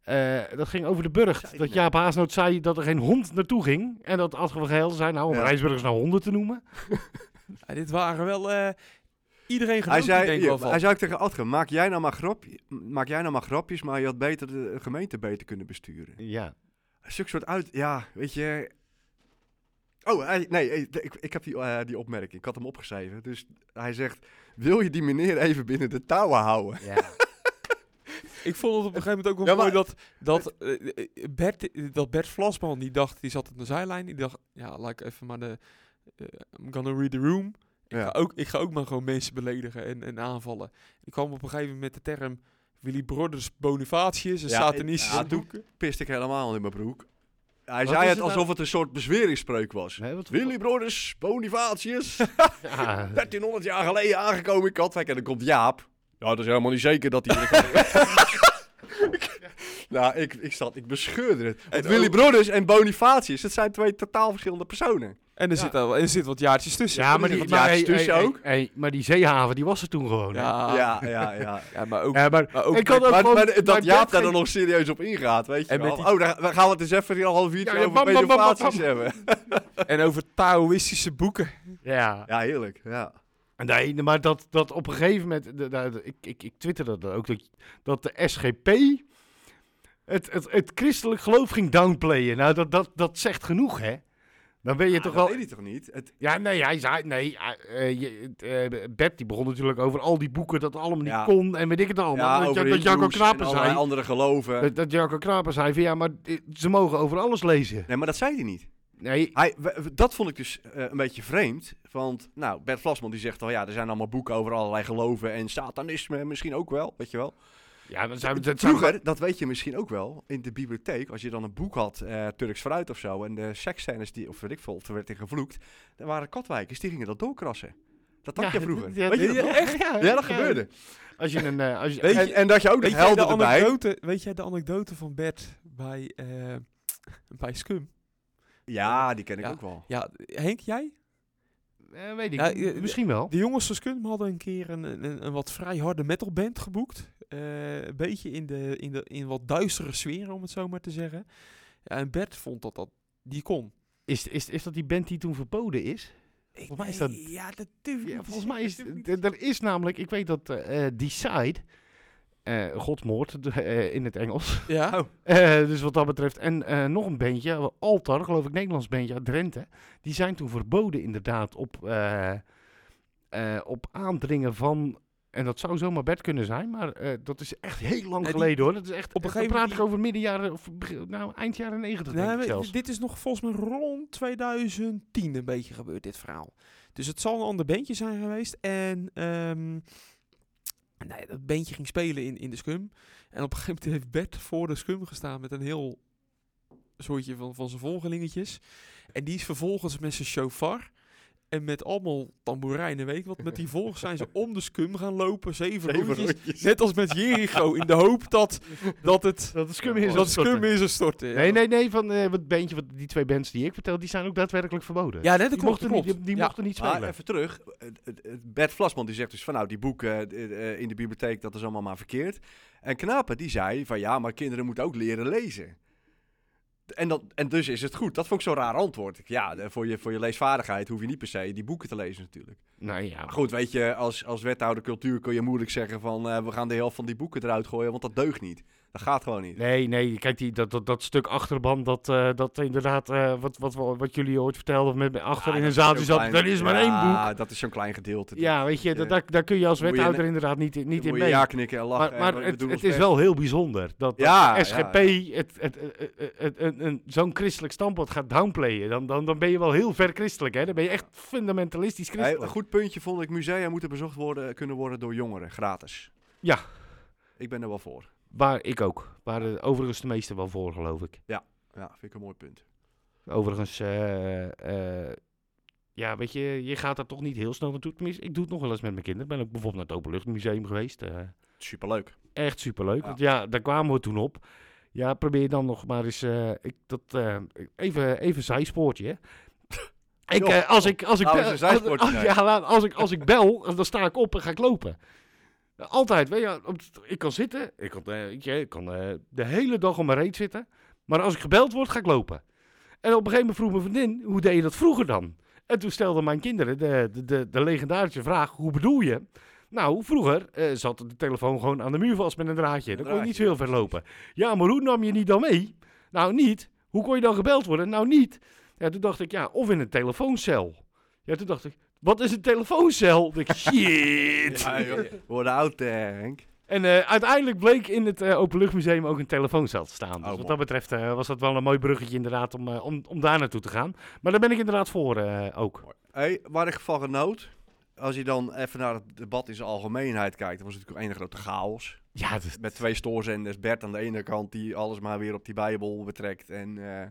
Speaker 3: hij... eh, dat ging over de burcht.
Speaker 5: Zei
Speaker 3: Dat
Speaker 5: hij
Speaker 3: Jaap Haasnoot zei dat er geen hond naartoe ging. En dat Adger van Helden zei, nou, om
Speaker 5: Ja.
Speaker 3: Rijsburgers nou honden te noemen.
Speaker 4: ja, dit waren wel... eh, iedereen
Speaker 5: hij,
Speaker 4: genoot die
Speaker 5: zei,
Speaker 4: denk ik wel van.
Speaker 5: hij zei ook tegen Adger, maak jij, nou maar grap, maak jij nou maar grapjes, maar je had beter de gemeente beter kunnen besturen.
Speaker 3: Ja.
Speaker 5: Zulke soort uit... Ja, weet je... Oh, hij- nee, eh, ik, ik heb die, eh, die opmerking. Ik had hem opgeschreven. Dus hij zegt, wil je die meneer even binnen de touwen houden?
Speaker 4: Ik vond het op een gegeven moment ook wel
Speaker 5: Ja,
Speaker 4: mooi
Speaker 5: maar-
Speaker 4: dat, dat, eh, eh, Bert, eh, dat Bert Vlasman, die dacht, die zat op de zijlijn, die dacht, ja, laat ik even maar de, eh, I'm gonna read the room. Ik, ga
Speaker 5: Ja.
Speaker 4: ook, ik ga ook maar gewoon mensen beledigen en, en aanvallen. Ik kwam op een gegeven moment met de term Willy Brothers Bonifatius en
Speaker 5: Ja,
Speaker 4: Satanistisch.
Speaker 5: ja, toen piste ik helemaal in mijn broek. Hij
Speaker 3: Wat
Speaker 5: zei
Speaker 3: is
Speaker 5: het
Speaker 3: het nou?
Speaker 5: alsof het een soort bezweringsspreuk was.
Speaker 3: Nee, wat-
Speaker 5: Willy Brothers, Bonifatius,
Speaker 3: Ja.
Speaker 5: 1300 jaar geleden aangekomen in Katwijk. En dan komt Jaap. Ja, dat is helemaal niet zeker dat hij... nou, ik, ik zat, ik bescheurde het. Want
Speaker 4: En
Speaker 5: Willy
Speaker 4: ook-
Speaker 5: Brothers en Bonifatius, dat zijn twee totaal verschillende personen.
Speaker 4: En er,
Speaker 3: Ja.
Speaker 4: Zit al, er zit wat jaartjes tussen.
Speaker 3: Ja, maar die,
Speaker 5: het
Speaker 3: maar,
Speaker 5: jaartje
Speaker 3: hey,
Speaker 5: tussen
Speaker 3: hey,
Speaker 5: ook.
Speaker 3: hey, hey, maar die zeehaven, die was er toen gewoon. hè?
Speaker 4: Ja, ja.
Speaker 5: Ja, ja, ja.
Speaker 4: maar ook...
Speaker 3: maar,
Speaker 4: Maar ook
Speaker 3: ik had ook
Speaker 5: Maar,
Speaker 3: gewoon-
Speaker 5: Ah. maar dat
Speaker 3: maar
Speaker 5: Jaap
Speaker 3: Bert
Speaker 5: daar
Speaker 3: ging-
Speaker 5: dan nog serieus op ingaat, weet je
Speaker 4: En
Speaker 5: wel.
Speaker 4: met die-
Speaker 5: Oh, daar, daar gaan we het eens even die half uurtje
Speaker 3: Ja, ja,
Speaker 5: over
Speaker 3: bam, bam, bam, bam,
Speaker 5: pedofaties hebben.
Speaker 4: En over Taoïstische boeken.
Speaker 3: Ja.
Speaker 5: Ja, heerlijk. Ja.
Speaker 3: Nee, maar dat, dat op een gegeven moment, de- de- de- ik, ik, ik twitterde dat ook, dat, dat de SGP het, het, het christelijk geloof ging downplayen. Nou, dat, dat, dat zegt genoeg, hè? Dan ben je
Speaker 5: Ah,
Speaker 3: toch
Speaker 5: dat
Speaker 3: wel...
Speaker 5: weet hij toch niet? Het,
Speaker 3: Ja, nee, hij zei, nee, eh, eh, je- eh, Bert die begon natuurlijk over al die boeken, dat het allemaal niet
Speaker 5: Ja.
Speaker 3: kon en weet ik het allemaal.
Speaker 5: ja,
Speaker 3: dat,
Speaker 5: over
Speaker 3: dat,
Speaker 5: de
Speaker 3: dat Jaco
Speaker 5: Hindoes en
Speaker 3: Knapen
Speaker 5: allerlei
Speaker 3: zei,
Speaker 5: andere geloven.
Speaker 3: dat, dat Jaco Knapen zei van ja, maar eh, ze mogen over alles lezen.
Speaker 5: Nee, maar dat zei hij niet.
Speaker 3: Nee,
Speaker 5: Hij, we- we- dat vond ik dus eh, een beetje vreemd. Want nou, Bert Vlasman die zegt al, ja, er zijn allemaal boeken over allerlei geloven en satanisme misschien ook wel, weet je wel.
Speaker 3: ja, dan zijn we... dat zijn we-
Speaker 5: Vroeger, dat weet je misschien ook wel, in de bibliotheek, als je dan een boek had, eh, Turks Fruit of zo, en de seksscènes die, of weet ik veel, of er werd in gevloekt, dan waren katwijkers, die gingen dat doorkrassen. Dat
Speaker 3: Ja,
Speaker 5: had je vroeger.
Speaker 3: ja,
Speaker 5: weet je
Speaker 3: ja,
Speaker 5: dat nog?
Speaker 3: echt? Ja,
Speaker 5: Ja, dat gebeurde.
Speaker 3: Als je een... eh, als je,
Speaker 4: Weet je-
Speaker 5: En, en dat je ook nog
Speaker 4: Weet jij, de
Speaker 5: helden erbij.
Speaker 4: anekdote, weet jij de anekdote van Bert bij, eh, bij Scum?
Speaker 5: Ja, die ken ik
Speaker 4: Ja.
Speaker 5: ook wel.
Speaker 4: Ja, Henk, jij?
Speaker 3: eh, weet ik
Speaker 4: Ja,
Speaker 3: niet.
Speaker 4: eh,
Speaker 3: Misschien wel.
Speaker 4: De jongens van Scum hadden een keer een, een, een wat vrij harde metalband geboekt. Eh, een beetje in, de, in, de, in wat duistere sfeer, om het zo maar te zeggen. Ja, en Bert vond dat dat die kon.
Speaker 3: Is, is, is dat die band die toen verboden is? Volgens mij is dat-
Speaker 4: Ja, dat durf ik
Speaker 3: Ja,
Speaker 4: niet te
Speaker 3: volgens
Speaker 4: zeggen,
Speaker 3: mij is...
Speaker 4: dat durf ik niet te
Speaker 3: d- Er is namelijk... Ik weet dat eh eh, Decide... eh, Godsmoord de- eh, in het Engels.
Speaker 4: zeggen. Ja,
Speaker 3: Eh, dus wat dat betreft. En eh, nog een bandje, Altar, geloof ik, Nederlands bandje uit Drenthe. Die zijn toen verboden inderdaad op, eh, eh, op aandringen van... En dat zou zomaar Bert kunnen zijn, maar eh, dat is echt heel lang
Speaker 4: Ja, die-
Speaker 3: geleden hoor. Dat is echt,
Speaker 4: op een
Speaker 3: eh,
Speaker 4: gegeven
Speaker 3: dan praat
Speaker 4: moment
Speaker 3: ik over middenjaren, of begin- nou, eind jaren negentig
Speaker 4: Nee,
Speaker 3: denk ik
Speaker 4: maar
Speaker 3: zelfs.
Speaker 4: dit- dit is nog volgens mij rond 2010 een beetje gebeurd, dit verhaal. Dus het zal een ander bandje zijn geweest. En ehm, nou ja, dat bandje ging spelen in, in de scum. En op een gegeven moment heeft Bert voor de scum gestaan met een heel soortje van, van zijn volgelingetjes. En die is vervolgens met zijn shofar... En met allemaal tamboerijnen, weet ik wat. Met die volgens zijn ze om de scum gaan lopen. Zeven,
Speaker 5: Even
Speaker 4: rondjes.
Speaker 5: rondjes.
Speaker 4: Net als met Jericho. In de hoop dat, dat het
Speaker 3: Dat is Scum
Speaker 5: is
Speaker 4: dat scum in ze storten.
Speaker 3: Nee, nee, nee, van eh, het bandje, wat, die twee bands die ik vertel, die zijn ook daadwerkelijk verboden.
Speaker 4: Ja, net
Speaker 3: die
Speaker 4: dat klopt.
Speaker 3: mochten,
Speaker 4: dat klopt.
Speaker 3: Niet, die, die
Speaker 4: Ja.
Speaker 3: mochten niet
Speaker 5: Maar
Speaker 3: spelen.
Speaker 5: even terug, eh, eh, eh, Bert Vlasman die zegt dus van nou die boeken eh, eh, in de bibliotheek dat is allemaal maar verkeerd. En Knapen die zei van ja maar kinderen moeten ook leren lezen. En, dat, en dus is het goed. Dat vond ik zo'n raar antwoord. Ik, Ja, eh, voor je, voor je leesvaardigheid hoef je niet per se die boeken te lezen natuurlijk.
Speaker 3: nou ja,
Speaker 5: Maar goed, weet je, als, als wethouder cultuur kun je moeilijk zeggen van eh, we gaan de helft van die boeken eruit gooien, want dat deugt niet. Dat gaat gewoon niet.
Speaker 3: Nee, nee, kijk, die, dat, dat, dat stuk achterban, dat, eh, dat inderdaad, eh, wat, wat, wat, wat jullie ooit vertelden, met, met achter
Speaker 5: Ah,
Speaker 3: in een zaaltje zat, er is maar één boek.
Speaker 5: Ja, dat is zo'n klein gedeelte.
Speaker 3: Ja, weet je, dat,
Speaker 5: eh,
Speaker 3: daar, daar kun je als
Speaker 5: moet je
Speaker 3: wethouder inderdaad niet, niet
Speaker 5: Dan
Speaker 3: in
Speaker 5: moet je
Speaker 3: mee.
Speaker 5: ja knikken en lachen.
Speaker 3: maar
Speaker 5: en we
Speaker 3: maar het,
Speaker 5: doen
Speaker 3: het
Speaker 5: ons
Speaker 3: is
Speaker 5: best.
Speaker 3: wel heel bijzonder dat, dat
Speaker 5: Ja, ja,
Speaker 3: SGP Het, het, het, het- een- een- zo'n christelijk standpunt gaat downplayen. Dan, dan, dan ben je wel heel ver christelijk, hè? Dan ben je echt fundamentalistisch
Speaker 5: Hey,
Speaker 3: christelijk.
Speaker 5: een goed puntje vond ik, musea moeten bezocht worden, kunnen worden door jongeren, gratis.
Speaker 3: Ja.
Speaker 5: Ik ben er wel voor.
Speaker 3: Waar ik ook. Waar eh, overigens de meesten wel voor, geloof ik.
Speaker 5: Ja, vind ik een mooi punt.
Speaker 3: Overigens, eh, eh, ja, weet je, je gaat daar toch niet heel snel naartoe. Tenminste, ik doe het nog wel eens met mijn kinderen. Ik ben ook bijvoorbeeld naar het Openluchtmuseum geweest. eh,
Speaker 5: Superleuk.
Speaker 3: echt superleuk.
Speaker 5: Ja.
Speaker 3: Want ja, daar kwamen we toen op. Ja, probeer dan nog maar eens. eh, ik, dat, eh, even, even zijspoortje. hè. Ik,
Speaker 5: Joh,
Speaker 3: eh, als ik, als ik,
Speaker 5: laten we
Speaker 3: bel-
Speaker 5: eens een zijspoortje
Speaker 3: als- als-
Speaker 5: nemen.
Speaker 3: ja, laat- als, ik, als ik bel, dan sta ik op en ga ik lopen. Altijd, weet je, op- ik kan zitten, ik kan, eh, weet je, ik kan eh, de hele dag om mijn reet zitten. Maar als ik gebeld word, ga ik lopen. En op een gegeven moment vroeg mijn vriendin, hoe deed je dat vroeger dan? En toen stelden mijn kinderen de, de, de, de legendarische vraag, hoe bedoel je? Nou, vroeger eh, zat de telefoon gewoon aan de muur vast met een draadje. Dan kon je niet zo heel ver lopen. Ja, maar hoe nam je die dan mee? Nou, niet. Hoe kon je dan gebeld worden? Nou, niet. Ja, toen dacht ik, ja, of in een telefooncel. Ja, toen dacht ik, wat is een telefooncel? Dacht ik, shit.
Speaker 5: Ja, joh. We worden oud, eh, Henk.
Speaker 3: En eh, uiteindelijk bleek in het eh, Openluchtmuseum ook een telefooncel te staan. Dus
Speaker 5: Oh,
Speaker 3: wat
Speaker 5: mooi.
Speaker 3: dat betreft eh, was dat wel een mooi bruggetje inderdaad om, eh, om, om daar naartoe te gaan. Maar daar ben ik inderdaad voor eh, ook.
Speaker 5: Hey, waar ik van genoot, als je dan even naar het debat in zijn algemeenheid kijkt, dan was het natuurlijk een grote chaos.
Speaker 3: Ja, dat is-
Speaker 5: Met twee stoorzenders, Bert aan de ene kant die alles maar weer op die Bijbel betrekt en... eh,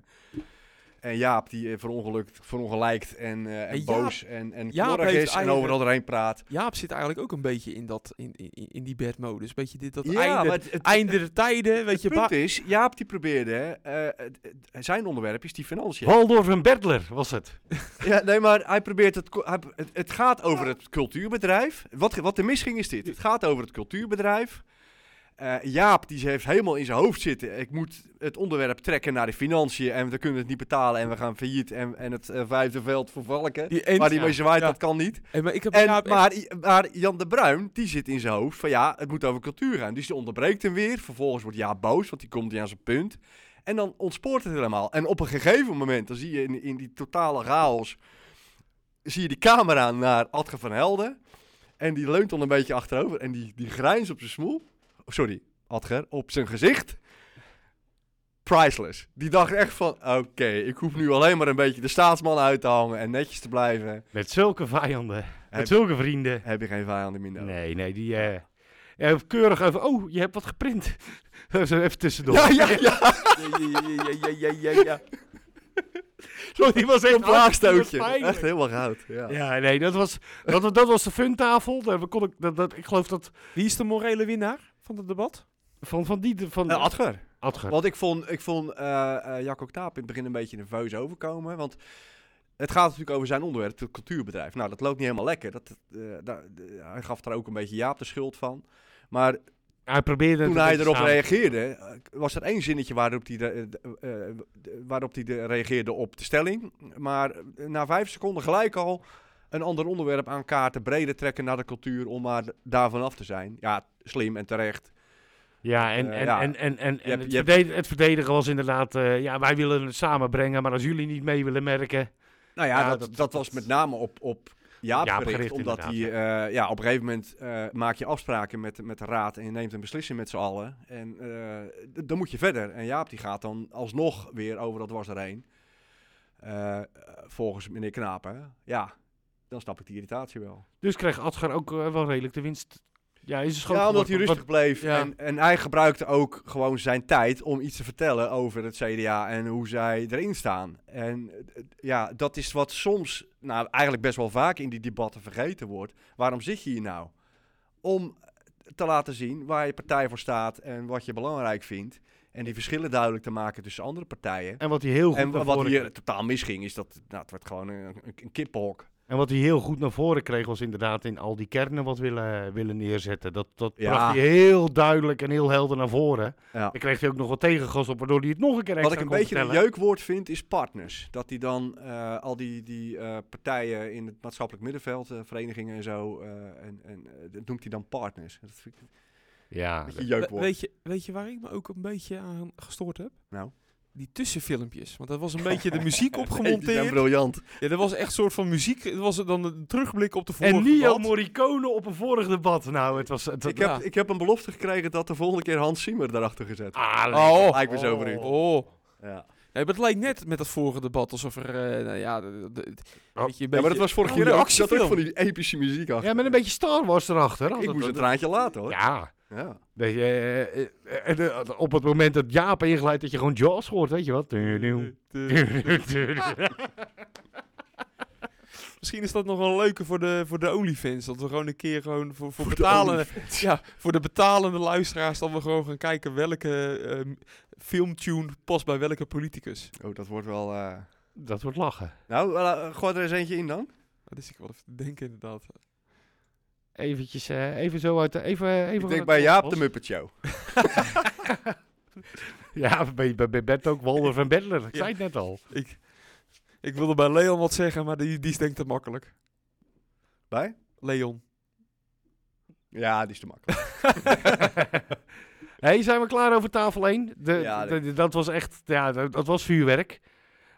Speaker 5: en Jaap die eh, verongelukt, verongelijkt en, eh, en,
Speaker 4: En Jaap-
Speaker 5: boos en, en
Speaker 4: Jaap
Speaker 5: knorrig
Speaker 4: heeft
Speaker 5: is en
Speaker 4: eigenlijk-
Speaker 5: overal doorheen praat.
Speaker 4: Jaap zit eigenlijk ook een beetje in, dat, in, in, in die bedmodus. Beetje dit, dat
Speaker 5: Ja,
Speaker 4: einde,
Speaker 5: maar het- het-
Speaker 4: einde der tijden, weet je.
Speaker 5: Het
Speaker 4: ba-
Speaker 5: punt is, Jaap die probeerde, eh, het- het- zijn onderwerp is die financiën.
Speaker 3: Waldorf en Bertler was het.
Speaker 5: Ja, nee, maar hij probeert het, co- hij pro- het, het gaat over het cultuurbedrijf. Wat, wat er misging is dit, het gaat over het cultuurbedrijf. Eh, Jaap die heeft helemaal in zijn hoofd zitten, ik moet het onderwerp trekken naar de financiën en we kunnen het niet betalen en we gaan failliet en, en het eh, vijfde veld voor valken.
Speaker 4: Die ent-
Speaker 5: Waar die mee zwaait,
Speaker 4: ja.
Speaker 5: dat kan niet.
Speaker 4: Hey, maar ik heb
Speaker 5: En,
Speaker 4: Jaap echt-
Speaker 5: maar, maar Jan de Bruin, die zit in zijn hoofd van ja, het moet over cultuur gaan. Dus die onderbreekt hem weer. Vervolgens wordt Jaap boos, want die komt niet aan zijn punt. En dan ontspoort het helemaal. En op een gegeven moment, dan zie je in, in die totale chaos... zie je die camera naar Adge van Helden. En die leunt dan een beetje achterover. En die, die grijns op zijn smoel. oh, Sorry, Adger, op zijn gezicht. priceless. Die dacht echt van, oké, ik hoef nu alleen maar een beetje de staatsman uit te hangen en netjes te blijven.
Speaker 3: Met zulke vijanden.
Speaker 5: Heb-
Speaker 3: Met zulke vrienden.
Speaker 5: Heb je geen vijanden meer nodig.
Speaker 3: Nee, nee, die... eh, eh, keurig even... Oh, je hebt wat geprint. Zo even tussendoor.
Speaker 5: Ja, ja, ja.
Speaker 6: ja, ja, ja, ja, ja.
Speaker 3: Zo, die was echt
Speaker 5: Een blaagstootje.
Speaker 3: hartstikke pijnlijk.
Speaker 5: Echt helemaal goud. Ja.
Speaker 3: Ja, nee, dat was, dat, was- dat was de funtafel. Daar kon ik, dat, dat, ik geloof dat
Speaker 6: Wie is de morele winnaar van het debat?
Speaker 3: van, van die... Van,
Speaker 5: Eh, Adger.
Speaker 3: Adger.
Speaker 5: Want ik vond, ik vond eh eh Jacco Knaap in het begin een beetje nerveus overkomen. Want het gaat natuurlijk over zijn onderwerp, het cultuurbedrijf. Nou, dat loopt niet helemaal lekker. Dat, eh, daar- eh, hij gaf er ook een beetje Jaap de schuld van. Maar
Speaker 3: Hij probeerde... het
Speaker 5: toen
Speaker 3: een
Speaker 5: hij
Speaker 3: beetje
Speaker 5: erop
Speaker 3: samen-
Speaker 5: reageerde, eh, was er één zinnetje waarop hij, de, eh, eh, eh, waarop hij de, reageerde op de stelling. Maar eh, na vijf seconden gelijk al een ander onderwerp aan kaarten, breder trekken naar de cultuur om maar daarvan af te zijn. Ja, slim en terecht.
Speaker 3: Ja, en,
Speaker 5: Eh,
Speaker 3: en,
Speaker 5: ja.
Speaker 3: en, en, en,
Speaker 5: Je hebt-
Speaker 3: het,
Speaker 5: je hebt-
Speaker 3: verdedigen, het verdedigen was inderdaad... eh, ja, wij willen het samenbrengen, maar als jullie niet mee willen merken...
Speaker 5: Nou ja,
Speaker 3: Ja,
Speaker 5: dat, dat,
Speaker 3: dat-
Speaker 5: was met name op, op Jaap,
Speaker 3: Jaap
Speaker 5: gericht,
Speaker 3: gericht,
Speaker 5: omdat hij, eh, ja, op een gegeven moment eh, maak je afspraken met, met de raad en je neemt een beslissing met z'n allen. En eh, d- dan moet je verder. En Jaap die gaat dan alsnog weer over dat was erheen. Eh, volgens meneer Knaap, hè. Ja, dan snap ik die irritatie wel.
Speaker 3: Dus kreeg Adger ook eh, wel redelijk de winst. Ja, hij is schoon
Speaker 5: ja, omdat hij
Speaker 3: geworden.
Speaker 5: rustig bleef.
Speaker 6: ja.
Speaker 5: En, en hij gebruikte ook gewoon zijn tijd om iets te vertellen over het CDA en hoe zij erin staan. En eh, ja, dat is wat soms, nou eigenlijk best wel vaak in die debatten vergeten wordt. Waarom zit je hier nou? Om te laten zien waar je partij voor staat en wat je belangrijk vindt. En die verschillen duidelijk te maken tussen andere partijen.
Speaker 3: En wat hij heel goed
Speaker 5: En
Speaker 3: naar
Speaker 5: wa- wat eh,
Speaker 3: voren
Speaker 5: hier totaal misging is dat nou, het werd gewoon een, een, een kippenhok.
Speaker 3: En wat hij heel goed naar voren kreeg was inderdaad in al die kernen wat willen, willen neerzetten. Dat, dat
Speaker 5: Ja.
Speaker 3: bracht hij heel duidelijk en heel helder naar voren.
Speaker 5: Ja.
Speaker 3: Dan kreeg hij ook nog wat tegengas op, waardoor hij het nog een keer extra
Speaker 5: Wat ik een
Speaker 3: kon
Speaker 5: beetje een
Speaker 3: vertellen.
Speaker 5: jeukwoord vind, is partners. Dat die dan eh, al die, die eh, partijen in het maatschappelijk middenveld, eh, verenigingen en zo, eh, en, en eh, dat noemt hij dan partners. Dat vind ik een
Speaker 3: Ja,
Speaker 5: beetje een
Speaker 6: We-
Speaker 5: jeukwoord.
Speaker 6: Ah, weet, je, weet je waar ik me ook een beetje aan gestoord heb?
Speaker 5: Nou?
Speaker 6: Die tussenfilmpjes. Want dat was een beetje de muziek
Speaker 5: Nee, die zijn
Speaker 6: opgemonteerd.
Speaker 5: briljant.
Speaker 6: ja, dat was echt een soort van muziek. Dat was dan een terugblik op de vorige
Speaker 3: en Nio
Speaker 6: debat.
Speaker 3: Morricone op een vorig debat. Nou, het was... Het,
Speaker 5: Ik
Speaker 3: ja.
Speaker 5: heb, ik heb een belofte gekregen dat de volgende keer Hans Siemer erachter gezet.
Speaker 3: Ah, lekker.
Speaker 6: Oh,
Speaker 5: Lijkt me zo verrukt.
Speaker 6: oh.
Speaker 5: Ja.
Speaker 6: Nee, maar het lijkt net met dat vorige debat alsof er, eh, nou ja, de- de- de-
Speaker 3: Oh.
Speaker 6: weet je, een
Speaker 5: ja, maar dat
Speaker 6: beetje-
Speaker 5: was vorige
Speaker 6: goede
Speaker 5: keer ook. Dat
Speaker 6: actiefilm.
Speaker 5: ook van die epische muziek achter.
Speaker 3: Ja, met een beetje Star Wars erachter. Had
Speaker 5: ik
Speaker 3: het-
Speaker 5: moest een traantje laten hoor. Ja.
Speaker 3: Ja. Weet je, eh, eh, eh, eh, op het moment dat Jaap ingeleidt dat je gewoon Jaws hoort, weet je wat?
Speaker 6: eh, Misschien is dat nog wel leuker voor de, voor de OnlyFans. Dat we gewoon een keer gewoon voor, voor,
Speaker 5: de
Speaker 6: betalende, ja, voor de betalende luisteraars... dat we gewoon gaan kijken welke ehm, filmtune past bij welke politicus.
Speaker 5: Oh, dat wordt wel... eh,
Speaker 3: Dat wordt lachen.
Speaker 5: Nou, eh, gooi er eens eentje in dan.
Speaker 6: Dat is ik wel even te denken inderdaad.
Speaker 3: Eventjes, eh, even zo uit de... Even, even
Speaker 5: Ik denk bij Jaap de Muppet Show.
Speaker 3: Ja, bij, bij, bij Bert ook Waldorf en Bedler. Ik
Speaker 6: Ja.
Speaker 3: zei het net al.
Speaker 6: Ik, ik wilde bij Leon wat zeggen, maar die, die is denk ik te makkelijk.
Speaker 5: Bij?
Speaker 6: Leon.
Speaker 5: Ja, die is te makkelijk.
Speaker 3: hey, zijn we klaar over tafel 1? De,
Speaker 5: Ja,
Speaker 3: de- dat was echt... Ja, dat, dat was vuurwerk.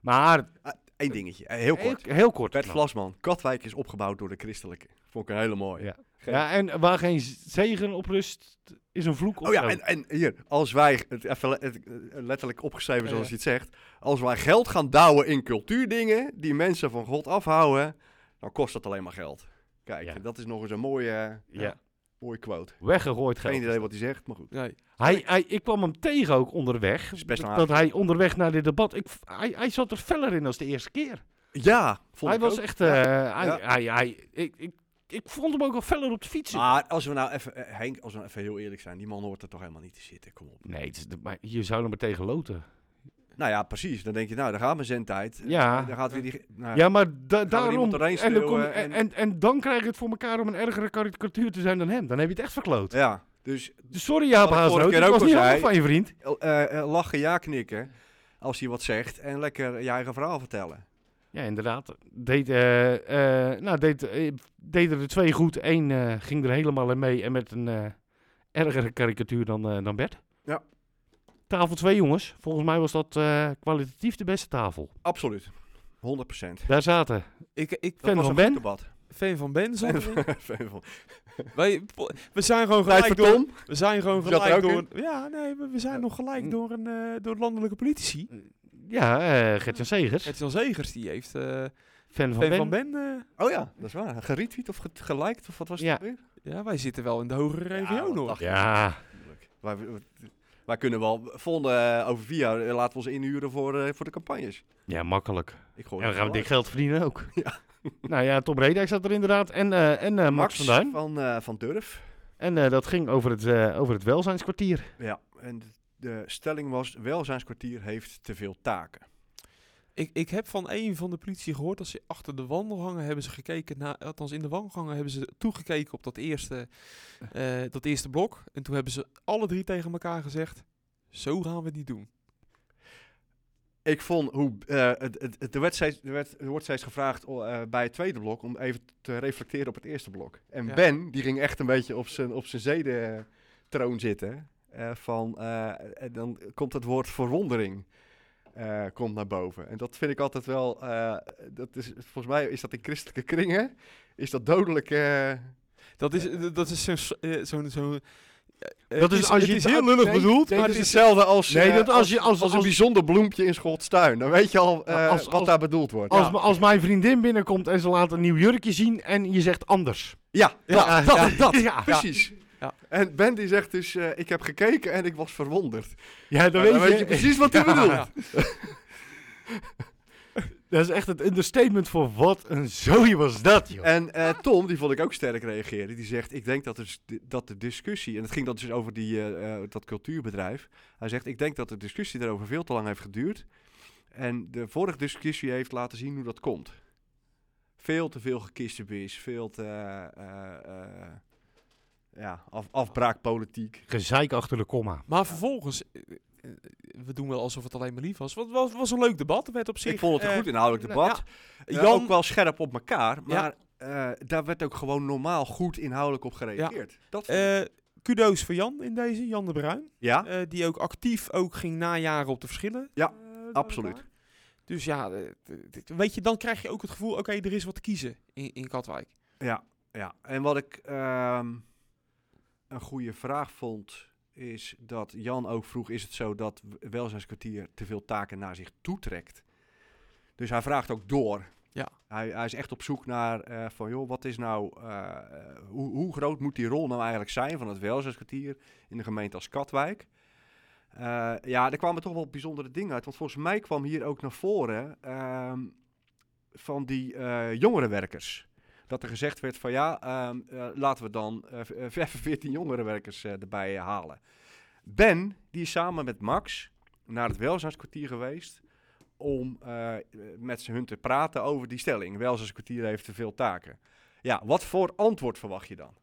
Speaker 3: Maar...
Speaker 5: Eén dingetje, eh, heel kort.
Speaker 3: Heel, heel kort.
Speaker 5: Bert
Speaker 3: Nou.
Speaker 5: Vlasman, Katwijk is opgebouwd door de christelijke. Vond ik een hele mooie.
Speaker 3: Ja. Ja, en waar geen zegen op rust, is een vloek op
Speaker 5: Oh ja,
Speaker 3: zo.
Speaker 5: en, en hier, als wij, het, even le- het, eh, letterlijk opgeschreven
Speaker 6: Ja,
Speaker 5: zoals
Speaker 6: ja.
Speaker 5: je het zegt, als wij geld gaan douwen in cultuurdingen die mensen van God afhouden, dan kost dat alleen maar geld. Kijk,
Speaker 3: Ja.
Speaker 5: en dat is nog eens een mooie, eh,
Speaker 3: Ja.
Speaker 5: mooie quote.
Speaker 3: Weggegooid
Speaker 5: Geen
Speaker 3: geld.
Speaker 5: idee wat hij zegt, maar goed.
Speaker 6: Nee.
Speaker 3: Hij, hij, ik kwam hem tegen ook onderweg.
Speaker 5: Is best een
Speaker 3: dat hij onderweg naar dit debat. Ik, v- hij, hij zat er feller in als de eerste keer.
Speaker 5: Ja, vond
Speaker 3: Hij
Speaker 5: ik
Speaker 3: was
Speaker 5: ook.
Speaker 3: echt.
Speaker 5: Ja.
Speaker 3: eh, hij,
Speaker 5: Ja.
Speaker 3: hij, hij, ik, ik, ik vond hem ook al feller op de fietsen.
Speaker 5: Maar als we nou even, eh, Henk, als we nou even heel eerlijk zijn, die man hoort er toch helemaal niet te zitten, kom op.
Speaker 3: Nee, het is de- maar je zou hem maar tegen loten.
Speaker 5: Nou ja, precies. Dan denk je, nou, daar gaat mijn zendtijd. Eh,
Speaker 3: Ja.
Speaker 5: Dan gaat weer die... nou,
Speaker 3: Ja, maar da- daarom.
Speaker 5: iemand doorheen
Speaker 3: En dan, kom, je-
Speaker 5: schreeuwen
Speaker 3: en,
Speaker 5: en-
Speaker 3: en, en dan krijg je het voor elkaar om een ergere karikatuur te zijn dan hem. Dan heb je het echt verkloot.
Speaker 5: ja, dus
Speaker 3: Dus sorry, Jaap
Speaker 5: Wat ik vorige
Speaker 3: Haasrood.
Speaker 5: keer
Speaker 3: Ik
Speaker 5: ook
Speaker 3: was
Speaker 5: al
Speaker 3: niet
Speaker 5: zei.
Speaker 3: handig van je vriend.
Speaker 5: eh, eh, lachen, ja knikken. Als hij wat zegt. En lekker je eigen verhaal vertellen.
Speaker 3: Ja, inderdaad. Deed, eh, eh, nou, deed, eh, deden er twee goed. Eén eh, ging er helemaal in mee en met een eh, ergere karikatuur dan, eh, dan Bert.
Speaker 5: Ja.
Speaker 3: Tafel 2, jongens. Volgens mij was dat eh, kwalitatief de beste tafel.
Speaker 5: Absoluut. 100 procent.
Speaker 3: Daar zaten
Speaker 6: Ik, ik,
Speaker 3: Fan van
Speaker 5: was een goed
Speaker 3: Ben.
Speaker 5: debat.
Speaker 4: Fan van Ben, zat erin.
Speaker 5: Vevel.
Speaker 4: Wij- po- we zijn gewoon gelijk
Speaker 5: Gelijk
Speaker 4: door.
Speaker 5: Tom.
Speaker 4: We zijn gewoon
Speaker 5: Zat er
Speaker 4: gelijk
Speaker 5: ook Hm.
Speaker 4: door. Ja, nee, we, we zijn nog gelijk door een eh, door landelijke politici.
Speaker 3: Ja, eh Gert-Jan Segers.
Speaker 4: Het is Zegers die heeft eh
Speaker 3: Fan van
Speaker 4: Fan
Speaker 3: Ben.
Speaker 4: van Ben. eh,
Speaker 5: Oh ja, dat is waar. Geretweet of ge- geliked of wat was het
Speaker 3: Ja.
Speaker 5: ook weer?
Speaker 4: ja, wij zitten wel in de hogere regio
Speaker 5: wat
Speaker 4: nog.
Speaker 5: dacht ik.
Speaker 3: Ja,
Speaker 5: Wij, wij kunnen wel, volgende, eh, over vier jaar eh, laten we ons inhuren voor, eh, voor de campagnes.
Speaker 3: ja, makkelijk.
Speaker 5: Ik gooi
Speaker 3: En dan
Speaker 5: het
Speaker 3: gaan we
Speaker 5: wel
Speaker 3: dik geld verdienen ook.
Speaker 5: Ja.
Speaker 3: Nou ja, Tom Redijk zat er inderdaad. En, eh, en eh,
Speaker 5: uit.
Speaker 3: Max, van Duin.
Speaker 5: Van, eh, van Durf.
Speaker 3: En eh, dat ging over het, eh, over het welzijnskwartier.
Speaker 5: Ja, en de, de stelling was, welzijnskwartier heeft te veel taken.
Speaker 4: Ik, ik heb van een van de politie gehoord dat ze achter de wandelgangen hebben ze gekeken naar, althans in de wandelgangen hebben ze toegekeken op dat eerste, eh, dat eerste blok. En toen hebben ze alle drie tegen elkaar gezegd, zo gaan we het niet doen.
Speaker 5: Ik vond hoe. eh, het, het, het- er, werd steeds, er, werd, er wordt steeds gevraagd oh, eh, bij het tweede blok om even te reflecteren op het eerste blok. En
Speaker 4: Ja.
Speaker 5: Ben, die ging echt een beetje op zijn, op zijn zedentroon zitten. eh, van, eh, en dan komt het woord verwondering eh, komt naar boven. En dat vind ik altijd wel. eh, dat is, volgens mij is dat in christelijke kringen. Is dat dodelijk. eh,
Speaker 4: Dat is, eh, dat is zo'n... s- eh, zo'n zo'n- eh,
Speaker 3: Dat
Speaker 4: het
Speaker 3: is als je
Speaker 4: het is
Speaker 3: het
Speaker 4: heel
Speaker 3: a-
Speaker 4: lullig
Speaker 5: nee,
Speaker 4: bedoeld,
Speaker 5: nee,
Speaker 4: maar
Speaker 5: dat
Speaker 4: het
Speaker 5: is
Speaker 4: is...
Speaker 5: hetzelfde als,
Speaker 3: Nee,
Speaker 5: eh,
Speaker 3: dat als je- als-
Speaker 5: als een
Speaker 3: als-
Speaker 5: bijzonder bloempje in Schots tuin. Dan weet je al eh,
Speaker 3: Ja, als-
Speaker 5: wat
Speaker 3: als-
Speaker 5: daar bedoeld wordt.
Speaker 3: Als,
Speaker 5: Ja.
Speaker 3: m- als mijn vriendin binnenkomt en ze laat een nieuw jurkje zien en je zegt anders.
Speaker 5: Ja, dat,
Speaker 3: Ja,
Speaker 5: dat,
Speaker 3: ja,
Speaker 5: dat.
Speaker 3: ja.
Speaker 5: precies.
Speaker 4: Ja.
Speaker 5: En Ben die zegt dus, eh, ik heb gekeken en ik was verwonderd.
Speaker 3: Ja,
Speaker 5: Nou, dan weet je precies wat hij
Speaker 3: Ja.
Speaker 5: bedoelt.
Speaker 3: Ja. Dat is echt het understatement voor wat een zooi was dat, joh.
Speaker 5: En eh, Tom, die vond ik ook sterk reageren, die zegt, ik denk dat, dus, dat de discussie, en het ging dan dus over die, eh, eh, dat cultuurbedrijf. Hij zegt, ik denk dat de discussie daarover veel te lang heeft geduurd. En de vorige discussie heeft laten zien hoe dat komt. Veel te veel gekissenbis, veel te, eh, eh, eh, ja, af, afbraakpolitiek.
Speaker 3: Gezeik achter de komma.
Speaker 4: Maar vervolgens, eh, eh, we doen wel alsof het alleen maar lief was. Het was, was een leuk debat, er werd op zich...
Speaker 5: Ik vond het een
Speaker 4: eh,
Speaker 5: goed inhoudelijk
Speaker 4: nou,
Speaker 5: debat.
Speaker 4: ja,
Speaker 5: Jan...
Speaker 4: Jan,
Speaker 5: Eh, ook wel scherp op elkaar, maar eh, daar werd ook gewoon normaal goed inhoudelijk op gereageerd. Dat vond ik-
Speaker 4: eh, kudo's voor Jan in deze, Jan de Bruin.
Speaker 5: ja,
Speaker 4: Eh, die ook actief ook ging najaren op de verschillen.
Speaker 5: Ja,
Speaker 4: eh, daar en
Speaker 5: absoluut.
Speaker 4: daar. Dus ja, eh, d- d- weet je, dan krijg je ook het gevoel, oké, er is wat te kiezen in, in Katwijk.
Speaker 5: ja, ja. En wat ik ehm, een goede vraag vond, is dat Jan ook vroeg, is het zo dat w- welzijnskwartier te veel taken naar zich toetrekt? Dus hij vraagt ook door.
Speaker 4: Ja.
Speaker 5: Hij, hij is echt op zoek naar eh, van, joh, wat is nou, eh, eh, hoe, hoe groot moet die rol nou eigenlijk zijn van het welzijnskwartier in de gemeente als Katwijk? Eh, ja, er kwamen toch wel bijzondere dingen uit. Want volgens mij kwam hier ook naar voren ehm, van die eh, jongerenwerkers. Dat er gezegd werd van ja, ehm, eh, laten we dan eh, v- eh, even 14 jongerenwerkers eh, erbij eh, halen. Ben, die is samen met Max naar het welzijnskwartier geweest om eh, eh, met ze hun te praten over die stelling. Welzijnskwartier heeft te veel taken. Ja, wat voor antwoord verwacht je dan?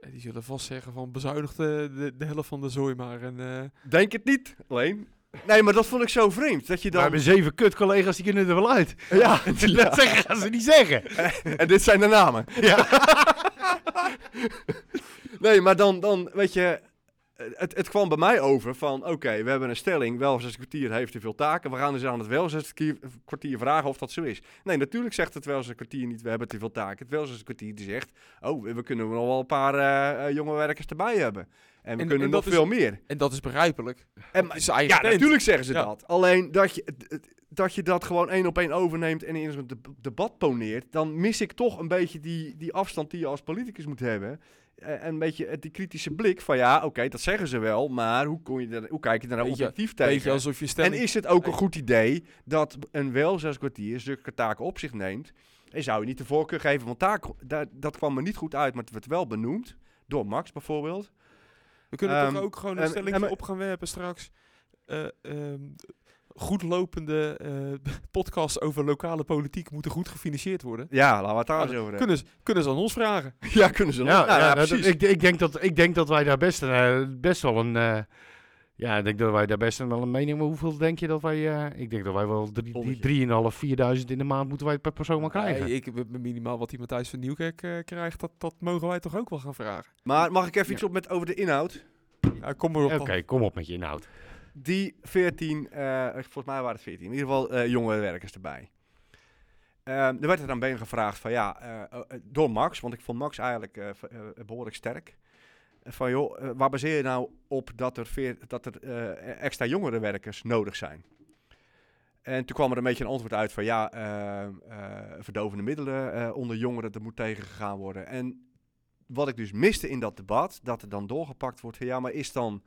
Speaker 4: En die zullen vast zeggen van bezuinig de, de, de helft van de zooi maar. En, eh,
Speaker 5: Denk het niet, alleen. Nee, maar dat vond ik zo vreemd. Dat je
Speaker 3: We
Speaker 5: dan...
Speaker 3: hebben zeven kut-collega's, die kunnen er wel uit.
Speaker 5: Ja,
Speaker 3: Dat zeggen, gaan ze niet zeggen.
Speaker 5: En dit zijn de namen.
Speaker 3: Ja.
Speaker 5: Nee, maar dan, dan weet je, het, het kwam bij mij over van, oké, we hebben een stelling, welzijnskwartier heeft te veel taken, we gaan dus aan het welzijnskwartier vragen of dat zo is. Nee, natuurlijk zegt het welzijnskwartier niet, we hebben te veel taken. Het welzijnskwartier die zegt, oh, we we kunnen nog wel een paar eh, eh, jonge werkers erbij hebben. En we
Speaker 4: En-
Speaker 5: kunnen
Speaker 4: en
Speaker 5: nog
Speaker 4: dat is-
Speaker 5: veel meer.
Speaker 4: en dat is begrijpelijk.
Speaker 5: En,
Speaker 4: Het is zijn eigen
Speaker 5: ja,
Speaker 4: tent.
Speaker 5: natuurlijk zeggen ze
Speaker 4: Ja.
Speaker 5: dat. Alleen dat je, het- het- dat je dat gewoon één op één overneemt en in zo'n deb- debat poneert, dan mis ik toch een beetje die, die afstand die je als politicus moet hebben. Eh, En een beetje het- die kritische blik van ja, oké, dat zeggen ze wel, maar hoe, kon je daar, hoe kijk je daar nou
Speaker 4: Beetje-
Speaker 5: objectief
Speaker 4: Beetje
Speaker 5: tegen?
Speaker 4: alsof je
Speaker 5: En
Speaker 4: stelling...
Speaker 5: is het ook een goed idee dat een welzijnskwartier zulke taken op zich neemt? En zou je niet de voorkeur geven? Want taak, daar, dat kwam er niet goed uit, maar het werd wel benoemd. Door Max bijvoorbeeld.
Speaker 4: we kunnen
Speaker 5: ehm,
Speaker 4: toch ook gewoon een
Speaker 5: en-
Speaker 4: stelling
Speaker 5: en we-
Speaker 4: op gaan werpen straks. Eh, ehm, goed lopende eh, podcasts over lokale politiek moeten goed gefinancierd worden.
Speaker 5: Ja, laten we het daar
Speaker 4: Ah,
Speaker 5: eens over hebben.
Speaker 4: Kunnen ze, kunnen ze aan ons vragen?
Speaker 5: Ja, kunnen ze nog.
Speaker 3: Ja,
Speaker 5: Nou,
Speaker 3: ja,
Speaker 5: ja,
Speaker 3: dat-
Speaker 5: precies.
Speaker 3: ik, ik, denk dat, ik denk dat wij daar best, eh, best wel een... eh, ja, ik denk dat wij daar best wel een mening hebben. Hoeveel denk je dat wij... eh, ik denk dat wij wel drie-
Speaker 5: Tonnetje.
Speaker 3: drie- 3.500, 4.000 in de maand moeten wij per persoon maar krijgen.
Speaker 4: Nee, ik, m- minimaal wat die Matthijs van Nieuwkerk eh, krijgt, dat, dat mogen wij toch ook wel gaan vragen.
Speaker 5: Maar mag ik even iets op met over de inhoud?
Speaker 4: Ja, kom maar op
Speaker 3: Oké,
Speaker 4: dan.
Speaker 3: kom op met je inhoud.
Speaker 5: Die 14, eh, volgens mij waren het 14, in ieder geval eh jonge werkers erbij. Ehm, er werd er aan Ben gevraagd van ja, eh, eh, door Max, want ik vond Max eigenlijk eh, v- eh, behoorlijk sterk. Eh, Van joh, eh, waar baseer je nou op dat er, veer- dat er eh, extra jongere werkers nodig zijn? En toen kwam er een beetje een antwoord uit van ja, ehm, eh, verdovende middelen eh, onder jongeren, dat moet tegengegaan worden. En wat ik dus miste in dat debat, dat er dan doorgepakt wordt van ja, maar is dan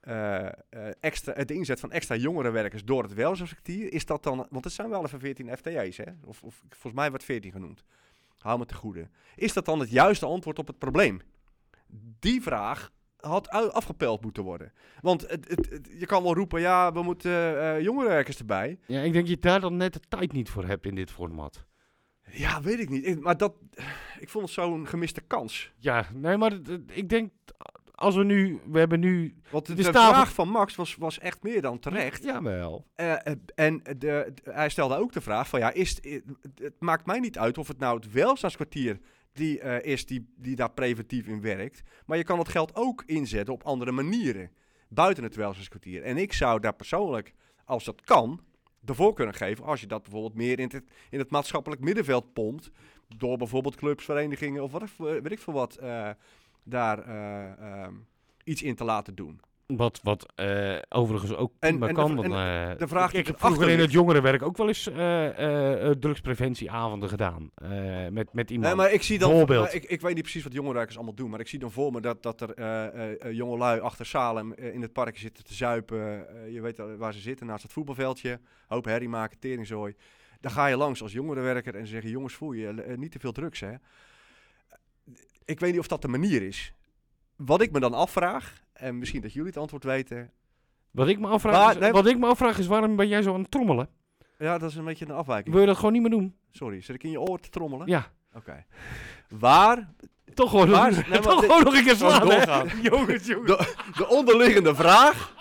Speaker 5: eh, eh, extra, het inzet van extra jongerenwerkers door het welzijnsvertier, is dat dan, want het zijn wel even 14 FTE's, hè? Of, of volgens mij werd 14 genoemd. Hou me te goede. Is dat dan het juiste antwoord op het probleem? Die vraag had u- afgepeld moeten worden. Want het, het- het- je kan wel roepen, ja, we moeten eh, eh, jongerenwerkers erbij.
Speaker 3: Ja, ik denk dat je daar dan net de tijd niet voor hebt in dit format.
Speaker 5: Ja, weet ik niet. Ik- maar dat, ik vond het zo'n gemiste kans.
Speaker 3: Ja, nee, maar het- het- ik denk, als we nu, we hebben nu...
Speaker 5: Want de,
Speaker 3: Dus
Speaker 5: de
Speaker 3: daarom-
Speaker 5: vraag van Max was, was echt meer dan terecht.
Speaker 3: Jawel.
Speaker 5: Eh, eh, en de, de- hij stelde ook de vraag van ja, is, eh, het maakt mij niet uit of het nou het welzijnskwartier die, eh, is die, die daar preventief in werkt. Maar je kan het geld ook inzetten op andere manieren buiten het welzijnskwartier. En ik zou daar persoonlijk, als dat kan, de voorkeur aan geven als je dat bijvoorbeeld meer in het, in het maatschappelijk middenveld pompt. Door bijvoorbeeld clubs, verenigingen of wat, eh, weet ik veel wat, eh, daar eh, ehm, iets in te laten doen.
Speaker 3: Wat, wat eh, overigens ook
Speaker 5: En-
Speaker 3: prima
Speaker 5: en de
Speaker 3: kan.
Speaker 5: v-
Speaker 3: want,
Speaker 5: en
Speaker 3: eh,
Speaker 5: de vraag
Speaker 3: ik-
Speaker 5: die
Speaker 3: ik heb
Speaker 5: erachter
Speaker 3: vroeger in het
Speaker 5: ligt-
Speaker 3: jongerenwerk ook wel eens eh, eh, eh, drugspreventieavonden gedaan. eh, met, met iemand.
Speaker 5: Nee, maar ik zie dan.
Speaker 3: Bijvoorbeeld.
Speaker 5: maar Ik, ik weet niet precies wat jongerenwerkers allemaal doen. Maar ik zie dan voor me dat, dat er eh, eh, eh, jongelui achter Salem eh, in het park zitten te zuipen. Eh, je weet al waar ze zitten, naast het voetbalveldje. Hoop herrie maken, teringzooi. Dan ga je langs als jongerenwerker en ze zeggen: Jongens, voel je eh, niet te veel drugs, hè? Ik weet niet of dat de manier is. Wat ik me dan afvraag, en misschien dat jullie het antwoord weten.
Speaker 3: Wat ik me afvraag,
Speaker 5: Maar,
Speaker 3: is,
Speaker 5: nee,
Speaker 3: wat ik me afvraag is waarom ben jij zo aan het trommelen?
Speaker 5: Ja, dat is een beetje een afwijking.
Speaker 3: Wil je dat gewoon niet meer doen?
Speaker 5: Sorry, zit ik in je oor te trommelen?
Speaker 3: Ja.
Speaker 5: Oké. Waar
Speaker 3: Toch gewoon,
Speaker 5: Waar-
Speaker 3: nog,
Speaker 5: nee, maar
Speaker 3: toch
Speaker 5: dit-
Speaker 3: gewoon nog een keer slaan, hè?
Speaker 5: jongens, jongens. De, de onderliggende vraag.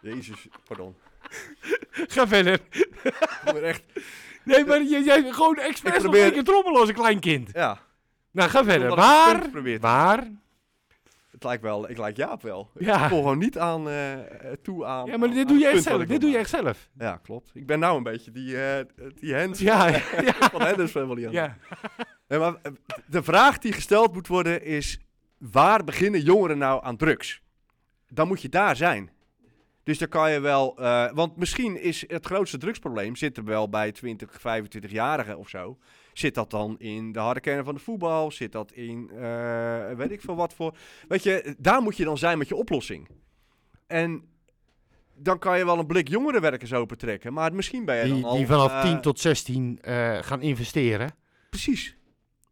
Speaker 5: Jezus, pardon.
Speaker 3: Ga verder.
Speaker 5: Ik ben echt.
Speaker 3: Nee, maar jij, jij gewoon expres
Speaker 5: Ik
Speaker 3: nog
Speaker 5: probeer-
Speaker 3: een keer trommelen als een klein kind.
Speaker 5: Ja.
Speaker 3: Nou, ga verder.
Speaker 5: Omdat ik het punt
Speaker 3: Waar?
Speaker 5: probeer.
Speaker 3: Waar?
Speaker 5: Het lijkt wel, ik lijk Jaap wel. Ik
Speaker 3: Ja.
Speaker 5: kom gewoon niet aan eh, eh, toe aan.
Speaker 3: Ja, maar
Speaker 5: aan-
Speaker 3: dit
Speaker 5: aan
Speaker 3: doe je echt
Speaker 5: het punt wat
Speaker 3: zelf. Dit
Speaker 5: ik wil
Speaker 3: doe je
Speaker 5: maken.
Speaker 3: echt zelf.
Speaker 5: Ja, klopt. Ik ben nou een beetje die, eh, die hands
Speaker 3: Ja, ja,
Speaker 5: van Henderson van Lian.
Speaker 3: ja.
Speaker 5: Nee, maar eh, de vraag die gesteld moet worden is: waar beginnen jongeren nou aan drugs? Dan moet je daar zijn. Dus dan kan je wel, eh, want misschien is het grootste drugsprobleem zit er wel bij 20, 25-jarigen of zo. Zit dat dan in de harde kern van de voetbal? Zit dat in, eh, weet ik veel wat voor? Weet je, daar moet je dan zijn met je oplossing. En dan kan je wel een blik jongerenwerkers open trekken, maar misschien ben je dan
Speaker 3: Die,
Speaker 5: al...
Speaker 3: die vanaf
Speaker 5: eh,
Speaker 3: 10 tot 16 eh, gaan investeren.
Speaker 5: Precies.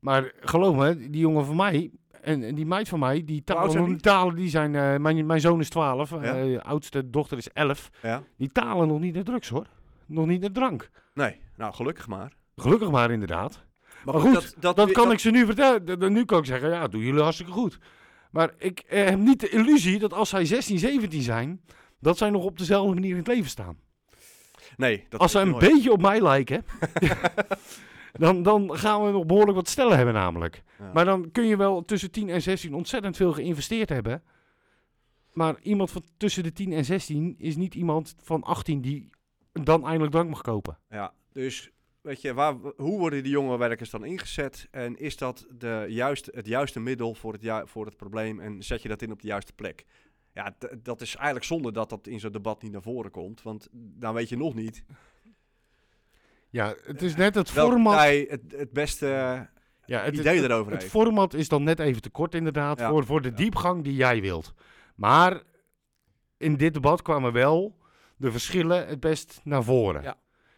Speaker 3: Maar geloof me, die jongen van mij en, en die meid van mij, die
Speaker 5: oud zijn
Speaker 3: talen, die?
Speaker 5: die?
Speaker 3: talen die zijn... eh, mijn, mijn zoon is 12, eh,
Speaker 5: Ja.
Speaker 3: de oudste dochter is 11.
Speaker 5: Ja.
Speaker 3: Die talen nog niet naar drugs, hoor. Nog niet naar drank.
Speaker 5: Nee, nou gelukkig maar.
Speaker 3: Gelukkig maar, inderdaad.
Speaker 5: Maar
Speaker 3: goed, Dat kan ik ze nu vertellen. D- d- Nu kan ik zeggen, ja, doen jullie hartstikke goed. Maar ik eh, heb niet de illusie dat als zij 16, 17 zijn, dat zij nog op dezelfde manier in het leven staan.
Speaker 5: Nee, dat
Speaker 3: als
Speaker 5: weet
Speaker 3: zij een
Speaker 5: ik nooit.
Speaker 3: beetje op mij lijken, dan, dan gaan we nog behoorlijk wat stellen hebben namelijk.
Speaker 5: Ja.
Speaker 3: Maar dan kun je wel tussen 10 en 16 ontzettend veel geïnvesteerd hebben. Maar iemand van tussen de 10 en 16 is niet iemand van 18 die dan eindelijk drank mag kopen.
Speaker 5: Ja, dus weet je, waar, hoe worden die jonge werkers dan ingezet? En is dat de juiste, het juiste middel voor het, ju- voor het probleem? En zet je dat in op de juiste plek? Ja, d- dat is eigenlijk zonde dat dat in zo'n debat niet naar voren komt. Want dan weet je nog niet
Speaker 3: Ja, het is net het
Speaker 5: welke
Speaker 3: format.
Speaker 5: partij het, het beste eh,
Speaker 3: Ja, het,
Speaker 5: idee erover
Speaker 3: Het
Speaker 5: heeft.
Speaker 3: format is dan net even te kort, inderdaad,
Speaker 5: Ja.
Speaker 3: voor, voor de diepgang die jij wilt. Maar in dit debat kwamen wel de verschillen het best naar voren.
Speaker 4: Ja.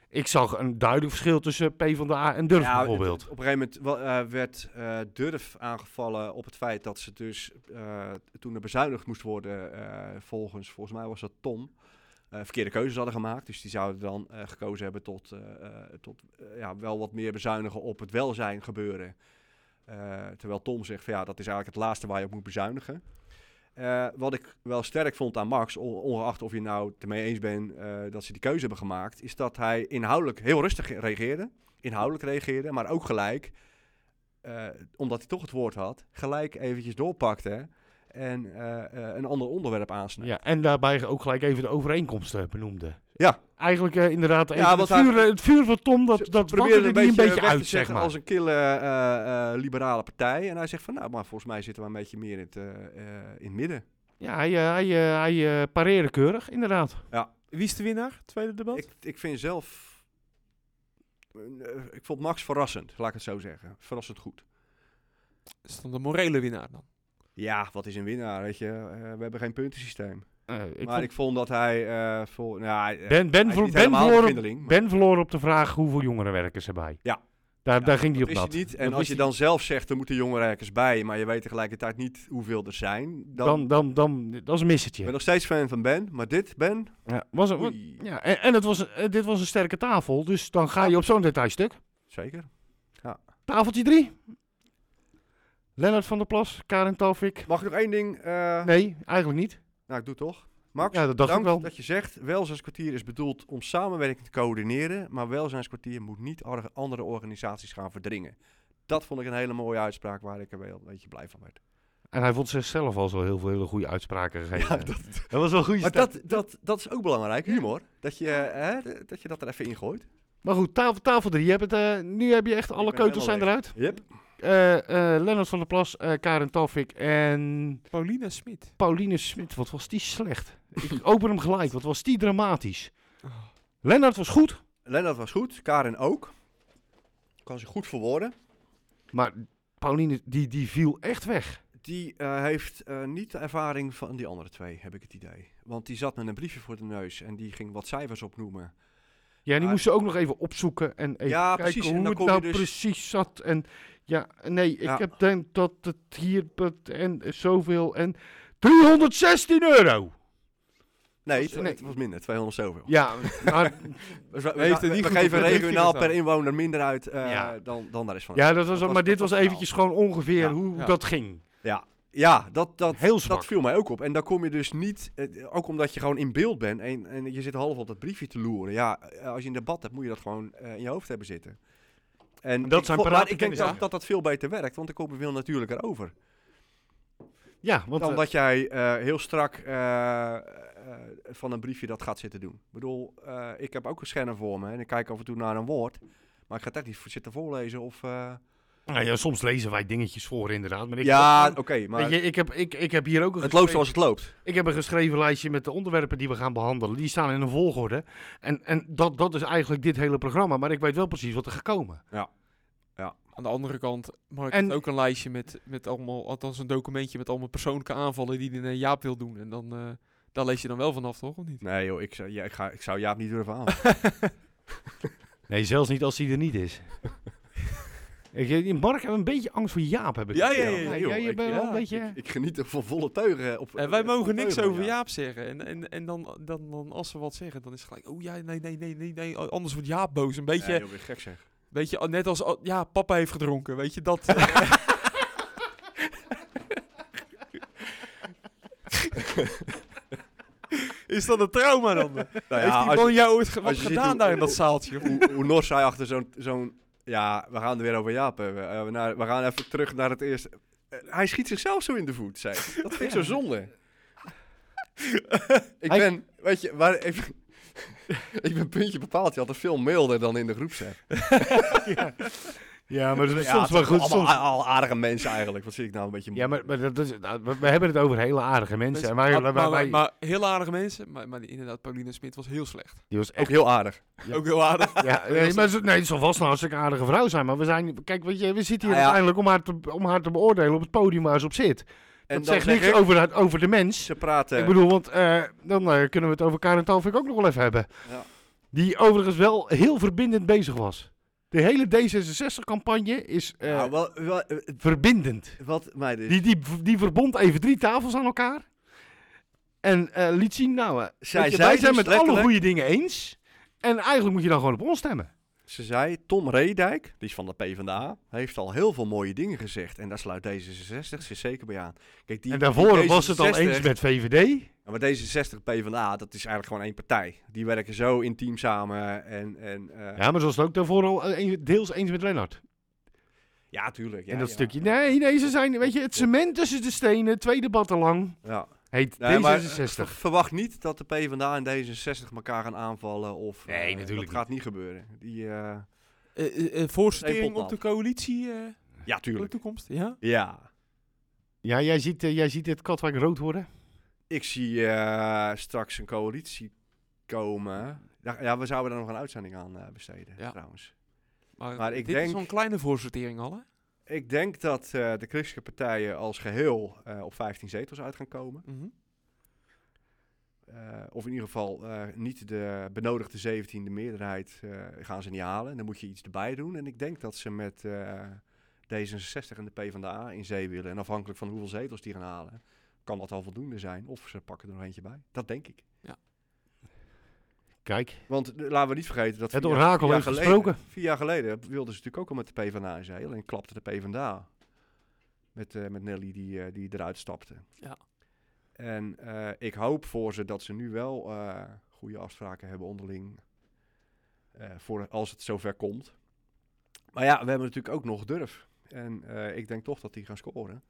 Speaker 3: Ik zag een duidelijk verschil tussen PvdA en Durf
Speaker 5: Ja,
Speaker 3: bijvoorbeeld.
Speaker 5: Op een gegeven moment wel, eh, werd eh, Durf aangevallen op het feit dat ze dus eh, toen er bezuinigd moest worden, eh, volgens, volgens mij was dat Tom, eh, verkeerde keuzes hadden gemaakt. Dus die zouden dan eh, gekozen hebben tot, eh, eh, tot eh, ja, wel wat meer bezuinigen op het welzijn gebeuren. Eh, terwijl Tom zegt van ja, dat is eigenlijk het laatste waar je op moet bezuinigen. Eh, wat ik wel sterk vond aan Max, on- ongeacht of je nou het ermee eens bent eh, dat ze die keuze hebben gemaakt, is dat hij inhoudelijk heel rustig reageerde inhoudelijk reageerde, maar ook gelijk, eh, omdat hij toch het woord had, gelijk eventjes doorpakte en eh, eh, een ander onderwerp aansnijdt.
Speaker 3: Ja, en daarbij ook gelijk even de overeenkomsten eh, benoemde.
Speaker 5: Ja.
Speaker 3: Eigenlijk eh, inderdaad. even
Speaker 5: want
Speaker 3: het,
Speaker 5: hij-
Speaker 3: vuur, eh, het vuur van Tom, dat,
Speaker 5: Ze
Speaker 3: dat
Speaker 5: proberen
Speaker 3: wakkerde
Speaker 5: het
Speaker 3: die een beetje
Speaker 5: eh, weg te
Speaker 3: uit, zeg
Speaker 5: zetten
Speaker 3: maar.
Speaker 5: Als een kille eh, eh, liberale partij. En hij zegt van, nou, maar volgens mij zitten we een beetje meer in het, eh, eh, in het midden.
Speaker 3: Ja, hij, eh, hij, eh, hij eh, pareerde keurig, inderdaad.
Speaker 6: Wie is de winnaar? Tweede debat?
Speaker 5: Ik, ik vind zelf... eh, Ik vond Max verrassend, laat ik het zo zeggen. Verrassend goed.
Speaker 6: is dan de morele winnaar dan.
Speaker 5: Ja, wat is een winnaar, weet je. Eh, we hebben geen puntensysteem.
Speaker 3: Eh, ik
Speaker 5: maar
Speaker 3: vond-
Speaker 5: ik vond dat hij... eh, vol, nou, hij-
Speaker 3: ben, ben,
Speaker 5: hij is
Speaker 3: verlo-
Speaker 5: niet
Speaker 3: ben,
Speaker 5: helemaal een
Speaker 3: verloren,
Speaker 5: beginneling, maar-
Speaker 3: ben verloren op de vraag hoeveel jongerenwerkers erbij.
Speaker 5: Ja.
Speaker 3: Daar,
Speaker 5: Ja,
Speaker 3: daar ging hij op
Speaker 5: Dat wist je
Speaker 3: nat.
Speaker 5: niet. En
Speaker 3: Dat
Speaker 5: als
Speaker 3: wist
Speaker 5: je
Speaker 3: hij-
Speaker 5: dan zelf zegt, er moeten jongerenwerkers bij, maar je weet tegelijkertijd niet hoeveel er zijn. Dan,
Speaker 3: Dan, dan, dan, dat is een
Speaker 5: ik
Speaker 3: missetje.
Speaker 5: ben nog steeds fan van Ben, maar dit, Ben...
Speaker 3: Ja, was een, wa-
Speaker 5: oei.
Speaker 3: ja, en en het was, een- eh, dit was een sterke tafel, dus dan ga je op zo'n detailstuk.
Speaker 5: Zeker.
Speaker 3: Tafeltje 3. Lennart van der Plas, Karin Tafik.
Speaker 5: Mag ik nog één ding? eh,
Speaker 3: Nee, eigenlijk niet.
Speaker 5: Nou, ik doe het toch. Max,
Speaker 3: Ja, dat dacht ik
Speaker 5: bedankt
Speaker 3: wel.
Speaker 5: dat je zegt, welzijnskwartier is bedoeld om samenwerking te coördineren, maar welzijnskwartier moet niet ar- andere organisaties gaan verdringen. Dat vond ik een hele mooie uitspraak waar ik er wel een beetje blij van werd.
Speaker 3: En hij vond zichzelf al zo heel veel hele goede uitspraken gegeven. dat, was wel een goede
Speaker 5: Maar
Speaker 3: sta-
Speaker 5: dat, dat, dat is ook belangrijk, humor. Dat je, hè, d- dat, je dat er even ingooit.
Speaker 3: Maar goed, tafel, tafel 3. Je hebt het, eh, nu heb je echt alle
Speaker 5: ben
Speaker 3: keutels zijn
Speaker 5: helemaal
Speaker 3: eruit.
Speaker 5: Yep.
Speaker 3: Eh, eh, Lennart van der Plas, eh, Karin Tafik en
Speaker 6: Paulina Smit.
Speaker 3: Pauline Smit. Wat was die slecht. Ik open hem gelijk. Wat was die dramatisch.
Speaker 5: Oh.
Speaker 3: Lennart was goed,
Speaker 5: Lennart was goed, Karin ook. Kan ze goed verwoorden.
Speaker 3: maar Pauline die, die viel echt weg.
Speaker 5: Die eh, heeft eh, niet de ervaring van die andere twee, heb ik het idee. Want die zat met een briefje voor de neus en die ging wat cijfers opnoemen.
Speaker 3: Ja, die
Speaker 5: Ah.
Speaker 3: moest ze ook nog even opzoeken en even
Speaker 5: Ja,
Speaker 3: kijken
Speaker 5: precies.
Speaker 3: hoe
Speaker 5: En dan
Speaker 3: het
Speaker 5: kom je
Speaker 3: nou
Speaker 5: dus-
Speaker 3: precies zat. En ja, nee, ik
Speaker 5: Ja.
Speaker 3: heb denk dat het hier dat- en zoveel en 316 euro.
Speaker 5: Nee,
Speaker 3: Was-
Speaker 5: het,
Speaker 3: nee.
Speaker 5: het was minder, 200 zoveel.
Speaker 3: Ja, maar
Speaker 5: Dus we, we-
Speaker 6: heeft het
Speaker 5: we
Speaker 6: niet goed
Speaker 5: geven
Speaker 6: op de
Speaker 5: regionaal
Speaker 6: briefje
Speaker 5: per inwoner minder uit eh,
Speaker 3: Ja.
Speaker 5: dan, dan daar is van.
Speaker 3: Ja, dat was,
Speaker 5: Dat was-
Speaker 3: maar dit
Speaker 5: dat
Speaker 3: was
Speaker 5: was
Speaker 3: eventjes gewoon ongeveer
Speaker 5: Ja,
Speaker 3: hoe
Speaker 6: ja.
Speaker 3: dat ging.
Speaker 5: Ja, dat, dat,
Speaker 3: Heel
Speaker 5: dat
Speaker 3: zwak.
Speaker 5: viel mij ook op. En dan kom je dus niet, eh, ook omdat je gewoon in beeld bent en, en je zit half op dat briefje te loeren. Ja, eh, als je een debat hebt, moet je dat gewoon eh, in je hoofd hebben zitten. En
Speaker 3: Dat
Speaker 5: ik
Speaker 3: zijn
Speaker 5: vo- maar
Speaker 3: paraten
Speaker 5: ik denk
Speaker 3: kennis,
Speaker 5: dat,
Speaker 3: ja.
Speaker 5: dat dat veel beter werkt, want dan kom je veel natuurlijker over.
Speaker 3: Ja, want
Speaker 5: dan
Speaker 3: eh,
Speaker 5: dat jij eh, heel strak eh, eh, van een briefje dat gaat zitten doen. Ik bedoel, eh, ik heb ook een scanner voor me en ik kijk af en toe naar een woord. Maar ik ga het echt niet voor- zitten voorlezen of... eh,
Speaker 3: nou ja, soms lezen wij dingetjes voor inderdaad. Maar ik
Speaker 5: ja,
Speaker 3: Weet
Speaker 5: oké, maar
Speaker 3: je, ik, heb, ik, ik heb hier ook een
Speaker 5: het loopt
Speaker 3: geschreven-
Speaker 5: zoals het loopt.
Speaker 3: ik heb een geschreven lijstje met de onderwerpen die we gaan behandelen. Die staan in een volgorde. En, en dat, dat is eigenlijk dit hele programma. Maar ik weet wel precies wat er gaat komen.
Speaker 4: Aan de andere kant, Mark
Speaker 3: En-
Speaker 4: heeft ook een lijstje met, met allemaal, althans een documentje met allemaal persoonlijke aanvallen die hij naar Jaap wil doen. En dan, eh, daar lees je dan wel vanaf, toch? Of niet?
Speaker 5: Nee joh, ik, zou- ja, ik, ga, ik zou Jaap niet
Speaker 4: Oh,
Speaker 5: durven aan.
Speaker 3: Nee, zelfs niet als hij er niet is. ik, eh, Mark heeft een beetje angst voor Jaap, heb ik.
Speaker 4: Ja,
Speaker 3: het
Speaker 4: ja, ja,
Speaker 3: idee.
Speaker 4: ja,
Speaker 5: joh,
Speaker 3: jij
Speaker 5: ik-
Speaker 3: bent wel
Speaker 4: ja,
Speaker 3: een beetje...
Speaker 5: ik, ik geniet er van volle teugen. Op,
Speaker 4: En wij
Speaker 5: eh,
Speaker 4: mogen
Speaker 5: volle
Speaker 4: niks
Speaker 5: teugen,
Speaker 4: over
Speaker 5: ja.
Speaker 4: Jaap zeggen. En, en, en dan, dan, dan als ze wat zeggen, dan is het gelijk, oh ja, nee, nee, nee, nee, nee. Anders wordt Jaap boos. Een beetje,
Speaker 5: Nee, joh, weer gek zeg.
Speaker 4: weet je, net als, oh, ja, papa heeft gedronken. Weet je, dat... Is dat een trauma dan?
Speaker 5: Nou
Speaker 4: Heeft
Speaker 5: ja,
Speaker 4: die
Speaker 5: als,
Speaker 4: man jou ooit ge- wat
Speaker 5: als je ziet
Speaker 4: gedaan
Speaker 5: hoe-
Speaker 4: daar in dat zaaltje? of
Speaker 5: hoe, hoe nors hij achter zo'n... zo'n ja, we gaan er weer over Jaap hebben. Eh, we, naar- we gaan even terug naar het eerste... Eh, hij schiet zichzelf zo in de voet, zei ik. Dat vind ik zo zonde. ik
Speaker 3: Hij-
Speaker 5: ben, weet je, waar, ik, ik ben puntje bepaald. Je had er veel milder dan in de groep zijn.
Speaker 3: Ja, maar dat is
Speaker 5: Ja,
Speaker 3: soms
Speaker 5: het
Speaker 3: wel
Speaker 5: zijn
Speaker 3: goed.
Speaker 5: allemaal
Speaker 3: Soms...
Speaker 5: a- al aardige mensen eigenlijk. Wat zit ik nou een beetje...
Speaker 3: Ja, maar, maar dat is, nou, we, we hebben het over hele aardige mensen. En wij,
Speaker 4: maar,
Speaker 3: wij-
Speaker 4: maar,
Speaker 3: wij-
Speaker 4: maar heel aardige mensen. Maar, maar inderdaad, Pauline Smit was heel slecht.
Speaker 3: die was
Speaker 5: Ook
Speaker 3: echt...
Speaker 5: heel aardig.
Speaker 3: Ja.
Speaker 4: Ook heel aardig.
Speaker 3: Ja, nee, maar ze, nee, het zal vast een hartstikke aardige vrouw zijn. Maar we zijn... Kijk, weet je, we zitten hier
Speaker 5: Ah, ja.
Speaker 3: uiteindelijk om haar, te, om haar te beoordelen op het podium waar ze op zit.
Speaker 5: En
Speaker 3: dat
Speaker 5: dan
Speaker 3: zegt
Speaker 5: zeg
Speaker 3: niks
Speaker 5: ik-
Speaker 3: over, haar- over de mens.
Speaker 5: Ze praten...
Speaker 3: Ik bedoel, want eh, dan eh, kunnen we het over Karen Talvik ook nog wel even hebben.
Speaker 5: Ja.
Speaker 3: Die overigens wel heel verbindend bezig was. De hele D66-campagne is eh,
Speaker 5: Nou, wel, wel, eh,
Speaker 3: verbindend.
Speaker 5: wat mij dus...
Speaker 3: Die, die, die verbond even drie tafels aan elkaar. En eh, liet zien, nou, eh,
Speaker 5: Zij
Speaker 3: weet je,
Speaker 5: zei
Speaker 3: wij zijn
Speaker 5: dus
Speaker 3: met alle
Speaker 5: letterlijk-
Speaker 3: goede dingen eens. En eigenlijk moet je dan gewoon op ons stemmen.
Speaker 5: Ze zei, Tom Reedijk, die is van de PvdA, heeft al heel veel mooie dingen gezegd. En daar sluit D66 zich zeker bij aan. Kijk, die,
Speaker 3: en daarvoor
Speaker 5: die
Speaker 3: was het al
Speaker 5: D66
Speaker 3: eens met VVD.
Speaker 5: Ja, maar D66 PvdA, dat is eigenlijk gewoon één partij. Die werken zo intiem samen en... en eh, ja.
Speaker 3: Ja, maar ze was het ook daarvoor al eh, een- deels eens met Lennart.
Speaker 5: tuurlijk. Ja,
Speaker 3: en dat
Speaker 5: ja.
Speaker 3: stukje, nee, nee, ze zijn, weet je, het cement tussen de stenen, twee debatten lang.
Speaker 5: Ja.
Speaker 3: Heet
Speaker 5: Nee, maar, eh, ver-
Speaker 3: D66.
Speaker 5: verwacht niet dat de PvdA en D66 elkaar gaan aanvallen. Of,
Speaker 3: Nee,
Speaker 5: eh,
Speaker 3: natuurlijk
Speaker 5: Dat gaat niet gebeuren. Die, eh,
Speaker 4: Eh, eh, eh,
Speaker 5: Nee,
Speaker 4: voorsortering
Speaker 5: potnat.
Speaker 4: op de coalitie eh,
Speaker 5: ja,
Speaker 4: voor de
Speaker 5: tuurlijk.
Speaker 4: toekomst. Ja?
Speaker 5: Ja.
Speaker 3: Ja, jij ziet, eh, jij ziet het Katwijk rood worden.
Speaker 5: Ik zie eh, straks een coalitie komen. Ja, ja, we zouden daar nog een uitzending aan eh, besteden,
Speaker 4: Ja.
Speaker 5: trouwens.
Speaker 4: maar
Speaker 5: Maar ik
Speaker 4: dit is
Speaker 5: denk-
Speaker 4: zo'n kleine voorsortering al, hè?
Speaker 5: Ik denk dat eh, de christelijke partijen als geheel eh, op 15 zetels uit gaan komen.
Speaker 4: Mhm.
Speaker 5: Eh, of in ieder geval eh, niet de benodigde 17e meerderheid eh, gaan ze niet halen. Dan moet je iets erbij doen. En ik denk dat ze met eh, D66 en de PvdA in zee willen. En afhankelijk van hoeveel zetels die gaan halen, kan dat al voldoende zijn. Of ze pakken er nog eentje bij. Dat denk ik.
Speaker 3: Kijk,
Speaker 5: Want eh, laten we niet vergeten dat...
Speaker 3: Het
Speaker 5: vier jaar-
Speaker 3: orakel
Speaker 5: vier jaar
Speaker 3: heeft
Speaker 5: geleden-
Speaker 3: gesproken.
Speaker 5: Vier jaar geleden wilden ze natuurlijk ook al met de PvdA in zee. Alleen klapte de PvdA. Met, eh, met Nelly die, eh, die eruit stapte.
Speaker 4: Ja.
Speaker 5: En eh, ik hoop voor ze dat ze nu wel eh, goede afspraken hebben onderling. eh, voor als het zover komt. Maar ja, we hebben natuurlijk ook nog durf. En eh, ik denk toch dat die gaan scoren.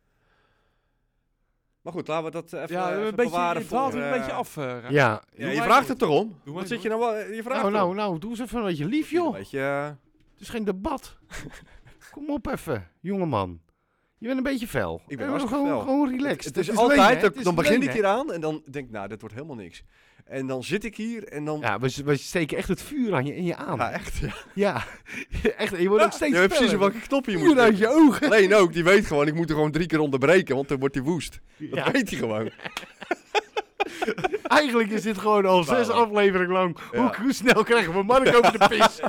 Speaker 5: Maar goed, laten we dat eh, even,
Speaker 4: ja,
Speaker 5: even
Speaker 4: een beetje,
Speaker 5: bewaren
Speaker 4: het dwaalt
Speaker 5: voor,
Speaker 4: een beetje
Speaker 5: eh,
Speaker 4: af. eh, Ra-
Speaker 3: ja.
Speaker 5: ja,
Speaker 4: Doe
Speaker 5: je
Speaker 4: maar
Speaker 5: vraagt
Speaker 4: even.
Speaker 5: het erom.
Speaker 4: maar
Speaker 5: Wat
Speaker 4: even.
Speaker 5: zit je nou wel? Je vraagt
Speaker 3: Nou, nou,
Speaker 5: erom.
Speaker 3: nou, doe eens even een beetje lief, joh.
Speaker 5: Weet je,
Speaker 3: Het is geen debat. Kom op even, jongeman. Je bent een beetje fel.
Speaker 5: Ik ben
Speaker 3: Eh,
Speaker 5: hartstikke
Speaker 3: gewoon,
Speaker 5: fel.
Speaker 3: gewoon relaxed.
Speaker 5: het, het is,
Speaker 3: leuk,
Speaker 5: altijd,
Speaker 3: hè?
Speaker 5: dat-
Speaker 3: Het is
Speaker 5: dan begin
Speaker 3: leuk,
Speaker 5: ik
Speaker 3: hè?
Speaker 5: hier aan en dan denk ik, nou, dit wordt helemaal niks. En dan zit ik hier en dan...
Speaker 3: Ja, we, we steken echt het vuur aan je, in je aan.
Speaker 5: Ja,
Speaker 3: Ja,
Speaker 5: echt. Ja.
Speaker 3: echt. Je wordt ook steeds
Speaker 5: je weet precies
Speaker 3: feller.
Speaker 5: op welke knop je
Speaker 3: Vuur
Speaker 5: moet
Speaker 3: uit
Speaker 5: drukken.
Speaker 3: je ogen.
Speaker 5: Leen ook, die weet gewoon, ik moet er gewoon drie keer onderbreken, want dan wordt hij woest. Dat
Speaker 3: Ja,
Speaker 5: weet hij gewoon.
Speaker 3: eigenlijk is dit gewoon al zes
Speaker 5: Nou.
Speaker 3: afleveringen lang.
Speaker 5: Ja.
Speaker 3: Hoe, hoe snel krijgen we Mark over de pis?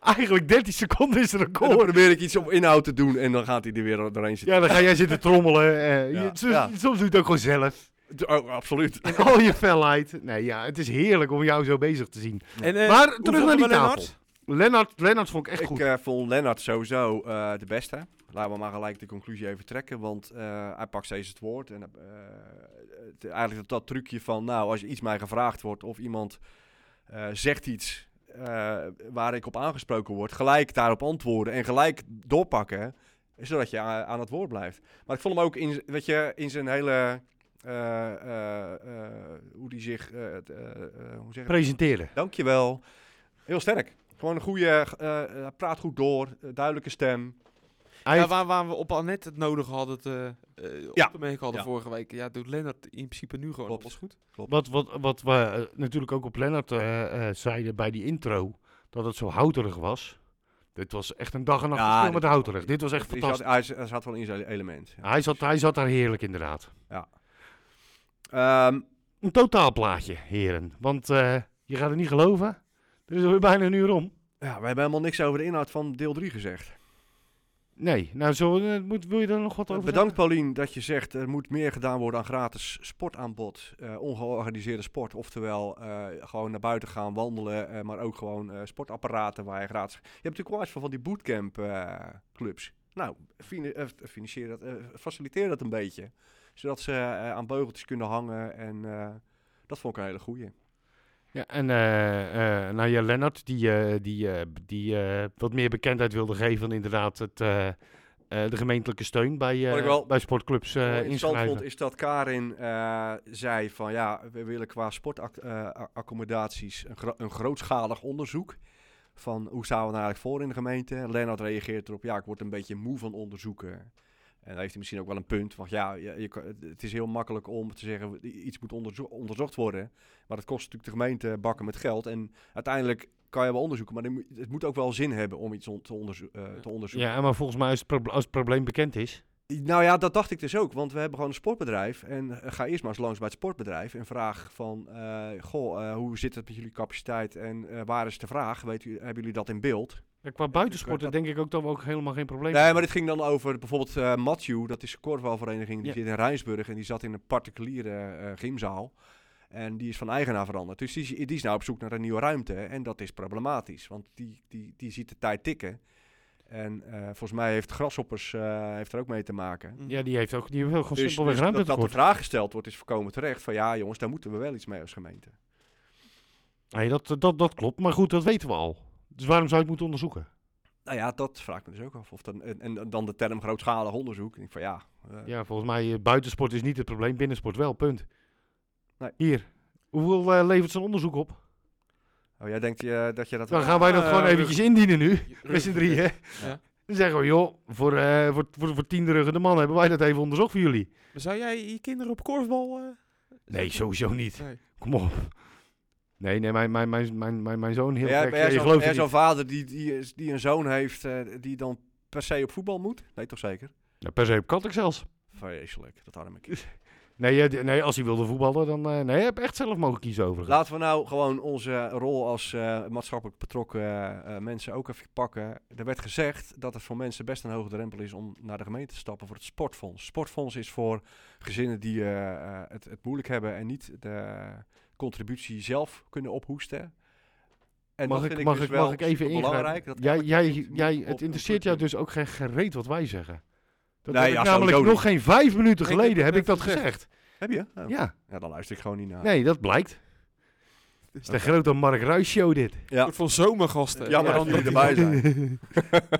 Speaker 3: Eigenlijk 13 seconden is er een
Speaker 5: En dan
Speaker 3: record.
Speaker 5: probeer ik iets op inhoud te doen en dan gaat hij er weer doorheen zitten.
Speaker 3: Ja, dan ga jij zitten trommelen. eh,
Speaker 5: Ja.
Speaker 3: je- soms,
Speaker 5: Ja.
Speaker 3: soms doe je het ook gewoon zelf.
Speaker 5: Oh, absoluut.
Speaker 3: In al je felheid. Nee, ja, het is heerlijk om jou zo bezig te zien.
Speaker 4: En, eh,
Speaker 3: maar
Speaker 4: hoe
Speaker 3: terug
Speaker 4: vonden
Speaker 3: naar die
Speaker 4: we Lennart?
Speaker 3: tafel. Lennart, Lennart vond ik echt
Speaker 5: ik
Speaker 3: goed.
Speaker 5: eh, vond Lennart sowieso eh, de beste. Laten we maar gelijk de conclusie even trekken. Want eh, hij pakt steeds het woord. En eh, het- eigenlijk dat, dat trucje van, nou, als je iets mij gevraagd wordt of iemand eh, zegt iets eh, waar ik op aangesproken word, gelijk daarop antwoorden en gelijk doorpakken, zodat je aan, aan het woord blijft. Maar ik vond hem ook in, z- weet je, in zijn hele. eh, eh, eh, hoe die zich. eh het, eh, eh, hoe zeg je dat?
Speaker 3: Presenteren.
Speaker 5: Dankjewel. Heel sterk. Gewoon een goede, eh, eh, praat goed door, eh, duidelijke stem.
Speaker 3: Hij
Speaker 4: Ja,
Speaker 3: heeft-
Speaker 4: waar, waar we op Annette het nodig hadden, te, eh op
Speaker 5: Ja.
Speaker 4: te merken hadden
Speaker 5: Ja.
Speaker 4: vorige week. Ja, doet Lennart in principe nu gewoon
Speaker 5: Klopt.
Speaker 4: alles goed.
Speaker 3: Wat, wat, wat we eh, natuurlijk ook op Lennart eh, eh, zeiden bij die intro, dat het zo houterig was. Dit was echt een dag en nacht
Speaker 5: Ja,
Speaker 3: gespeeld
Speaker 5: dit
Speaker 3: met
Speaker 5: was-
Speaker 3: houterig. Dit was echt
Speaker 5: Hij zat,
Speaker 3: fantastisch.
Speaker 5: hij, z- hij zat wel in zijn element. Ja.
Speaker 3: Hij zat, hij zat daar heerlijk inderdaad. Ah.
Speaker 5: Ehm,
Speaker 3: Een totaalplaatje, heren. Want eh, je gaat het niet geloven, er is alweer bijna een uur om.
Speaker 5: ja, we hebben helemaal niks over de inhoud van deel 3 gezegd.
Speaker 3: Nee, nou zo, moet, wil je daar nog wat over
Speaker 5: Bedankt Paulien dat je zegt er moet meer gedaan worden aan gratis sportaanbod. eh, ongeorganiseerde sport, oftewel eh, gewoon naar buiten gaan wandelen, eh, maar ook gewoon eh, sportapparaten waar je gratis... Je hebt natuurlijk wel eens van, van die bootcamp eh, clubs. Nou, fini- eh, financier dat, eh, faciliteer dat een beetje. Zodat ze eh, aan beugeltjes kunnen hangen en eh, dat vond ik een hele goeie.
Speaker 3: Ja, en eh, eh, nou ja, Lennart, die, eh, die, eh, b- die eh, wat meer bekendheid wilde geven dan inderdaad het, eh, eh, de gemeentelijke steun bij, eh,
Speaker 5: Wat ik wel
Speaker 3: bij sportclubs eh,
Speaker 5: Wat ik interessant
Speaker 3: inschrijven.
Speaker 5: vond is dat Karin eh, zei van ja, we willen qua sportaccommodaties een, gro- een grootschalig onderzoek. Van hoe staan we er eigenlijk voor in de gemeente? Lennart reageert erop, ja, ik word een beetje moe van onderzoeken. En daar heeft hij misschien ook wel een punt. Want ja, je, je kan- het is heel makkelijk om te zeggen, i- iets moet onderzo- onderzocht worden. Maar dat kost natuurlijk de gemeente bakken met geld. En uiteindelijk kan je wel onderzoeken, maar dan moet- het moet ook wel zin hebben om iets on- te, onderzo- eh, te onderzoeken.
Speaker 3: Ja, maar volgens mij als het, proble- als het probleem bekend is.
Speaker 5: Nou ja, dat dacht ik dus ook. Want we hebben gewoon een sportbedrijf. En eh, ga eerst maar eens langs bij het sportbedrijf. En vraag van, eh, goh, eh, hoe zit het met jullie capaciteit? En eh, waar is de vraag? Weet u, hebben jullie dat in beeld?
Speaker 3: Ja, eh, qua buitensporten denk ik ook dat we ook helemaal geen probleem
Speaker 5: Nee, maar dit ging dan over bijvoorbeeld eh Matthew. Dat is een korfbalvereniging. Die
Speaker 3: Ja.
Speaker 5: zit in Rijnsburg. En die zat in een particuliere eh, gymzaal. En die is van eigenaar veranderd. Dus die, is- die is nou op zoek naar een nieuwe ruimte. En dat is problematisch. Want die, die, die ziet de tijd tikken. En eh, volgens mij heeft Grasshoppers eh, heeft er ook mee te maken.
Speaker 3: Ja, die heeft ook die heeft ook gewoon
Speaker 5: Dus,
Speaker 3: simpelweg
Speaker 5: dus
Speaker 3: ruimte
Speaker 5: dat, dat de
Speaker 3: tekort.
Speaker 5: vraag gesteld wordt, is voorkomen terecht. Van ja, jongens, daar moeten we wel iets mee als gemeente.
Speaker 3: Nee, dat, dat, dat klopt. Maar goed, dat weten we al. Dus waarom zou je het moeten onderzoeken?
Speaker 5: Nou ja, dat vraag ik me dus ook af. Of dan, en, en dan de term grootschalig onderzoek. Ik denk van ja, eh,
Speaker 3: Ja, volgens mij, eh, buitensport is niet het probleem, binnensport wel, punt.
Speaker 5: Nee.
Speaker 3: Hier, hoeveel eh, levert zo'n onderzoek op?
Speaker 5: Oh, jij denkt eh, dat je dat...
Speaker 3: Dan gaan wij dat
Speaker 5: Ah,
Speaker 3: gewoon
Speaker 5: eh,
Speaker 3: eventjes indienen nu,
Speaker 4: Hm,
Speaker 3: met z'n drieën.
Speaker 4: Ja.
Speaker 3: Dan zeggen we, joh, voor, eh voor, voor, voor tien de man hebben wij dat even onderzocht voor jullie.
Speaker 4: Maar zou jij je kinderen op korfbal... eh,
Speaker 3: Nee, sowieso niet.
Speaker 4: Nee.
Speaker 3: Kom op. Nee, nee, mijn, mijn, mijn, mijn, mijn, mijn zoon heel
Speaker 5: Ja,
Speaker 3: gek.
Speaker 5: ben jij
Speaker 3: je
Speaker 5: zo'n-
Speaker 3: gelooft
Speaker 5: ben jij
Speaker 3: het
Speaker 5: zo'n
Speaker 3: niet.
Speaker 5: vader die, die, is- die een zoon heeft eh, die dan per se op voetbal moet? Nee, toch zeker?
Speaker 3: Ja, Nou, per se op Katwijk zelfs.
Speaker 5: Vreselijk, dat arme kind.
Speaker 3: Nee, eh, d- nee, als hij wilde voetballen, dan... eh, nee, hij heb echt zelf mogen kiezen overigens.
Speaker 5: Laten we nou gewoon onze rol als eh, maatschappelijk betrokken eh, eh, mensen ook even pakken. Er werd gezegd dat het voor mensen best een hoge drempel is om naar de gemeente te stappen voor het sportfonds. Sportfonds is voor gezinnen die eh, eh, het, het moeilijk hebben en niet de contributie zelf kunnen ophoesten. En
Speaker 3: mag
Speaker 5: dat
Speaker 3: ik,
Speaker 5: vind
Speaker 3: mag
Speaker 5: dus
Speaker 3: ik,
Speaker 5: wel
Speaker 3: mag ik even ingrijpen?
Speaker 5: belangrijk. dat
Speaker 3: jij,
Speaker 5: elk
Speaker 3: jij,
Speaker 5: kind moet
Speaker 3: jij,
Speaker 5: op
Speaker 3: het
Speaker 5: een
Speaker 3: interesseert jou
Speaker 5: plekje.
Speaker 3: dus ook geen gereed wat wij zeggen. Dat
Speaker 5: Nee,
Speaker 3: heb
Speaker 5: ja,
Speaker 3: ik namelijk
Speaker 5: sowieso
Speaker 3: nog geen vijf minuten
Speaker 5: Nee,
Speaker 3: geleden
Speaker 5: dat
Speaker 3: heb ik dat
Speaker 5: heb je gezegd.
Speaker 3: gezegd.
Speaker 5: Heb je? Oh.
Speaker 3: Ja,
Speaker 5: Ja, dan luister ik gewoon niet naar.
Speaker 3: nee, dat blijkt. Het is de grote Mark Ruijs show dit.
Speaker 5: Ja.
Speaker 4: Een soort van zomergasten.
Speaker 5: Ja, maar
Speaker 3: eh, Ja,
Speaker 5: dat jullie
Speaker 3: dat-
Speaker 5: erbij zijn.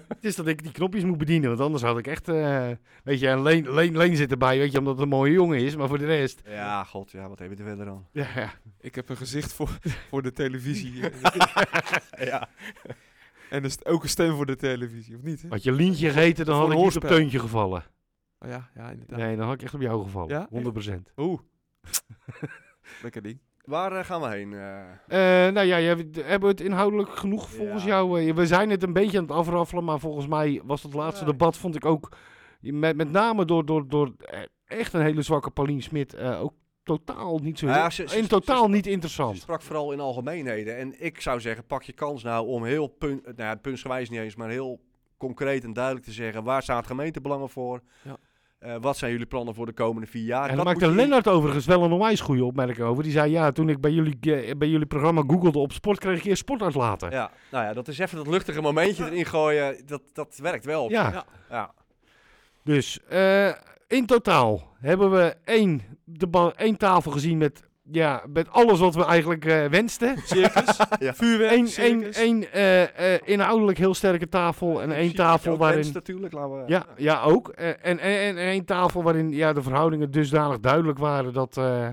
Speaker 3: Het is dat ik die knopjes moet bedienen, want anders had ik echt, eh, weet je, en Leen, Leen, Leen zit erbij, weet je, omdat het een mooie jongen is, maar voor de rest,
Speaker 5: Ja, god, ja, wat hebben we er verder dan?
Speaker 3: ja, ja.
Speaker 4: Ik heb een gezicht voor, voor de televisie. eh,
Speaker 5: Ja.
Speaker 4: en dus ook een stem voor de televisie, of niet? Hè?
Speaker 3: had je Lientje geheten, dan
Speaker 4: Voor
Speaker 3: had ik
Speaker 4: een
Speaker 3: niet op
Speaker 4: hoorspel.
Speaker 3: Teuntje gevallen.
Speaker 4: Oh, ja, ja, inderdaad.
Speaker 3: Nee, dan had ik echt op jou gevallen,
Speaker 4: Ja?
Speaker 3: 100%.
Speaker 4: Oeh. Lekker ding.
Speaker 5: Waar eh, gaan we heen? eh?
Speaker 3: Eh, nou ja, jij- d- hebben we het inhoudelijk genoeg volgens
Speaker 5: Ja.
Speaker 3: jou? eh, we zijn het een beetje aan het afraffelen, maar volgens mij was dat laatste
Speaker 5: Ja.
Speaker 3: debat, vond ik ook, met, met name door, door, door eh, echt een hele zwakke Paulien Smit, eh, ook totaal niet zo,
Speaker 5: Nou ja, ze- ze-
Speaker 3: in
Speaker 5: ze-
Speaker 3: totaal
Speaker 5: ze-
Speaker 3: niet
Speaker 5: Ze
Speaker 3: interessant.
Speaker 5: sprak vooral in algemeenheden. En ik zou zeggen, pak je kans nou om heel punt, nou ja, puntsgewijs niet eens, maar heel concreet en duidelijk te zeggen, waar staan gemeentebelangen voor?
Speaker 4: Ja.
Speaker 5: Eh, wat zijn jullie plannen voor de komende vier jaar?
Speaker 3: En
Speaker 5: Dat
Speaker 3: daar maakte
Speaker 5: moet je-
Speaker 3: Lennart overigens wel een onwijs goede opmerking over. Die zei, ja, toen ik bij jullie, eh, bij jullie programma googelde op sport, kreeg ik eerst sportuitlaten. Ja,
Speaker 5: Ja, nou ja, dat is even dat luchtige momentje erin gooien. Dat, dat werkt wel.
Speaker 4: Ja.
Speaker 5: Ja.
Speaker 3: dus eh, in totaal hebben we één, deba- één tafel gezien met, ja, met alles wat we eigenlijk eh, wensten.
Speaker 4: Circus,
Speaker 5: Ja.
Speaker 4: vuurwerk,
Speaker 3: Eén één,
Speaker 4: circus.
Speaker 3: één, eh, eh, inhoudelijk heel sterke tafel en één tafel
Speaker 5: Ook mensen
Speaker 3: waarin...
Speaker 5: natuurlijk, laten we...
Speaker 3: Ja, ja, ook. Eh, en, en, en één tafel waarin ja, de verhoudingen dusdanig duidelijk waren dat, eh,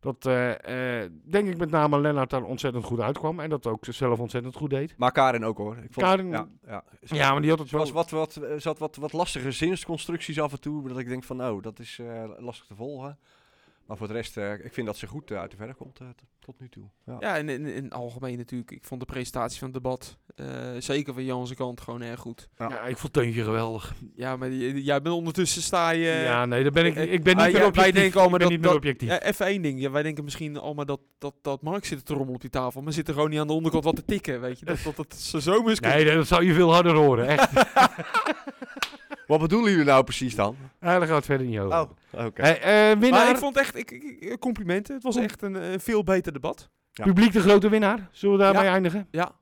Speaker 3: dat eh, eh, denk ik met name Lennart daar ontzettend goed uitkwam. En dat ook zelf ontzettend goed deed. Dus
Speaker 5: Maar Karin ook hoor. Ik vond,
Speaker 3: Karin-
Speaker 5: Ja, ja. Ze-
Speaker 3: Ja, maar die had het
Speaker 5: Ze was
Speaker 3: wel...
Speaker 5: wat, wat, eh, zat wat, wat lastige zinsconstructies af en toe. Dat ik denk van, oh, dat is eh, lastig te volgen. Maar voor de rest, eh, ik vind dat ze goed eh, uit de verf komt eh, t- tot nu toe. Ja.
Speaker 4: Ja, en in, in het algemeen natuurlijk. Ik vond de presentatie van het debat, eh, zeker van Jan's kant, gewoon erg goed.
Speaker 3: Ja, ik vond Teuntje geweldig.
Speaker 4: Ja, maar die- jij bent ondertussen sta je...
Speaker 3: ja, nee, daar ben ik,
Speaker 4: eh,
Speaker 3: ik ben niet
Speaker 4: ah,
Speaker 3: meer
Speaker 4: ja,
Speaker 3: objectief.
Speaker 4: wij denken allemaal
Speaker 3: ik ben
Speaker 4: dat-
Speaker 3: niet meer
Speaker 4: dat-
Speaker 3: objectief.
Speaker 4: Ja, even één ding. Ja, wij denken misschien allemaal dat, dat, dat Mark zit te rommelen op die tafel. Maar zit er gewoon niet aan de onderkant wat te tikken, weet je. Dat dat, dat zijn zomer is.
Speaker 3: nee, dat zou je veel harder horen. Echt.
Speaker 5: Wat bedoelen jullie nou precies dan?
Speaker 3: Ah, daar gaat het verder niet over.
Speaker 5: Oh, oké.
Speaker 3: Hey, eh, winnaar,
Speaker 4: Maar ik vond echt, ik, ik- ik- complimenten. Het was echt een, eh, veel beter debat.
Speaker 5: ja.
Speaker 3: publiek de grote winnaar. Zullen we daarmee
Speaker 4: Ja.
Speaker 3: eindigen?
Speaker 4: Ja.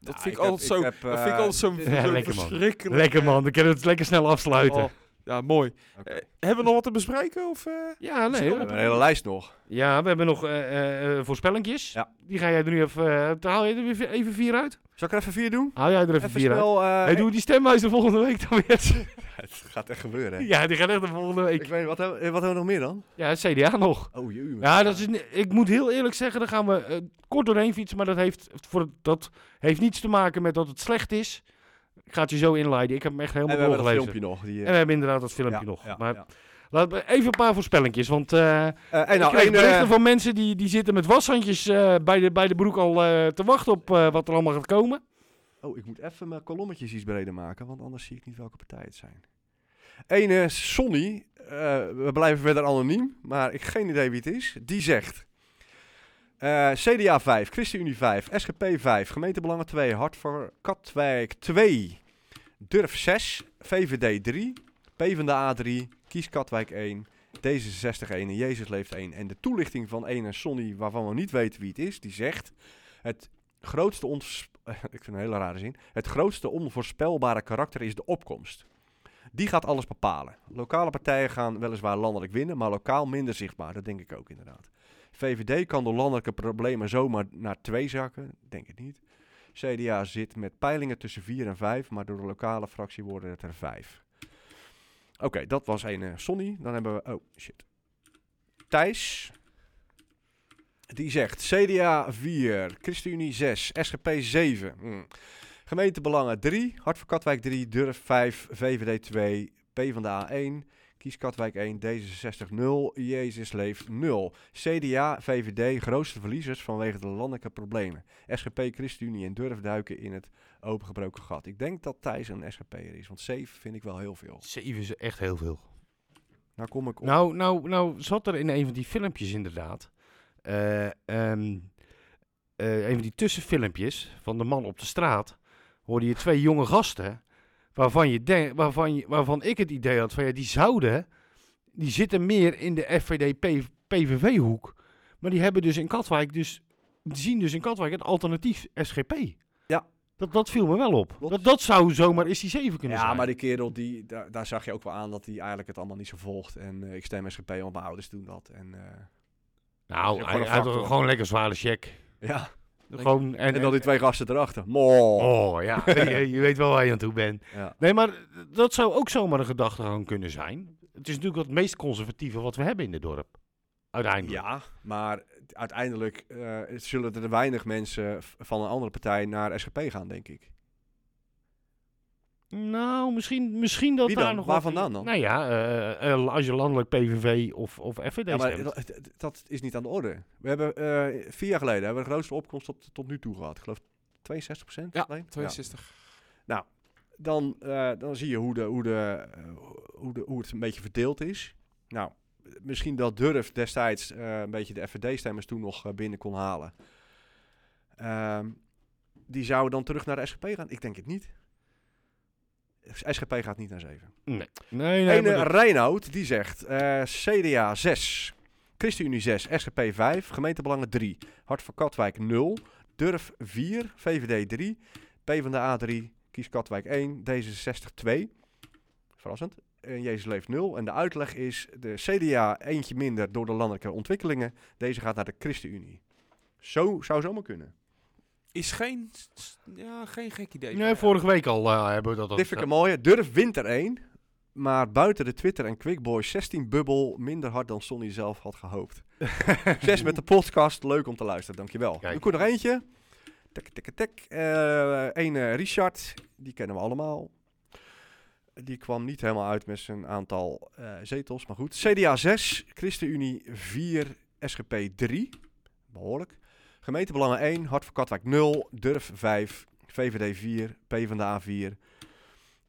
Speaker 4: Dat vind ik altijd zo,
Speaker 5: Nou, heb, eh,
Speaker 4: dat vind ik altijd zo,
Speaker 3: Ja,
Speaker 4: zo
Speaker 3: lekker man.
Speaker 4: verschrikkelijk.
Speaker 3: Lekker man, dan kunnen we het lekker snel afsluiten.
Speaker 4: Oh, ja, mooi.
Speaker 5: Oké.
Speaker 4: Eh, hebben we nog wat te bespreken? Of, eh?
Speaker 3: Ja, nee.
Speaker 5: We
Speaker 3: hoor.
Speaker 5: hebben een hele lijst nog.
Speaker 3: Ja, we hebben nog eh, eh, eh, voorspellingjes.
Speaker 5: Ja.
Speaker 3: Die ga jij er nu even... eh, daar haal je er weer even vier uit?
Speaker 5: Zal ik er even vier doen?
Speaker 3: Haal jij er even,
Speaker 5: Even
Speaker 3: vier uit?
Speaker 5: snel. eh,
Speaker 3: hey, doe die stemwijzer volgende week dan weer.
Speaker 5: Het gaat echt gebeuren. hè.
Speaker 3: ja, die gaat echt de volgende
Speaker 5: Ik
Speaker 3: week.
Speaker 5: weet, wat, hebben, eh, wat hebben we nog meer dan?
Speaker 3: Ja, CDA nog.
Speaker 5: Oh, jee.
Speaker 3: Ja, dat is, ni- ik moet heel eerlijk zeggen, daar gaan we eh, kort doorheen fietsen. Maar dat heeft, voor, dat heeft niets te maken met dat het slecht is. Ik ga het je zo inleiden. Ik heb hem echt
Speaker 5: En we
Speaker 3: helemaal
Speaker 5: hebben dat
Speaker 3: doorgelezen.
Speaker 5: filmpje nog. Die, eh,
Speaker 3: En we hebben inderdaad dat filmpje
Speaker 5: ja,
Speaker 3: nog.
Speaker 5: ja,
Speaker 3: maar
Speaker 5: ja.
Speaker 3: laten we even een paar voorspellingjes. Want eh,
Speaker 5: Eh, en nou,
Speaker 3: ik kreeg
Speaker 5: één, eh,
Speaker 3: berichten van mensen die, die zitten met washandjes eh, bij, de, bij de broek al eh, te wachten op eh, wat er allemaal gaat komen.
Speaker 5: Oh, ik moet even mijn kolommetjes iets breder maken, want anders zie ik niet welke partijen het zijn. Eén eh, Sonny, eh, we blijven verder anoniem, maar ik heb geen idee wie het is. Die zegt: eh, CDA 5, ChristenUnie 5, SGP 5, Gemeentebelangen 2, Hart voor Katwijk 2, Durf 6, VVD 3, PvdA 3, Kies Katwijk 1, D66 1 en Jezus leeft 1. En de toelichting van ene Sonny, waarvan we niet weten wie het is, die zegt: Het grootste ons ik vind het een hele rare zin. Het grootste onvoorspelbare karakter is de opkomst. Die gaat alles bepalen. Lokale partijen gaan weliswaar landelijk winnen, maar lokaal minder zichtbaar. Dat denk ik ook inderdaad. VVD kan door landelijke problemen zomaar naar twee zakken. Denk ik niet. CDA zit met peilingen tussen 4 en 5, maar door de lokale fractie worden het er 5. Oké, dat was een eh, Sonny. Dan hebben we. Oh shit. Thijs. Die zegt CDA 4, ChristenUnie 6, SGP 7. Hm. Gemeentebelangen 3, Hart voor Katwijk 3, Durf 5, VVD 2, PvdA 1, Kies Katwijk 1, D66 0, Jezus leeft 0. CDA, VVD, grootste verliezers vanwege de landelijke problemen. SGP, ChristenUnie en Durf duiken in het opengebroken gat. Ik denk dat Thijs een SGP'er is, want 7 vind ik wel heel veel.
Speaker 3: Zeven is echt heel veel.
Speaker 5: Nou kom ik op.
Speaker 3: Nou, nou, nou zat er in een van die filmpjes inderdaad. eh, ehm, eh, een van die tussenfilmpjes van de man op de straat. Hoorde je twee jonge gasten. Waarvan, je denk, waarvan, je, waarvan ik het idee had van ja, die zouden. Die zitten meer in de FVD-PVV-hoek. Maar die hebben dus in Katwijk. Dus, die zien dus in Katwijk het alternatief SGP.
Speaker 5: Ja.
Speaker 3: Dat, dat viel me wel op.
Speaker 5: Klopt.
Speaker 3: Dat, dat zou zomaar eens die zeven kunnen
Speaker 5: ja,
Speaker 3: zijn.
Speaker 5: maar die kerel, die, daar, daar zag je ook wel aan dat hij eigenlijk het allemaal niet zo volgt. En eh, ik stem SGP, want mijn ouders doen dat. En eh,
Speaker 3: nou,
Speaker 5: is ook
Speaker 3: hij,
Speaker 5: gewoon een
Speaker 3: hij had
Speaker 5: factor.
Speaker 3: gewoon lekker zware check.
Speaker 5: ja,
Speaker 3: Gewoon, en,
Speaker 5: en dan die twee gasten erachter. Mo.
Speaker 3: Oh ja, je, je weet wel waar je aan toe bent.
Speaker 5: Ja.
Speaker 3: Nee, maar dat zou ook zomaar een gedachtegang kunnen zijn. Het is natuurlijk het meest conservatieve wat we hebben in dit dorp. Uiteindelijk.
Speaker 5: Ja, maar uiteindelijk eh, zullen er weinig mensen v- van een andere partij naar SGP gaan, denk ik.
Speaker 3: Nou, misschien, misschien dat
Speaker 5: Wie
Speaker 3: daar
Speaker 5: dan?
Speaker 3: nog
Speaker 5: Waar
Speaker 3: wat-
Speaker 5: vandaan dan?
Speaker 3: Nou ja, eh, eh, als je landelijk PVV of, of FVD
Speaker 5: Ja, maar
Speaker 3: stemt.
Speaker 5: dat, dat- dat is niet aan de orde. We hebben eh, vier jaar geleden hebben we de grootste opkomst tot, tot nu toe gehad. Ik geloof 62 procent.
Speaker 4: Ja, 62.
Speaker 5: Dan, eh, dan zie je hoe, de, hoe, de, eh, hoe, de, hoe het een beetje verdeeld is. Nou, misschien dat Durf destijds eh, een beetje de FVD-stemmers toen nog eh, binnen kon halen. Ehm, die zouden dan terug naar de SGP gaan? Ik denk het niet. SGP gaat niet naar 7.
Speaker 3: Nee, nee,
Speaker 5: Ene
Speaker 3: maar dat-
Speaker 5: eh, Reinoud die zegt: eh, CDA 6, ChristenUnie 6, SGP 5, gemeentebelangen 3, Hart voor Katwijk 0, Durf 4, VVD 3, PvdA 3, Kies Katwijk 1, D66 2. Verrassend. En Jezus leeft 0. En de uitleg is: de CDA eentje minder door de landelijke ontwikkelingen. Deze gaat naar de ChristenUnie. Zo zou zomaar kunnen.
Speaker 4: Is geen, ja, geen gek idee.
Speaker 3: nee, vorige week al eh, hebben we dat al
Speaker 5: Dit vind ik een mooie. Durf wint er één. Maar buiten de Twitter en Quickboy 16 bubbel minder hard dan Sonny zelf had gehoopt. Zes met de podcast. Leuk om te luisteren. Dankjewel.
Speaker 3: Kijk.
Speaker 5: Ik er nog eentje. Tik, tik, tik. Eh Eén eh, Richard. Die kennen we allemaal. Die kwam niet helemaal uit met zijn aantal eh, zetels. Maar goed. CDA 6. ChristenUnie 4. SGP 3. Behoorlijk. Gemeentebelangen 1. Hart voor Katwijk 0. Durf 5. VVD 4. PvdA 4.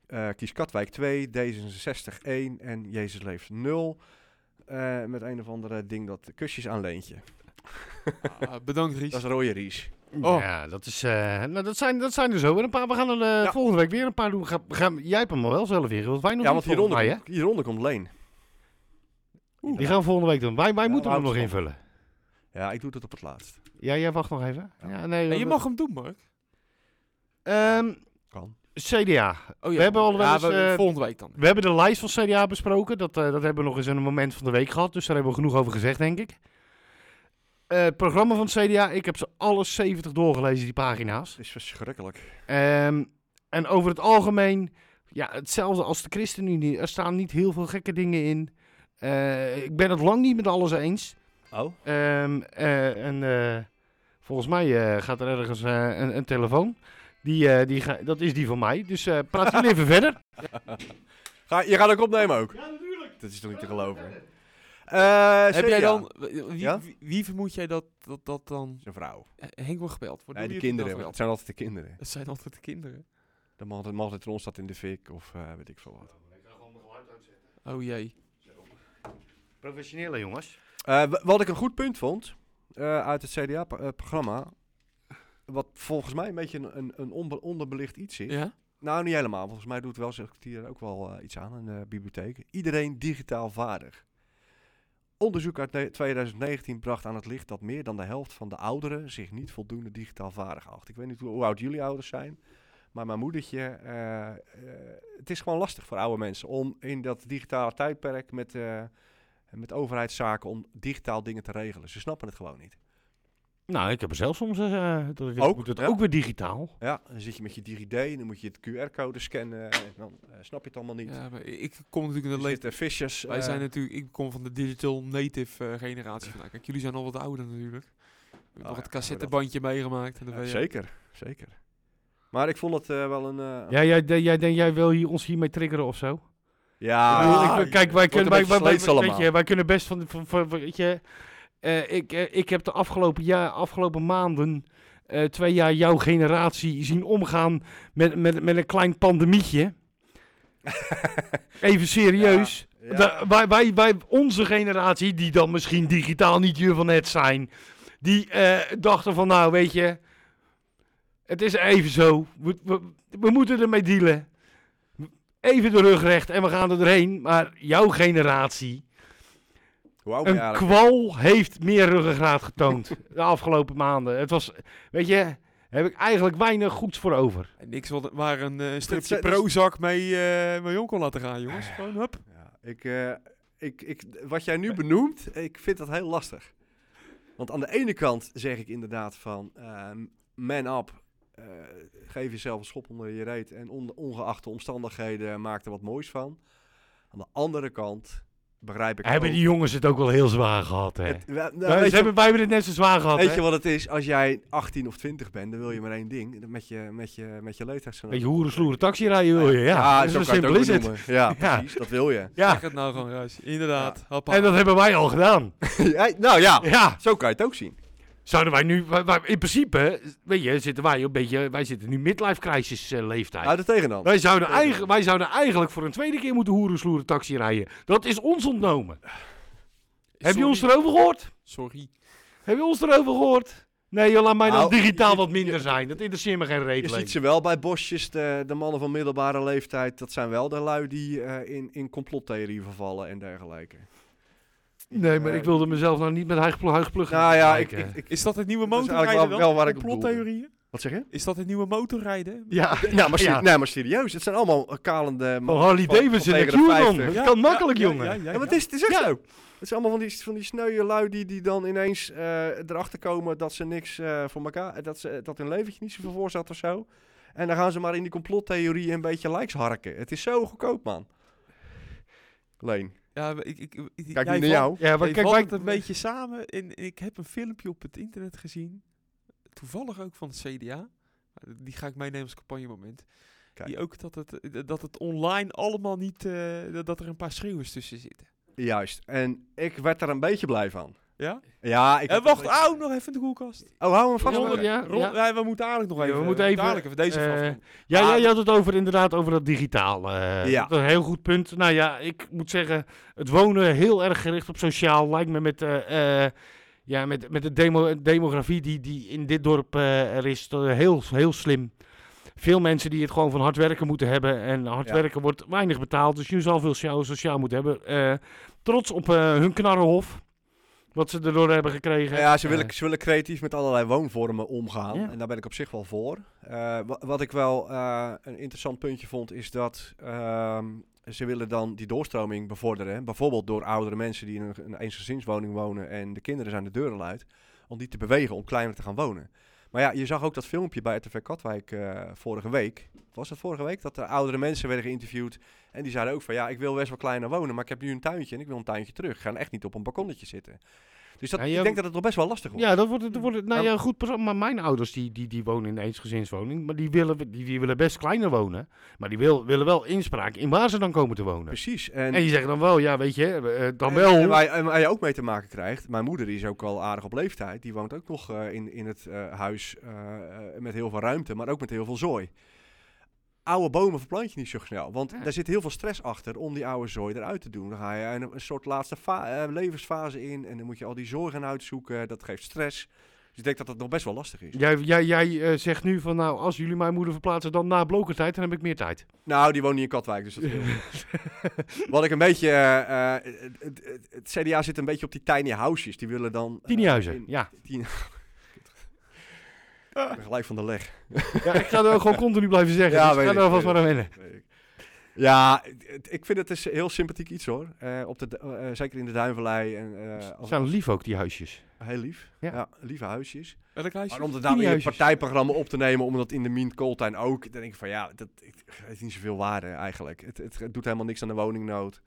Speaker 5: Eh, kies Katwijk 2, D66 1 en Jezus leeft 0. Eh, met een of andere ding dat kusjes aan leentje.
Speaker 4: Ah, bedankt, Ries.
Speaker 5: Dat is rode ries.
Speaker 3: Oh. Ja, dat, is, eh, nou, dat, zijn, dat zijn er zo weer een paar. We gaan er eh,
Speaker 5: Ja.
Speaker 3: volgende week weer een paar doen. We gaan- we gaan- jij hebt hem al wel zelf weer. Want wij nog
Speaker 5: Ja,
Speaker 3: niet
Speaker 5: want
Speaker 3: volgens
Speaker 5: hieronder,
Speaker 3: mij, hè?
Speaker 5: komt- hieronder komt Leen.
Speaker 3: Die gaan we volgende week doen. Wij, wij
Speaker 5: Ja,
Speaker 3: moeten
Speaker 5: we
Speaker 3: hem nog
Speaker 5: houden
Speaker 3: invullen.
Speaker 5: Ja, ik doe dat op het laatst.
Speaker 3: Ja, jij wacht nog even. Ja.
Speaker 5: Ja.
Speaker 3: nee,
Speaker 4: Nee, je
Speaker 3: we-
Speaker 4: mag hem doen, Mark.
Speaker 3: Ehm,
Speaker 5: Kan.
Speaker 3: CDA.
Speaker 4: Oh,
Speaker 3: We hebben al wel
Speaker 4: ja,
Speaker 3: eens,
Speaker 4: we-
Speaker 3: eh,
Speaker 4: volgende week dan.
Speaker 3: We hebben de lijst van CDA besproken. Dat, eh, dat hebben we nog eens in een moment van de week gehad. Dus daar hebben we genoeg over gezegd, denk ik. Eh, het programma van het CDA, ik heb ze alle 70 doorgelezen, die pagina's.
Speaker 5: Het is verschrikkelijk.
Speaker 3: Ehm, en over het algemeen, ja, hetzelfde als de ChristenUnie. Er staan niet heel veel gekke dingen in. Eh, ik ben het lang niet met alles eens.
Speaker 5: Oh?
Speaker 3: Ehm, eh, en eh, volgens mij eh, gaat er ergens eh, een, een telefoon. Die, eh, die ga- dat is die van mij. Dus eh, praat jullie even verder.
Speaker 5: Ga, je gaat ook opnemen ook? Ja, natuurlijk. Dat is toch niet te geloven? Eh
Speaker 4: Heb jij
Speaker 5: CDA.
Speaker 4: dan, wie,
Speaker 5: Ja?
Speaker 4: wie, wie vermoed jij dat dat, dat dan...
Speaker 5: Zijn vrouw.
Speaker 4: Eh, Henk wordt gebeld. Wordt
Speaker 5: Nee,
Speaker 4: door
Speaker 5: de
Speaker 4: wie heeft
Speaker 5: kinderen.
Speaker 4: hij nou
Speaker 5: Het
Speaker 4: gebeld?
Speaker 5: zijn altijd de kinderen.
Speaker 4: Het zijn altijd de kinderen.
Speaker 5: De man, de man staat in de fik of eh, weet ik veel wat.
Speaker 4: Oh jee.
Speaker 3: Professionele jongens.
Speaker 5: Eh, wa- wat ik een goed punt vond eh, uit het CDA-programma, wat volgens mij een beetje een, een, een onbe- onderbelicht iets is.
Speaker 4: Ja?
Speaker 5: Nou, niet helemaal. Volgens mij doet wel hier ook wel eh, iets aan in de bibliotheek. Iedereen digitaal vaardig. Onderzoek uit ne- 2019 bracht aan het licht dat meer dan de helft van de ouderen zich niet voldoende digitaal vaardig acht. Ik weet niet hoe, hoe oud jullie ouders zijn, maar mijn moedertje. eh, eh, het is gewoon lastig voor oude mensen om in dat digitale tijdperk met, eh, met overheidszaken om digitaal dingen te regelen. Ze snappen het gewoon niet.
Speaker 3: Nou, ik heb er zelf soms eh, dat ik denk,
Speaker 5: Ook,
Speaker 3: moet het
Speaker 5: ja.
Speaker 3: ook weer digitaal.
Speaker 5: Ja, dan zit je met je DigiD en dan moet je het QR-code scannen en dan eh, snap je het allemaal niet.
Speaker 4: Ja, maar ik kom natuurlijk in
Speaker 5: Er
Speaker 4: de leeftijd.
Speaker 5: zitten vissers.
Speaker 4: Wij
Speaker 5: eh,
Speaker 4: zijn natuurlijk, ik kom van de digital native eh, generatie vandaan. Kijk, jullie zijn al wat ouder natuurlijk. We hebben
Speaker 5: Oh
Speaker 4: nog
Speaker 5: ja,
Speaker 4: het cassettebandje meegemaakt. En de
Speaker 5: ja,
Speaker 4: VHS.
Speaker 5: zeker, zeker. Maar ik vond het eh, wel een... eh,
Speaker 3: Ja, jij, jij, jij denkt, jij wil hier, ons hiermee triggeren of zo?
Speaker 5: ja,
Speaker 3: Ik bedoel, ik- kijk, wij
Speaker 5: wordt
Speaker 3: kunnen,
Speaker 5: een
Speaker 3: wij,
Speaker 5: beetje
Speaker 3: wij, wij-
Speaker 5: sleets
Speaker 3: weet
Speaker 5: allemaal.
Speaker 3: je, wij kunnen best van, van, van- weet je, eh, ik, eh, ik heb de afgelopen, jaar, afgelopen maanden, eh, twee jaar jouw generatie zien omgaan met, met, met een klein pandemietje. Even serieus.
Speaker 5: ja.
Speaker 3: Da- wij, wij, wij, onze generatie, die dan misschien digitaal niet je van het zijn, die eh, dachten van nou weet je, het is even zo, we, we, we moeten ermee dealen. Even de rug recht en we gaan er doorheen. Maar jouw generatie,
Speaker 5: Hoe oud ben
Speaker 3: een
Speaker 5: je eigenlijk?
Speaker 3: kwal heeft meer ruggengraat getoond de afgelopen maanden. Het was, weet je, daar heb ik eigenlijk weinig goeds voor over.
Speaker 4: En Niks wat, waar een eh, stripje
Speaker 5: zijn- dat is-
Speaker 4: Prozac mee, eh mee om kon laten gaan, jongens. Gewoon, hup.
Speaker 5: Ja, ik, eh, ik, ik, wat jij nu benoemt, ik vind dat heel lastig. Want aan de ene kant zeg ik inderdaad van, eh, man up, eh, geef jezelf een schop onder je reet en on- ongeacht de omstandigheden maak er wat moois van. Aan de andere kant begrijp ik
Speaker 3: Hebben
Speaker 5: ook-
Speaker 3: die jongens het ook wel heel zwaar gehad, hè?
Speaker 5: het- wel- nou,
Speaker 3: Wij-
Speaker 5: weet
Speaker 3: ze
Speaker 5: je-
Speaker 3: hebben, wij hebben het net zo zwaar gehad,
Speaker 5: Weet
Speaker 3: hè?
Speaker 5: je wat het is? Als jij 18 of 20 bent, dan wil je maar één ding. Met je, met je, met je leeftijdsgenoot.
Speaker 3: Beetje hoeren, sloeren, taxi rijden wil je. Ja,
Speaker 5: zo
Speaker 3: zo
Speaker 5: kan je
Speaker 3: simpel
Speaker 5: ook
Speaker 3: is het.
Speaker 5: benoemen. Ja,
Speaker 3: Ja.
Speaker 5: precies. Dat wil je.
Speaker 3: Ja,
Speaker 4: Zeg het nou gewoon, Ruis. Inderdaad. Hoppa.
Speaker 3: en dat hebben wij al gedaan.
Speaker 5: Ja, nou ja,
Speaker 3: Ja,
Speaker 5: zo kan je het ook zien.
Speaker 3: zouden wij nu, wij- wij- in principe, weet je, zitten wij een beetje, wij zitten nu midlife crisis eh, leeftijd.
Speaker 5: Houd er tegen dan.
Speaker 3: wij, zouden eigen, wij zouden eigenlijk voor een tweede keer moeten hoeren, sloeren, taxi rijden. Dat is ons ontnomen. Heb je
Speaker 4: Sorry.
Speaker 3: ons erover gehoord?
Speaker 4: Sorry.
Speaker 3: Heb je ons erover gehoord? Nee, joh, laat mij dan
Speaker 5: Nou,
Speaker 3: digitaal
Speaker 5: je-
Speaker 3: wat minder zijn. Dat interesseert me geen
Speaker 5: Je
Speaker 3: reet.
Speaker 5: ziet
Speaker 3: leek.
Speaker 5: ze wel bij bosjes, de, de mannen van middelbare leeftijd. Dat zijn wel de lui die eh, in, in complottheorie vervallen en dergelijke.
Speaker 3: Nee, maar ik wilde mezelf nou niet met huigplug huigplug
Speaker 5: Nou ja, ik,
Speaker 3: vergelijken.
Speaker 5: ik, ik-
Speaker 4: Is dat het nieuwe
Speaker 5: Dat is
Speaker 4: motorrijden
Speaker 5: eigenlijk
Speaker 4: dan?
Speaker 5: wel- wel waar ik op doelde.
Speaker 4: Complottheorieën?
Speaker 5: Wat zeg je?
Speaker 4: Is dat het nieuwe motorrijden?
Speaker 3: Ja,
Speaker 5: Nou, maar,
Speaker 3: Ja.
Speaker 5: ser- nee, maar serieus. Het zijn allemaal eh, kalende
Speaker 3: van
Speaker 5: mannen
Speaker 3: Harley
Speaker 5: van- van
Speaker 3: Davidson en
Speaker 5: tegen de
Speaker 3: QAnon.
Speaker 5: 50.
Speaker 3: Het kan makkelijk,
Speaker 4: ja,
Speaker 3: jongen.
Speaker 4: Ja, ja,
Speaker 5: Ja, maar
Speaker 4: ja.
Speaker 5: het is, het is echt
Speaker 3: Ja.
Speaker 5: zo. Het zijn allemaal van die, van die sneuwe lui die, die dan ineens eh, erachter komen dat ze niks eh, voor elkaar, dat, ze, dat hun leventje niet zoveel voor zat of zo. En dan gaan ze maar in die complottheorie een beetje likes harken. Het is zo goedkoop, man. Leen,
Speaker 4: Ja, maar ik, ik, ik,
Speaker 5: kijk
Speaker 4: jij
Speaker 5: niet naar
Speaker 4: valt-
Speaker 5: jou.
Speaker 3: Ja, maar
Speaker 4: Hey,
Speaker 3: kijk,
Speaker 4: valt
Speaker 3: wij-
Speaker 4: het een beetje samen. En ik heb een filmpje op het internet gezien. Toevallig ook van het CDA. maar Die ga ik meenemen als campagnemoment.
Speaker 5: Kijk.
Speaker 4: Die ook dat het, eh, dat het online allemaal niet... eh, dat- dat er een paar schreeuwers tussen zitten.
Speaker 5: Juist. En ik werd er een beetje blij van.
Speaker 4: Ja?
Speaker 5: Ja, ik...
Speaker 4: En Eh, wacht, hou nog even de koelkast.
Speaker 5: Oh, hou hem vast.
Speaker 3: Ja,
Speaker 5: maar-
Speaker 3: ja,
Speaker 4: Ron,
Speaker 3: ja.
Speaker 4: wij- we moeten eigenlijk nog
Speaker 3: Ja, we
Speaker 4: even...
Speaker 3: moeten even,
Speaker 4: Dadelijk even deze
Speaker 3: eh,
Speaker 4: aflevering.
Speaker 3: Ja,
Speaker 5: Ah,
Speaker 3: ja, je had het over inderdaad over dat digitaal. eh,
Speaker 5: Ja.
Speaker 3: Dat is een heel goed punt. Nou ja, ik moet zeggen, het wonen heel erg gericht op sociaal lijkt me met, eh, eh, ja, met, met de demo, demografie die, die in dit dorp eh, er is eh, heel, heel slim. Veel mensen die het gewoon van hard werken moeten hebben. En hard
Speaker 5: Ja.
Speaker 3: werken wordt weinig betaald. Dus je zal veel sociaal, sociaal moeten hebben. Eh, trots op eh, hun knarrenhof. Wat ze erdoor hebben gekregen.
Speaker 5: Ja, ze
Speaker 3: Eh,
Speaker 5: willen, ze willen creatief met allerlei woonvormen omgaan.
Speaker 3: Ja.
Speaker 5: En daar ben ik op zich wel voor. Eh, wa- wat ik wel eh, een interessant puntje vond, is dat ehm, ze willen dan die doorstroming bevorderen. Bijvoorbeeld door oudere mensen die in een, een eensgezinswoning wonen en de kinderen zijn de deuren uit. Om die te bewegen om kleiner te gaan wonen. Maar ja, je zag ook dat filmpje bij RTV Katwijk eh, vorige week. Was dat vorige week? Dat er oudere mensen werden geïnterviewd. En die zeiden ook van, ja, ik wil best wel kleiner wonen, maar ik heb nu een tuintje en ik wil een tuintje terug. Ik ga echt niet op een balkonnetje zitten. Dus dat,
Speaker 3: Ja, je-
Speaker 5: ik denk dat het nog best wel lastig wordt.
Speaker 3: Ja, dat wordt, het- dat wordt het- nou
Speaker 5: Maar-
Speaker 3: ja, goed. perso- Maar mijn ouders die, die, die wonen in een eensgezinswoning. Maar die willen, die, die willen best kleiner wonen. Maar die wil, willen wel inspraak in waar ze dan komen te wonen.
Speaker 5: Precies.
Speaker 3: En, je zegt dan wel, ja, weet je, eh, dan
Speaker 5: en-
Speaker 3: wel.
Speaker 5: En waar, je- en waar je ook mee te maken krijgt. Mijn moeder die is ook al aardig op leeftijd. Die woont ook nog eh, in, in het eh, huis eh, eh, met heel veel ruimte, maar ook met heel veel zooi. Oude bomen verplant je niet zo snel. Want
Speaker 3: Ja.
Speaker 5: daar zit heel veel stress achter om die oude zooi eruit te doen. Dan ga je een, een soort laatste fa- eh, levensfase in. En dan moet je al die zooi gaan uitzoeken. Dat geeft stress. Dus ik denk dat dat nog best wel lastig is.
Speaker 3: Jij, jij, jij eh, zegt nu van, nou, als jullie mijn moeder verplaatsen, dan na blokertijd, dan heb ik meer tijd.
Speaker 5: Nou, die woont niet in Katwijk, dus dat scheelt. Wat ik een beetje... eh, eh, het, het- het CDA zit een beetje op die tiny houses. Die willen dan... eh,
Speaker 3: Tinihuizen,
Speaker 5: in-
Speaker 3: ja.
Speaker 5: Tien... Ik ben gelijk van de leg.
Speaker 3: ja. Ik ga er ook gewoon continu blijven zeggen.
Speaker 5: Ja,
Speaker 3: dus ik
Speaker 5: weet
Speaker 3: ga
Speaker 5: ik,
Speaker 3: er alvast
Speaker 5: weet
Speaker 3: maar aan wennen.
Speaker 5: weet ik. Ja, het- ik vind het is een heel sympathiek iets hoor. Eh, op de, du- eh, eh, zeker in de Duinvallei. En, eh,
Speaker 3: Ze
Speaker 5: als-
Speaker 3: zijn lief ook, die huisjes.
Speaker 5: heel lief.
Speaker 3: Ja.
Speaker 5: Ja. lieve huisjes.
Speaker 4: Welk huisje?
Speaker 5: Maar om dat nou in een
Speaker 3: Mini-huisjes.
Speaker 5: partijprogramma op te nemen, omdat in de Mien Kooltuin ook. Dan denk ik van ja, dat ik- het heeft niet zoveel waarde eigenlijk. Het, het, doet helemaal niks aan de woningnood.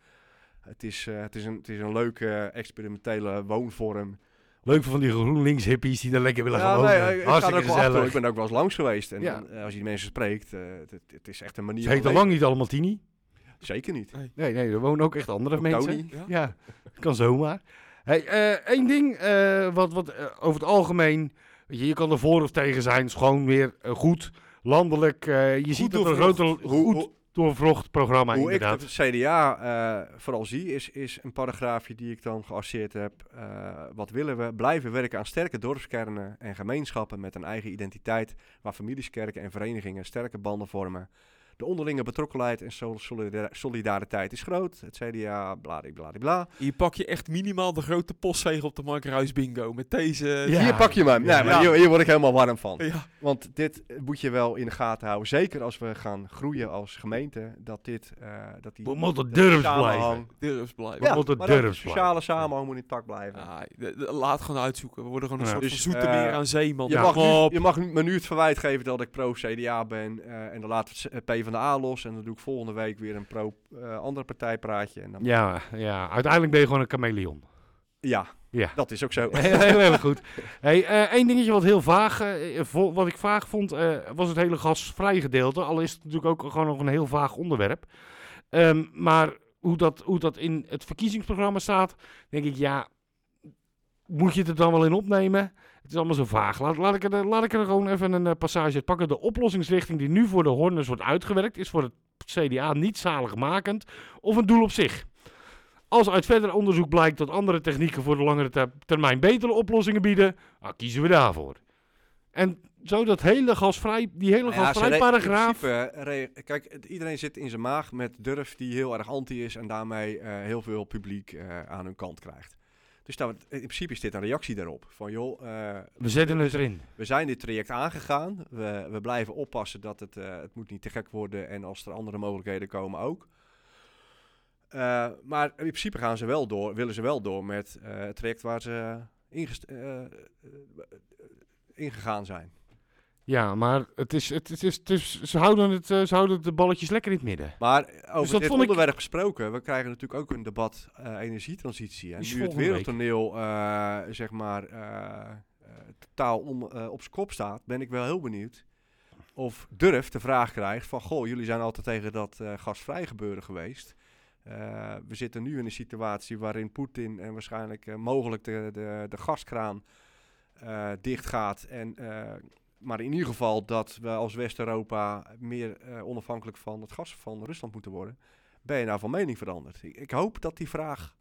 Speaker 5: Het is, eh, het is, een, het is een leuke eh, experimentele woonvorm.
Speaker 3: Leuk van die GroenLinks hippies die daar lekker willen gaan
Speaker 5: nee,
Speaker 3: wonen.
Speaker 5: ik, ik ga er ook wel
Speaker 3: eh, Hartstikke
Speaker 5: achter, hoor.
Speaker 3: gezellig.
Speaker 5: ik ben er ook wel eens langs geweest. En
Speaker 3: Ja.
Speaker 5: dan, eh, als je die mensen spreekt, eh, het, het- het is echt een manier
Speaker 3: Ze heet
Speaker 5: van
Speaker 3: al
Speaker 5: leven.
Speaker 3: lang niet allemaal Tini.
Speaker 5: Zeker niet.
Speaker 3: Nee, nee, er wonen ook echt andere
Speaker 5: Ook
Speaker 3: mensen.
Speaker 5: Tony.
Speaker 4: Ja?
Speaker 3: Ja, dat kan zomaar. Hey, eh één ding eh, wat, wat eh, over het algemeen, weet je, je kan er voor of tegen zijn, is gewoon weer eh, goed, landelijk. eh, je ziet dat er een
Speaker 4: doorvrocht.
Speaker 3: grote,
Speaker 5: Hoe-
Speaker 3: goed
Speaker 5: hoe-
Speaker 3: doorvrocht programma
Speaker 5: Hoe ik
Speaker 3: inderdaad.
Speaker 5: het CDA eh, vooral zie, is, is een paragraafje die ik dan gearseerd heb. Eh, wat willen we? Blijven werken aan sterke dorpskernen en gemeenschappen met een eigen identiteit, waar families, kerken en verenigingen sterke banden vormen. De onderlinge betrokkenheid en sol- solidar- solidariteit is groot. Het CDA, bladibladibla.
Speaker 4: Hier pak je echt minimaal de grote postzegel op de Mark Ruijs bingo. Met deze...
Speaker 3: Ja.
Speaker 5: Hier pak je me.
Speaker 3: Ja.
Speaker 5: Nee, maar hier, hier word ik helemaal warm van.
Speaker 4: Ja.
Speaker 5: Want dit eh, moet je wel in de gaten houden. Zeker als we gaan groeien als gemeente. Dat dit. eh, dat die,
Speaker 3: We moeten
Speaker 5: dat
Speaker 3: durfs
Speaker 5: samenhang-
Speaker 3: blijven.
Speaker 4: durfs blijven.
Speaker 3: Ja. We moeten
Speaker 5: maar dat
Speaker 3: durfs
Speaker 5: sociale samenhang moet intact blijven.
Speaker 4: Ah, de- de- laat gewoon uitzoeken. We worden gewoon een
Speaker 3: Ja.
Speaker 4: soort
Speaker 5: Dus,
Speaker 4: van zoete meer
Speaker 5: eh,
Speaker 4: aan zee, man.
Speaker 5: Je, mag nu, je mag nu- me nu het verwijt geven dat ik pro-CDA ben. eh, en dan laat ik het P van de A los. En dan doe ik volgende week weer een pro-andere partijpraatje. En dan, ja.
Speaker 3: Ja, ja, uiteindelijk ben je gewoon een chameleon. Ja.
Speaker 5: dat is ook zo.
Speaker 3: Heel, heel erg goed. Hey, eh, één dingetje wat heel vaag, eh, vo- wat ik vaag vond, eh, was het hele gasvrij gedeelte. Al is het natuurlijk ook gewoon nog een heel vaag onderwerp. Ehm, maar hoe dat, hoe dat in het verkiezingsprogramma staat, denk ik, ja, moet je het er dan wel in opnemen? Het is allemaal zo vaag. Laat, laat, ik, er, laat ik er gewoon even een eh, passage uit pakken. De oplossingsrichting die nu voor de Horners wordt uitgewerkt, is voor het CDA niet zaligmakend of een doel op zich. Als uit verder onderzoek blijkt dat andere technieken voor de langere ter- termijn betere oplossingen bieden, ah, kiezen we daarvoor. En zo dat hele gasvrij, die hele
Speaker 5: Nou ja, ze
Speaker 3: gasvrij
Speaker 5: re-
Speaker 3: paragraaf.
Speaker 5: in principe, eh, re- kijk, het- iedereen zit in zijn maag met Durf die heel erg anti is en daarmee eh, heel veel publiek eh, aan hun kant krijgt. Dus daar, in principe is dit een reactie daarop. Van joh, eh,
Speaker 3: We zetten het erin.
Speaker 5: we zijn dit traject aangegaan. We, we blijven oppassen dat het, eh, het moet niet te gek worden. En als er andere mogelijkheden komen ook. Eh, maar in principe gaan ze wel door, willen ze wel door met eh, het traject waar ze ingest- eh, eh, ingegaan zijn.
Speaker 3: Ja, maar het is, het, het is, het is, ze, houden het, eh, ze houden de balletjes lekker in het midden.
Speaker 5: Maar over
Speaker 3: Dus dat
Speaker 5: dit
Speaker 3: vond ik-
Speaker 5: onderwerp gesproken, we krijgen natuurlijk ook een debat eh, energietransitie. En
Speaker 3: Is
Speaker 5: nu het
Speaker 3: volgende week.
Speaker 5: wereldtoneel, eh, zeg maar, eh, eh, totaal om, eh, op zijn kop staat, ben ik wel heel benieuwd of Durf de vraag krijgt van, goh, jullie zijn altijd tegen dat eh, gasvrij gebeuren geweest. Eh, we zitten nu in een situatie waarin Poetin en waarschijnlijk eh, mogelijk de, de, de gaskraan eh dicht gaat. En, eh, maar in ieder geval dat we als West-Europa meer eh, onafhankelijk van het gas van Rusland moeten worden. Ben je nou van mening veranderd? Ik, ik hoop dat die vraag.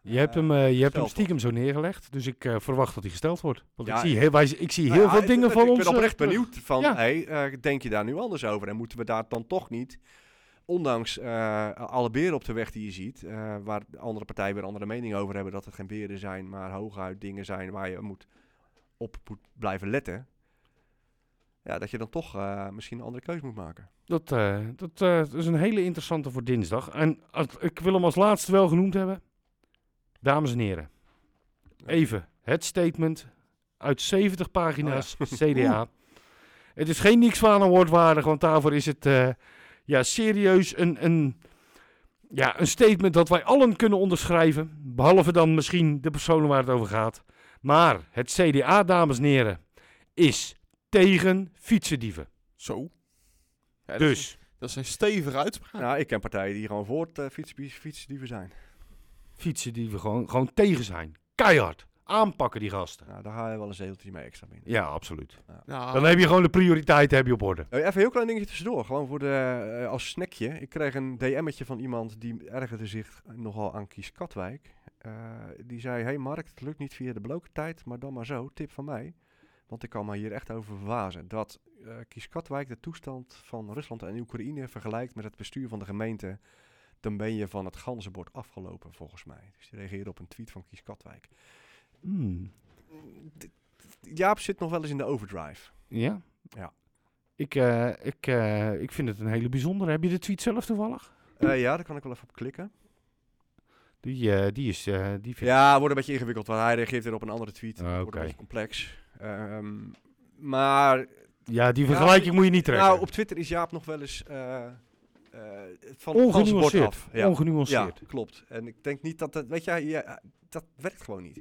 Speaker 3: Je hebt
Speaker 5: eh,
Speaker 3: hem, eh, je hebt hem
Speaker 5: gesteld
Speaker 3: stiekem zo neergelegd, dus ik eh, verwacht dat hij gesteld wordt. Want
Speaker 5: Ja,
Speaker 3: ik zie heel, wij, ik zie
Speaker 5: Nou
Speaker 3: heel
Speaker 5: ja,
Speaker 3: veel
Speaker 5: ik-
Speaker 3: dingen van
Speaker 5: ik
Speaker 3: ons.
Speaker 5: ben
Speaker 3: eh,
Speaker 5: oprecht
Speaker 3: terug.
Speaker 5: benieuwd van,
Speaker 3: Ja.
Speaker 5: hey, eh, denk je daar nu anders over? En moeten we daar dan toch niet, ondanks eh, alle beren op de weg die je ziet, eh, waar de andere partijen weer andere meningen over hebben, dat het geen beren zijn, maar hooguit dingen zijn waar je moet op moet blijven letten. Ja, dat je dan toch eh, misschien een andere keuze moet maken.
Speaker 3: Dat, eh, dat eh, is een hele interessante voor dinsdag. En als, ik wil hem als laatste wel genoemd hebben. Dames en heren, even het statement uit 70 pagina's
Speaker 4: Oh
Speaker 3: CDA. Het is geen niks van een waardig, want daarvoor is het eh, ja, serieus een, een, ja, een statement dat wij allen kunnen onderschrijven. Behalve dan misschien de personen waar het over gaat. Maar het CDA, dames en heren, is tegen fietsendieven.
Speaker 4: Zo. Ja, dat
Speaker 3: Dus.
Speaker 4: is- Dat zijn stevige uitspraken.
Speaker 5: Nou, ik ken partijen die gewoon voor het eh, fiets, fietsdieven zijn.
Speaker 3: fietsen die we gewoon, gewoon tegen zijn. Keihard. Aanpakken die gasten.
Speaker 5: Nou, daar haal je wel een zeteltje mee extra binnen.
Speaker 3: Ja, absoluut.
Speaker 5: Ah.
Speaker 4: Nou,
Speaker 3: Dan heb je gewoon de prioriteiten heb je op orde.
Speaker 5: Eh, Even een heel klein dingetje tussendoor, gewoon voor de, eh, als snackje. Ik kreeg een DM'tje van iemand die ergerde zich nogal aan Kies Katwijk. Eh, die zei, hey Mark, het lukt niet via de blokke tijd, maar dan maar zo, tip van mij. Want ik kan me hier echt over verbazen. Dat eh Kies Katwijk de toestand van Rusland en Oekraïne vergelijkt met het bestuur van de gemeente. Dan ben je van het ganzenbord afgelopen, volgens mij. Dus die reageerde op een tweet van Kies Katwijk.
Speaker 3: Hmm.
Speaker 5: Jaap zit nog wel eens in de overdrive.
Speaker 3: Ja?
Speaker 5: Ja.
Speaker 3: Ik, eh, ik, eh, ik vind het een hele bijzondere. Heb je de tweet zelf toevallig?
Speaker 5: Eh, ja, daar kan ik wel even op klikken.
Speaker 3: Die, eh, die is... eh, die vind
Speaker 5: Ja, wordt een beetje ingewikkeld, want hij reageert weer op een andere tweet.
Speaker 3: Ah,
Speaker 5: Het wordt
Speaker 3: oké.
Speaker 5: een beetje complex. Ehm, maar
Speaker 3: ja, die vergelijking moet je niet trekken.
Speaker 5: nou, op Twitter is Jaap nog wel eens eh, eh, van het ganse bord
Speaker 3: Ongenuanceerd.
Speaker 5: af. Ja. ja,
Speaker 3: Ongenuanceerd.
Speaker 5: klopt. En ik denk niet dat dat, weet je, ja, dat werkt gewoon niet.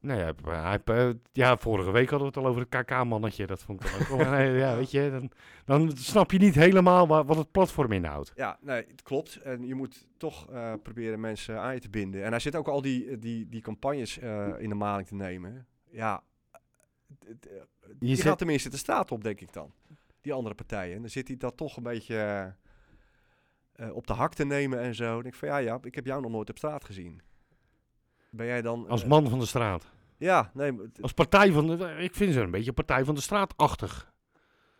Speaker 3: Nee, hij, hij- hij, eh, ja, vorige week hadden we het al over het KK-mannetje. Dat vond ik dan ook wel. Nee, ja, weet je, dan, dan snap je niet helemaal wa- wat het platform inhoudt.
Speaker 5: Ja, nee, het klopt. En je moet toch eh, proberen mensen aan je te binden. En hij zit ook al die, die, die campagnes eh, in de maling te nemen. Ja, d- d- die
Speaker 3: zit-
Speaker 5: gaat tenminste de staat op, denk ik dan. Die andere partijen. En dan zit hij dat toch een beetje eh, eh, op de hak te nemen en zo. En ik van, ja, ja, ik heb jou nog nooit op straat gezien. Ben jij dan...
Speaker 3: Als
Speaker 5: eh,
Speaker 3: man van de straat.
Speaker 5: ja, nee. maar het-
Speaker 3: Als partij van de... Ik vind ze een beetje partij van de straatachtig.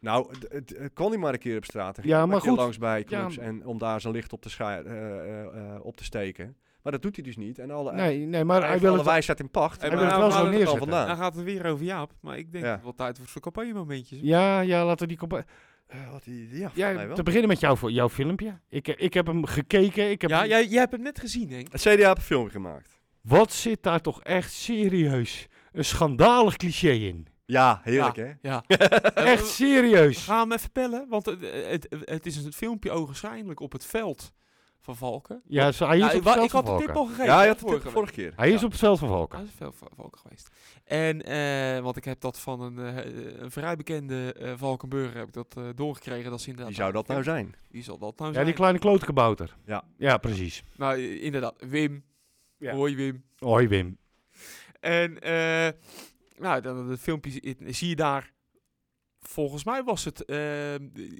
Speaker 5: Nou, het- het het kon hij maar een keer op straat. En
Speaker 3: Ja, maar goed.
Speaker 5: langs bij clubs
Speaker 3: Ja.
Speaker 5: en om daar zijn licht op te, scha- eh, eh, eh, op te steken. Maar dat doet hij dus niet. En alle,
Speaker 3: Nee, nee, maar hij
Speaker 5: Hij
Speaker 3: wil
Speaker 5: alle
Speaker 3: het...
Speaker 5: wijsheid in pacht.
Speaker 4: Hij
Speaker 5: En
Speaker 4: wil
Speaker 5: daar
Speaker 4: het wel
Speaker 5: halen
Speaker 4: zo
Speaker 5: we het al
Speaker 3: neerzetten.
Speaker 5: vandaan.
Speaker 4: Dan gaat het weer over Jaap, maar ik denk
Speaker 5: Ja.
Speaker 4: dat het wel tijd wordt voor campagne-momentjes.
Speaker 3: Ja, ja, laten we die... compa-
Speaker 5: Ja, Eh, wat die- ja, volgens mij
Speaker 3: Ja,
Speaker 5: wel.
Speaker 3: te beginnen met jou, voor- jouw filmpje. Ik, eh, ik heb hem gekeken. Ik heb
Speaker 4: Ja, jij, jij hebt hem net gezien, Henk.
Speaker 5: Het CDA heeft een film gemaakt.
Speaker 3: Wat zit daar toch echt serieus een schandalig cliché in?
Speaker 5: Ja, heerlijk hè?
Speaker 4: Ja.
Speaker 3: Echt
Speaker 4: Eh, We
Speaker 3: serieus.
Speaker 4: gaan hem even bellen, want het, het, het is een filmpje ogenschijnlijk op het veld van Valken.
Speaker 3: Ja, ze- hij is
Speaker 4: Ja,
Speaker 3: op het
Speaker 4: wa-
Speaker 3: veld
Speaker 4: ik
Speaker 3: van
Speaker 4: had de tip
Speaker 3: Valken.
Speaker 4: al gegeven.
Speaker 5: Ja,
Speaker 4: hè,
Speaker 5: je had het vorige,
Speaker 4: week.
Speaker 5: vorige keer.
Speaker 3: Hij is
Speaker 5: Ja.
Speaker 3: op het veld van
Speaker 4: Ja,
Speaker 3: Valken.
Speaker 4: dat is veel va- Valken geweest. En, eh, want ik heb dat van een, eh, een vrij bekende eh Valkenburger heb ik dat eh, doorgekregen. Dat ze inderdaad
Speaker 5: Wie zou dat nou zijn?
Speaker 4: Wie zal dat nou
Speaker 3: Ja,
Speaker 4: zijn?
Speaker 3: die kleine klootkebouter.
Speaker 5: Ja.
Speaker 3: Ja, precies.
Speaker 4: Nou, eh, inderdaad. Wim.
Speaker 3: Ja.
Speaker 4: Hoi, Wim.
Speaker 3: Hoi Wim.
Speaker 4: En eh nou, dan het filmpje zie- zie je daar. Volgens mij was het eh, een,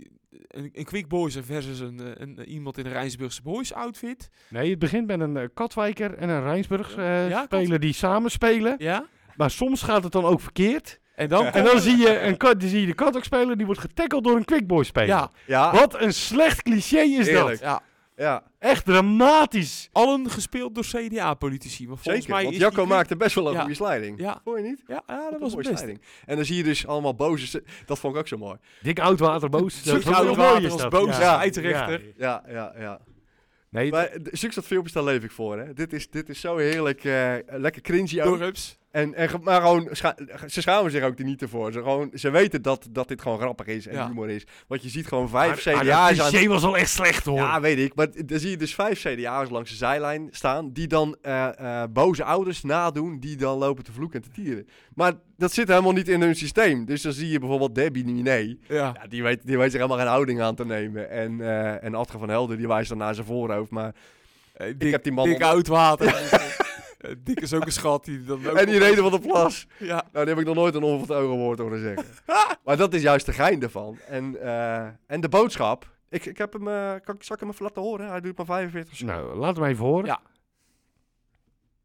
Speaker 4: een Quick Boys versus een, eh, een, iemand in een Rijnsburgse Boys outfit.
Speaker 3: Nee, het begint met een eh, Katwijker en een Rijnsburgs eh,
Speaker 4: Ja,
Speaker 3: speler die samen spelen.
Speaker 4: Ja.
Speaker 3: Maar soms gaat het dan ook verkeerd.
Speaker 4: En dan.
Speaker 3: En dan zie je, een kat, dan zie je de kat ook spelen, die wordt getackeld door een quickboy speler.
Speaker 4: Ja.
Speaker 5: Ja,
Speaker 3: Wat een slecht cliché is
Speaker 5: Heerlijk.
Speaker 3: dat.
Speaker 4: Ja,
Speaker 5: ja
Speaker 3: Echt dramatisch.
Speaker 4: allen gespeeld door CDA-politici. Maar volgens
Speaker 5: zeker.
Speaker 4: mij
Speaker 5: Want
Speaker 4: is
Speaker 5: Jacco
Speaker 4: die-
Speaker 5: maakte best wel een
Speaker 4: Ja.
Speaker 5: goede sliding.
Speaker 4: Ja,
Speaker 5: Hoor je niet?
Speaker 4: ja, ja dat
Speaker 5: Wat
Speaker 4: was het
Speaker 5: mooie
Speaker 4: beste.
Speaker 5: sliding. En dan zie je dus allemaal boze... se- Dat vond ik ook zo mooi.
Speaker 3: Dik Oudwater boos.
Speaker 4: Zoek
Speaker 3: vond ik wel
Speaker 4: Oudwater
Speaker 3: mooi, is
Speaker 4: als
Speaker 3: dat.
Speaker 4: boos
Speaker 3: Ja.
Speaker 4: scheidsrechter.
Speaker 3: Ja.
Speaker 5: Ja, ja, ja.
Speaker 3: Nee,
Speaker 5: Maar eh, zulke soort filmpjes, daar leef ik voor hè. Dit is, dit is zo heerlijk, eh, lekker cringy ook.
Speaker 4: Dorps.
Speaker 5: En, en, ge- maar gewoon, scha- ze schamen zich ook er niet ervoor. Ze, gewoon, ze weten dat, dat dit gewoon grappig is en
Speaker 4: Ja.
Speaker 5: humor is. Want je ziet gewoon vijf
Speaker 3: maar- maar
Speaker 5: CDA's
Speaker 3: dat
Speaker 5: aan...
Speaker 3: cliché was al echt slecht hoor.
Speaker 5: Ja, weet ik. Maar d- dan zie je dus vijf CDA's langs de zijlijn staan... die dan eh, eh, boze ouders nadoen... die dan lopen te vloeken en te tieren. Maar dat zit helemaal niet in hun systeem. Dus dan zie je bijvoorbeeld Debbie Niné.
Speaker 4: Ja.
Speaker 5: Ja, die, weet, die weet zich helemaal geen houding aan te nemen. En, eh, en Adge van Helder, die wijst dan naar zijn voorhoofd. Maar
Speaker 4: Ik
Speaker 5: heb die man
Speaker 4: Dik
Speaker 5: onder-
Speaker 4: oud water. Eh, Dik is ook een schat. Die dan ook
Speaker 5: en die reden van de plas.
Speaker 4: Ja.
Speaker 5: Nou, daar heb ik nog nooit een oor van het ogen woord horen zeggen. maar dat is juist de gein ervan. En, eh, en de boodschap. Ik, ik heb hem, eh, kan, ik- zal ik hem even laten horen? Hij duurt maar 45 seconden.
Speaker 3: Nou, laat hem even horen.
Speaker 4: Ja.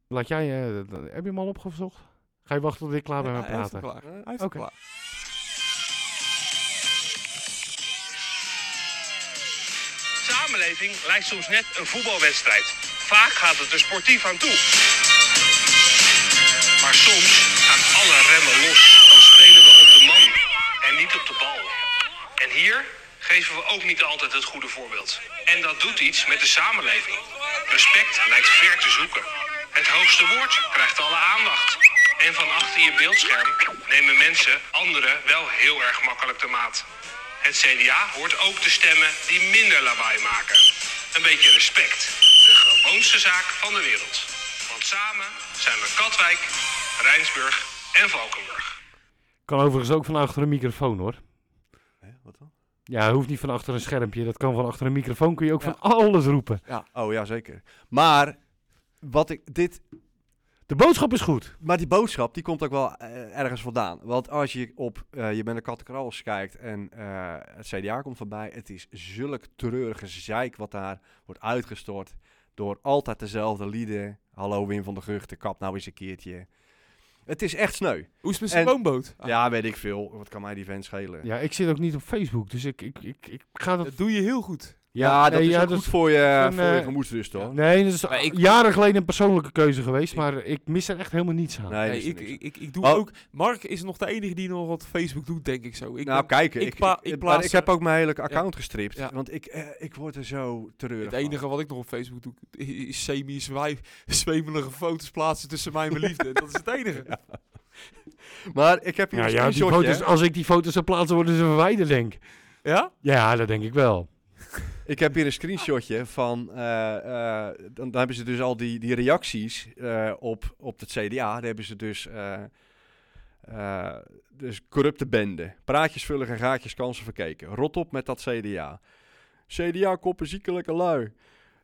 Speaker 3: Laat jij, eh, d- heb je hem al opgezocht? Ga je wachten tot ik klaar ben met
Speaker 4: Hij heeft hem
Speaker 3: praten?
Speaker 4: klaar. Hij heeft hem
Speaker 3: Oké.
Speaker 4: klaar.
Speaker 7: samenleving lijkt soms net een voetbalwedstrijd. Vaak gaat het er sportief aan toe. Maar soms gaan alle remmen los. Dan spelen we op de man en niet op de bal. En hier geven we ook niet altijd het goede voorbeeld. En dat doet iets met de samenleving. Respect lijkt ver te zoeken. Het hoogste woord krijgt alle aandacht. En van achter je beeldscherm nemen mensen anderen wel heel erg makkelijk de maat. Het CDA hoort ook de stemmen die minder lawaai maken. Een beetje respect. De gewoonste zaak van de wereld. Want samen zijn we Katwijk, Rijnsburg en Valkenburg.
Speaker 3: Kan overigens ook van achter een microfoon hoor.
Speaker 5: Wat dan?
Speaker 3: Ja, hij hoeft niet van achter een schermpje. Dat kan van achter een microfoon. Kun je ook van alles roepen.
Speaker 5: Oh ja, zeker. Maar, wat ik, dit,
Speaker 3: De boodschap is goed.
Speaker 5: maar die boodschap die komt ook wel eh, ergens vandaan. Want als je op eh, Je bent een kattenkrals kijkt en eh, het CDA komt voorbij. Het is zulk treurige zeik wat daar wordt uitgestort. Door altijd dezelfde lieden. Hallo Wim van der Gucht, de kap nou eens een keertje. Het is echt sneu.
Speaker 4: Hoe is het met zijn
Speaker 5: En-
Speaker 4: woonboot? Ah,
Speaker 5: Ja, weet ik veel. Wat kan mij die vent schelen?
Speaker 6: Ah,
Speaker 3: Ja, ik zit ook niet op Facebook. Dus ik, ik, ik, ik ga dat...
Speaker 4: Dat doe je heel goed.
Speaker 5: Nou, Ja, dat
Speaker 3: nee,
Speaker 5: is
Speaker 3: ja,
Speaker 5: ook
Speaker 3: dat
Speaker 5: goed voor je,
Speaker 3: een,
Speaker 5: voor je
Speaker 3: eh,
Speaker 5: gemoedsrust, hoor.
Speaker 3: Nee, dat is
Speaker 6: Maar ik-
Speaker 3: jaren geleden een persoonlijke keuze geweest, maar ik mis er echt helemaal niets aan.
Speaker 5: Nee,
Speaker 6: Nee,
Speaker 5: dat is
Speaker 6: ik,
Speaker 5: niks.
Speaker 6: ik, ik, ik doe
Speaker 5: Oh.
Speaker 6: ook... Mark is nog de enige die nog wat Facebook doet, denk ik zo. Ik
Speaker 5: nou,
Speaker 6: ben
Speaker 5: kijk,
Speaker 6: ik
Speaker 5: ik,
Speaker 6: pla-
Speaker 5: ik,
Speaker 6: ik
Speaker 5: maar
Speaker 6: plaats-
Speaker 5: ik heb ook mijn hele account gestript.
Speaker 6: Ja.
Speaker 5: Want ik, eh, ik word er zo treurig
Speaker 6: het
Speaker 5: van.
Speaker 6: enige wat ik nog op Facebook doe, is semi-zwemelige foto's plaatsen tussen mij en mijn liefde. Dat is het enige.
Speaker 5: Maar ik heb hier
Speaker 3: Nou Ja,
Speaker 5: een
Speaker 3: ja, die
Speaker 5: screenshotje,
Speaker 3: foto's,
Speaker 5: hè.
Speaker 3: als ik die foto's zou plaatsen, worden ze verwijderd, denk ik.
Speaker 6: Ja?
Speaker 3: Ja, dat denk ik wel.
Speaker 5: Ik heb hier een screenshotje van. eh, eh, dan, dan hebben ze dus al die, die reacties eh, op, op het CDA. Daar hebben ze dus. eh, eh, dus corrupte bende. Praatjes vullen en gaatjes kansen verkeken. Rot op met dat CDA. CDA koppen ziekelijke lui.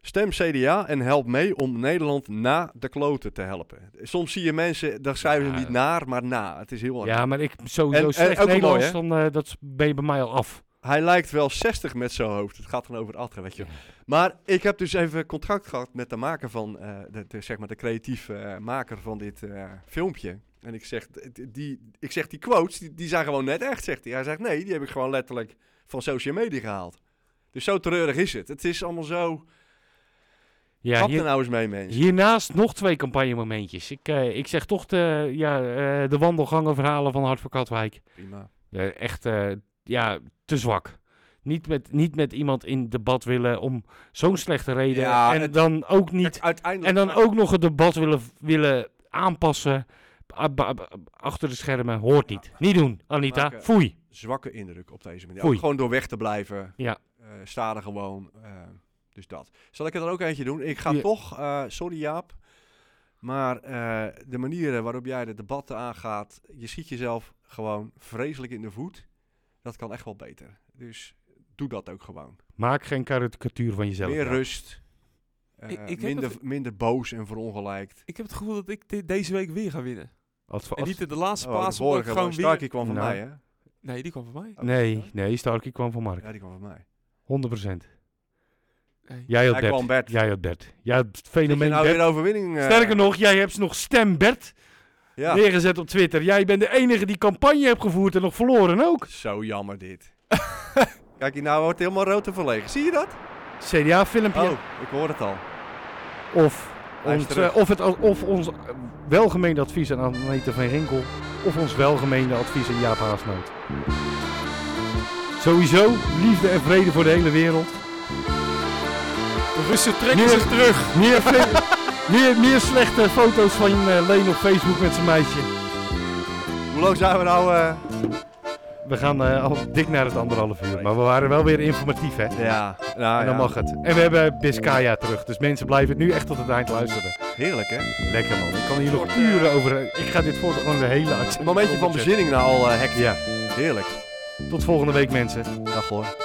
Speaker 5: Stem CDA en help mee om Nederland na de kloten te helpen. Soms zie je mensen, daar schrijven
Speaker 3: Ja.
Speaker 5: ze niet naar, maar na. Het is heel erg.
Speaker 3: Ja, maar ik sowieso
Speaker 5: En- en
Speaker 3: slecht
Speaker 5: ook wel mooi,
Speaker 3: Nederlands,
Speaker 5: hè?
Speaker 3: dan eh, dat ben je bij mij al af.
Speaker 5: Hij lijkt wel 60 met zijn hoofd. Het gaat dan over het atra, weet je. wel. Maar ik heb dus even contact gehad met de maker van, eh, de, de, zeg maar de creatieve eh, maker van dit eh, filmpje. En ik zeg, d- d- die, ik zeg, die quotes, die, die zijn gewoon net echt, zegt hij. Hij zegt, nee, die heb ik gewoon letterlijk van social media gehaald. Dus zo treurig is het. Het is allemaal zo,
Speaker 3: Ja,
Speaker 5: kap
Speaker 3: hier-
Speaker 5: er nou eens mee, mensen.
Speaker 3: hiernaast nog twee campagnemomentjes. Ik, eh, ik zeg toch de, ja, eh, de wandelgangenverhalen van Hart voor Katwijk.
Speaker 5: Prima.
Speaker 3: Eh, echt, eh, ja, te zwak. Niet met, niet met iemand in debat willen om zo'n slechte reden.
Speaker 5: Ja,
Speaker 3: en
Speaker 5: het-
Speaker 3: dan ook niet.
Speaker 5: Uiteindelijk...
Speaker 3: En dan ook nog het debat willen, willen aanpassen. A- ba- ba- Achter de schermen hoort niet. Niet doen, Anita.
Speaker 5: Maken.
Speaker 3: Foei.
Speaker 5: zwakke indruk op deze manier.
Speaker 3: Foei.
Speaker 5: Ook gewoon door weg te blijven.
Speaker 3: Ja.
Speaker 5: Eh, sta er gewoon. eh, dus dat. Zal ik er dan ook eentje doen? Ik ga
Speaker 3: Ja.
Speaker 5: toch, eh, sorry Jaap, maar eh, de manieren waarop jij de debatten aangaat, je schiet jezelf gewoon vreselijk in de voet. Dat kan echt wel beter. Dus doe dat ook gewoon.
Speaker 3: Maak geen karikatuur van jezelf.
Speaker 5: Meer
Speaker 3: ja.
Speaker 5: rust. eh,
Speaker 6: Ik- ik heb
Speaker 5: minder,
Speaker 6: het-
Speaker 5: minder boos en verongelijkt.
Speaker 6: Ik heb het gevoel dat ik dit deze week weer ga winnen.
Speaker 3: Als-
Speaker 6: En
Speaker 3: als-
Speaker 6: niet in de laatste
Speaker 5: Oh, de
Speaker 6: paas, maar ik
Speaker 5: vorige
Speaker 6: gewoon weer...
Speaker 5: Starkie kwam van
Speaker 3: Nou.
Speaker 5: mij, hè? Oh,
Speaker 6: Nee, die kwam van mij.
Speaker 3: Nee, nee, Starkey kwam van Mark.
Speaker 5: Ja, die kwam van mij.
Speaker 3: 100%.
Speaker 6: Nee.
Speaker 3: Jij had
Speaker 5: Hij
Speaker 3: Bert.
Speaker 5: kwam Bert.
Speaker 3: Jij had Bert. Jij had het
Speaker 5: Zit je
Speaker 3: fenomeen
Speaker 5: nou
Speaker 3: Bert.
Speaker 5: weer de overwinning. eh,
Speaker 3: Sterker nog, jij hebt nog stem Bert
Speaker 5: Ja.
Speaker 3: neergezet op Twitter. Jij bent de enige die campagne hebt gevoerd en nog verloren ook.
Speaker 5: Zo jammer dit. Kijk, hier nou wordt het helemaal rood en verlegen. Zie je dat?
Speaker 3: CDA-filmpje.
Speaker 5: Oh, ik hoor het al.
Speaker 6: Oh.
Speaker 3: Of,
Speaker 5: Hij is
Speaker 3: ons,
Speaker 5: terug.
Speaker 3: eh, of, het, al- of ons eh, welgemeende advies aan Anita van Rinkel. Of ons welgemeende advies aan Jaap Haasnoot. Sowieso, liefde en vrede voor de hele wereld.
Speaker 6: De Russen trekken
Speaker 3: Meer-
Speaker 6: zich terug.
Speaker 3: Meer, fi- meer, meer slechte foto's van eh, Leen op Facebook met zijn meisje.
Speaker 5: Hoe lang zijn we nou? eh?
Speaker 3: We gaan eh, al dik naar het anderhalf uur. Maar we waren wel weer informatief,
Speaker 6: Ah,
Speaker 3: hè?
Speaker 5: Ja, nou,
Speaker 3: En dan
Speaker 5: ja.
Speaker 3: mag het. En we hebben Biscaya terug. Dus mensen blijven nu echt tot het eind luisteren.
Speaker 5: Heerlijk, hè? Een
Speaker 3: Lekker man. Ik kan hier nog uren over. eh, Ik ga dit voortaan gewoon de hele uitzending.
Speaker 5: momentje van
Speaker 3: opzetten.
Speaker 5: bezinning nou al eh hectisch.
Speaker 3: Ja.
Speaker 5: Heerlijk.
Speaker 3: Tot volgende week mensen.
Speaker 5: Dag hoor.